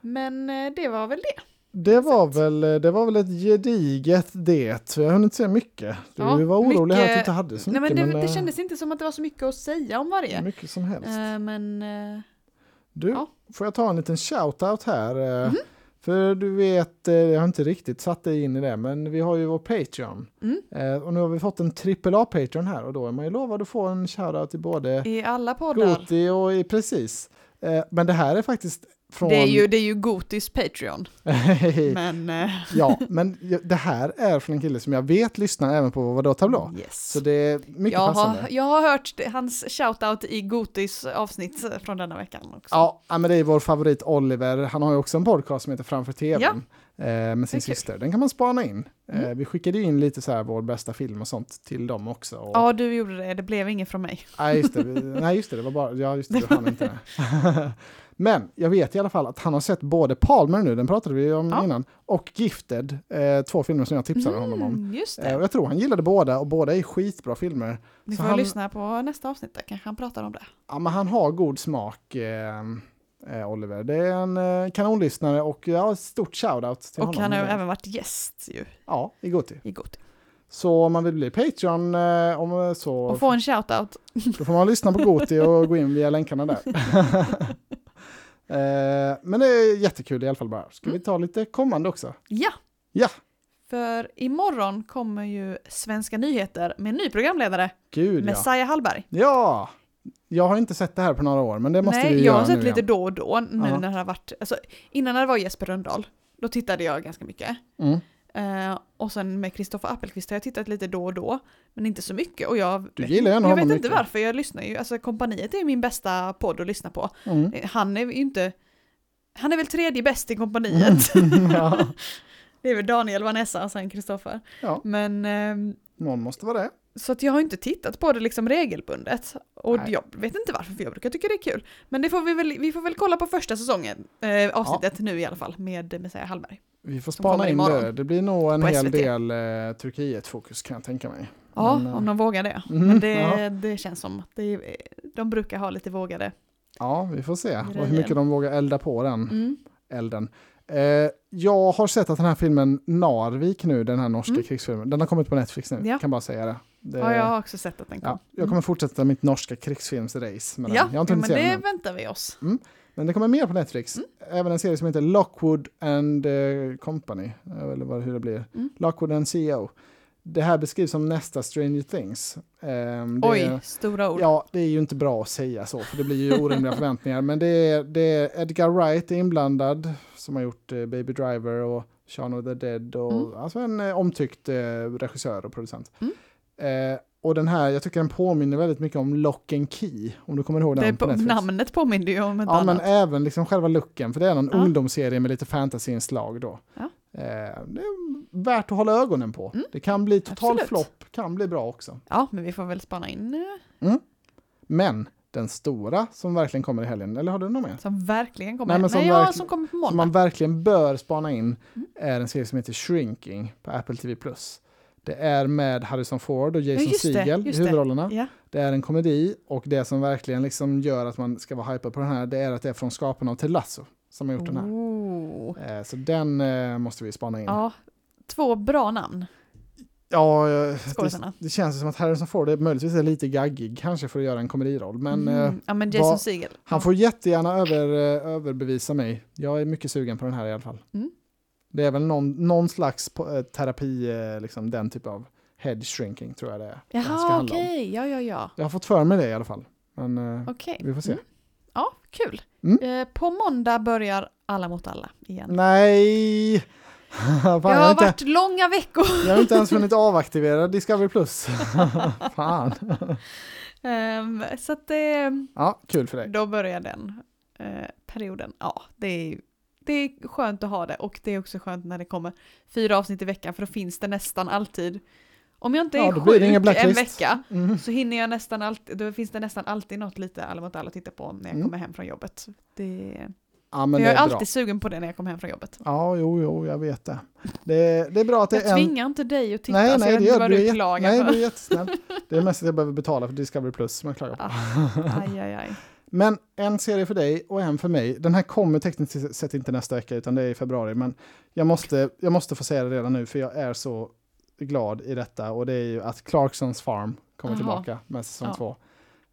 Speaker 2: Men eh, det var väl det.
Speaker 1: Det var,
Speaker 2: Exakt.
Speaker 1: väl, eh, det var väl ett gediget det. Jag har hunnit se mycket. Du
Speaker 2: Ja,
Speaker 1: var orolig här att du
Speaker 2: mycket-
Speaker 1: inte hade så
Speaker 2: Nej,
Speaker 1: mycket.
Speaker 2: men det, det
Speaker 1: eh,
Speaker 2: kändes inte som att det var så mycket att säga om varje.
Speaker 1: Mycket som helst.
Speaker 2: Eh, men... eh,
Speaker 1: Du,
Speaker 2: Ja. Mhm.
Speaker 1: får jag ta en liten shout-out här? eh, För du vet, eh, jag har inte riktigt satt dig in i det, men vi har ju vår Patreon.
Speaker 2: Mm.
Speaker 1: Eh, och nu har vi fått en AAA-Patreon här och då är man ju lovad att få en shoutout till både
Speaker 2: I alla poddar.
Speaker 1: Goti och i precis. Eh, men det här är faktiskt från...
Speaker 2: Det är, ju, det är ju Gotis Patreon, men... eh,
Speaker 1: ja, men jag- det här är från en kille som jag vet lyssnar även på Vadå Tablå.
Speaker 2: Yes.
Speaker 1: Så det är mycket
Speaker 2: jag,
Speaker 1: passande.
Speaker 2: har, jag har hört det- hans shoutout i Gotis avsnitt eh, från denna veckan också.
Speaker 1: Ja, ja, men det är vår favorit Oliver. Han har ju också en podcast som heter Framför TVn eh, med sin
Speaker 2: Det är kul.
Speaker 1: syster. Den kan man spana in. Eh,
Speaker 2: Mm.
Speaker 1: vi skickade ju in lite så här vår bästa film och sånt till dem också. Och,
Speaker 2: Ja, du gjorde det. Det blev inget från mig.
Speaker 1: Nej, just det. Vi- Nej, just det. Det var bara... Ja, just det. Du hann inte det. Men jag vet i alla fall att han har sett både Palmer nu, den pratade vi om
Speaker 2: Ja.
Speaker 1: innan, och Gifted, eh, två filmer som jag tipsade honom om.
Speaker 2: Mm, just
Speaker 1: Eh,
Speaker 2: det.
Speaker 1: och jag tror han gillade båda och båda är skitbra filmer.
Speaker 2: Ni
Speaker 1: så
Speaker 2: får
Speaker 1: han-
Speaker 2: lyssna på nästa avsnitt, där kanske han pratar om det.
Speaker 1: Ja, men han har god smak, eh, eh, Oliver. Det är en eh, kanonlyssnare och ja, ett stort shoutout till
Speaker 2: Och
Speaker 1: honom.
Speaker 2: han har ju även varit gäst ju
Speaker 1: Ja, i Goti.
Speaker 2: i Goti.
Speaker 1: Så om man vill bli Patreon eh, om så,
Speaker 2: Och få en shoutout.
Speaker 1: då får man lyssna på Goti och gå in via länkarna där. eh, men det är jättekul i alla fall bara. Ska vi ta lite kommande också?
Speaker 2: Ja!
Speaker 1: Ja.
Speaker 2: För imorgon kommer ju Svenska nyheter med en ny programledare,
Speaker 1: Gud ja.
Speaker 2: Messiah Hallberg.
Speaker 1: Ja! Jag har inte sett det här på några år, men det måste
Speaker 2: Nej,
Speaker 1: vi
Speaker 2: jag
Speaker 1: göra
Speaker 2: har sett
Speaker 1: nu
Speaker 2: lite
Speaker 1: igen.
Speaker 2: då och då nu
Speaker 1: Ja.
Speaker 2: när det har varit, alltså innan när det var Jesper Rönndahl, då tittade jag ganska mycket.
Speaker 1: Mm.
Speaker 2: Eh, och sen med Kristoffer Appelqvist har jag tittat lite då och då, men inte så mycket. Och jag,
Speaker 1: Du gillar ju
Speaker 2: jag
Speaker 1: honom
Speaker 2: vet inte
Speaker 1: mycket.
Speaker 2: varför, jag lyssnar ju, alltså kompaniet är ju min bästa podd att lyssna på.
Speaker 1: Mm.
Speaker 2: Eh, Han är ju inte, han är väl tredje bäst i kompaniet.
Speaker 1: Mm, ja.
Speaker 2: det är väl Daniel, Vanessa och sen Kristoffer.
Speaker 1: ja,
Speaker 2: Men ehm,
Speaker 1: någon måste vara det.
Speaker 2: så att jag har inte tittat på det liksom regelbundet. Och
Speaker 1: Nej.
Speaker 2: jag vet inte varför, för jag brukar tycka det är kul. Men det får vi, väl, vi får väl kolla på första säsongen, eh, avsnittet nu i alla fall, med Messiah Hallberg.
Speaker 1: Vi får
Speaker 2: Som
Speaker 1: spana
Speaker 2: kommer
Speaker 1: in
Speaker 2: imorgon.
Speaker 1: det. Det blir nog en
Speaker 2: På
Speaker 1: hel
Speaker 2: SVT.
Speaker 1: del eh, Turkiet-fokus kan jag tänka mig.
Speaker 2: Ja,
Speaker 1: Men, eh,
Speaker 2: om de vågar det.
Speaker 1: Mm,
Speaker 2: Men det,
Speaker 1: ja.
Speaker 2: det känns som att det, de brukar ha lite vågade.
Speaker 1: Ja, vi får se. Och hur
Speaker 2: Grejen.
Speaker 1: mycket de vågar elda på den
Speaker 2: Mm.
Speaker 1: elden. Eh, jag har sett att den här filmen Narvik nu, den här norska
Speaker 2: Mm.
Speaker 1: krigsfilmen, den har kommit på Netflix nu.
Speaker 2: Ja.
Speaker 1: Kan bara säga det. det
Speaker 2: Ja, jag har också sett att den kom. Mm.
Speaker 1: ja, jag kommer fortsätta mitt norska krigsfilmsrace med
Speaker 2: Ja,
Speaker 1: den. Jag har inte
Speaker 2: jo,
Speaker 1: hunnit
Speaker 2: men
Speaker 1: se den
Speaker 2: det Mm.
Speaker 1: än.
Speaker 2: väntar vi oss.
Speaker 1: Men det kommer mer på Netflix. Även en serie som heter Lockwood and eh, Company, eh, eller vad, hur det blir.
Speaker 2: Mm.
Speaker 1: Lockwood and CEO. Det här beskrivs som nästa Stranger Things. Ehm, det-
Speaker 2: Oj, stora ord.
Speaker 1: Ja, det är ju inte bra att säga så, för det blir ju orimliga förväntningar. Men det är, det är Edgar Wright är inblandad, som har gjort eh, Baby Driver och Shaun of the Dead. Och,
Speaker 2: Mm.
Speaker 1: Alltså en eh, omtyckt eh, regissör och producent.
Speaker 2: Mm.
Speaker 1: Eh, och den här, jag tycker den påminner väldigt mycket om Lock and Key, om du kommer ihåg den
Speaker 2: det,
Speaker 1: på
Speaker 2: på,
Speaker 1: Netflix.
Speaker 2: namnet påminner ju om ett
Speaker 1: Ja, men
Speaker 2: annat.
Speaker 1: även liksom själva looken, för det är någon
Speaker 2: Ja.
Speaker 1: ungdomsserie med lite fantasyinslag då.
Speaker 2: Ja. Mm.
Speaker 1: Eh, det är värt att hålla ögonen på. Det kan bli total
Speaker 2: Absolut.
Speaker 1: flopp, kan bli bra också.
Speaker 2: Ja, men vi får väl spana in eh,
Speaker 1: Men den stora som verkligen kommer i helgen, eller har du någon mer?
Speaker 2: som verkligen kommer.
Speaker 1: Nej,
Speaker 2: Nej,
Speaker 1: men som
Speaker 2: ja,
Speaker 1: verkligen-
Speaker 2: som kommer på
Speaker 1: Som
Speaker 2: måndag.
Speaker 1: man verkligen bör spana in
Speaker 2: Mm.
Speaker 1: är en serie som heter Shrinking på Apple TV+. Det är med Harrison Ford och Jason
Speaker 2: just det,
Speaker 1: Segel i
Speaker 2: just det.
Speaker 1: huvudrollerna.
Speaker 2: Ja.
Speaker 1: Det är en komedi och det som verkligen liksom gör att man ska vara hypad på den här, det är att det är från skaparna av Ted Lasso som har gjort den här.
Speaker 2: Oh.
Speaker 1: Eh, Så den eh, måste vi spana in.
Speaker 2: Ja, två bra namn.
Speaker 1: Ja, eh, det,
Speaker 2: Skådisarna.
Speaker 1: det känns som att Harrison Ford är möjligtvis är lite gaggig kanske för att göra en komediroll. Men eh,
Speaker 2: Mm. ja, men Jason
Speaker 1: vad-
Speaker 2: Segel.
Speaker 1: han får jättegärna över, eh, överbevisa mig. Jag är mycket sugen på den här i alla fall.
Speaker 2: Mm.
Speaker 1: Det är väl någon, någon slags po- eh, terapi, eh, liksom den typ av head shrinking tror jag det är. det här ska
Speaker 2: Jaha,
Speaker 1: handla om.
Speaker 2: okej. Ja, ja, ja.
Speaker 1: Jag har fått för mig det i alla fall. Men eh,
Speaker 2: Okej.
Speaker 1: vi får se.
Speaker 2: Mm. Ja, kul.
Speaker 1: Mm.
Speaker 2: Eh, på måndag börjar Alla mot alla igen.
Speaker 1: Nej! Fan,
Speaker 2: Det
Speaker 1: jag, har
Speaker 2: har
Speaker 1: inte,
Speaker 2: varit långa veckor.
Speaker 1: jag har inte ens hunnit avaktivera Discovery Plus. Fan.
Speaker 2: Ehm, så att det,
Speaker 1: Ja, kul för dig.
Speaker 2: då börjar den eh, perioden. Ja, det är, det är skönt att ha det och det är också skönt när det kommer fyra avsnitt i veckan för då finns det nästan alltid. Om jag inte är
Speaker 1: Ja, då
Speaker 2: sjuk
Speaker 1: blir det ingen
Speaker 2: en
Speaker 1: blacklist.
Speaker 2: vecka
Speaker 1: Mm.
Speaker 2: så hinner jag nästan alltid, då finns det nästan alltid något lite Alla mot alla att titta på när jag
Speaker 1: Mm.
Speaker 2: kommer hem från jobbet. Det,
Speaker 1: Ja, men
Speaker 2: för
Speaker 1: det
Speaker 2: jag är
Speaker 1: är
Speaker 2: alltid
Speaker 1: bra.
Speaker 2: sugen på det när jag kommer hem från jobbet.
Speaker 1: Ja, jo, jo, jag vet det. Det, det är bra att det
Speaker 2: Jag
Speaker 1: är en...
Speaker 2: tvingar inte dig att titta,
Speaker 1: Nej,
Speaker 2: så
Speaker 1: nej,
Speaker 2: jag vet
Speaker 1: det
Speaker 2: inte
Speaker 1: gör
Speaker 2: vad
Speaker 1: du.
Speaker 2: du
Speaker 1: Jätte-
Speaker 2: klagar
Speaker 1: Nej,
Speaker 2: för.
Speaker 1: du är jättesnäll. Det är mest att jag behöver betala för Discovery Plus som jag klagar på.
Speaker 2: Ah, aj, aj, aj.
Speaker 1: Men en serie för dig och en för mig. Den här kommer tekniskt sett inte nästa vecka utan det är i februari. Men jag måste, jag måste få säga det redan nu för jag är så glad i detta. Och det är ju att Clarksons Farm kommer
Speaker 2: Jaha.
Speaker 1: tillbaka med säsong
Speaker 2: Ja.
Speaker 1: två.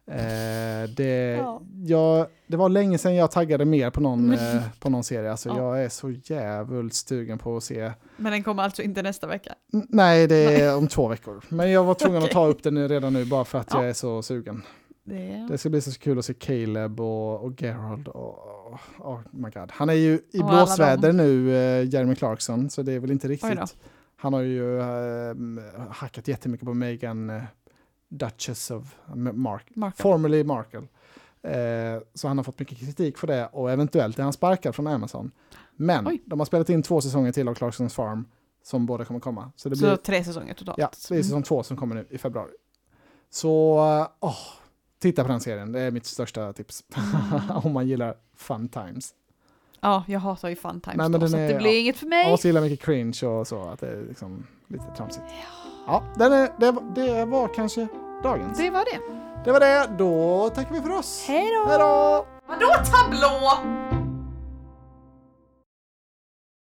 Speaker 1: Eh, det,
Speaker 2: Ja.
Speaker 1: jag, det var länge sedan jag taggade mer på någon,
Speaker 2: Men-
Speaker 1: eh, på någon serie. Alltså,
Speaker 2: Ja.
Speaker 1: Jag är så jävligt sugen på att se. N-
Speaker 2: Men den kommer alltså inte nästa vecka?
Speaker 1: Nej, det är om två veckor. Men jag var tvungen att
Speaker 2: Okej.
Speaker 1: ta upp den nu- redan nu bara för att
Speaker 2: Ja.
Speaker 1: jag är så sugen.
Speaker 2: Det...
Speaker 1: Det ska bli så kul att se Caleb och, och Gerald. Och, och, oh my god. Han är ju i
Speaker 2: Och alla
Speaker 1: blåsväder nu, eh, Jeremy Clarkson, så det är väl inte
Speaker 2: då.
Speaker 1: riktigt. Han har ju eh, hackat jättemycket på Meghan eh, Duchess of Mark,
Speaker 2: Marco.
Speaker 1: formerly Markle. Eh, så han har fått mycket kritik för det och eventuellt är han sparkad från Amazon. Men
Speaker 2: Oj.
Speaker 1: de har spelat in två säsonger till av Clarksons Farm som båda kommer komma. Så det blir
Speaker 2: Så tre säsonger totalt?
Speaker 1: Ja, det är säsong två som kommer nu i februari. Så, eh, åh, titta på den serien. Det är mitt största tips. Om man gillar fun times.
Speaker 2: Mm. Ja, jag hatar ju fun times
Speaker 1: Nej, men
Speaker 2: då,
Speaker 1: den
Speaker 2: så
Speaker 1: är-
Speaker 2: att det blir
Speaker 1: ja.
Speaker 2: inget för
Speaker 1: Om
Speaker 2: mig.
Speaker 1: man gillar mycket cringe och så, att det är liksom lite tramsigt. Ja, den är, det, var- det var kanske dagens.
Speaker 2: Det var det.
Speaker 1: Det var det. Då tackar vi för oss.
Speaker 2: Hej då!
Speaker 1: Hej då!
Speaker 2: Vadå tablå?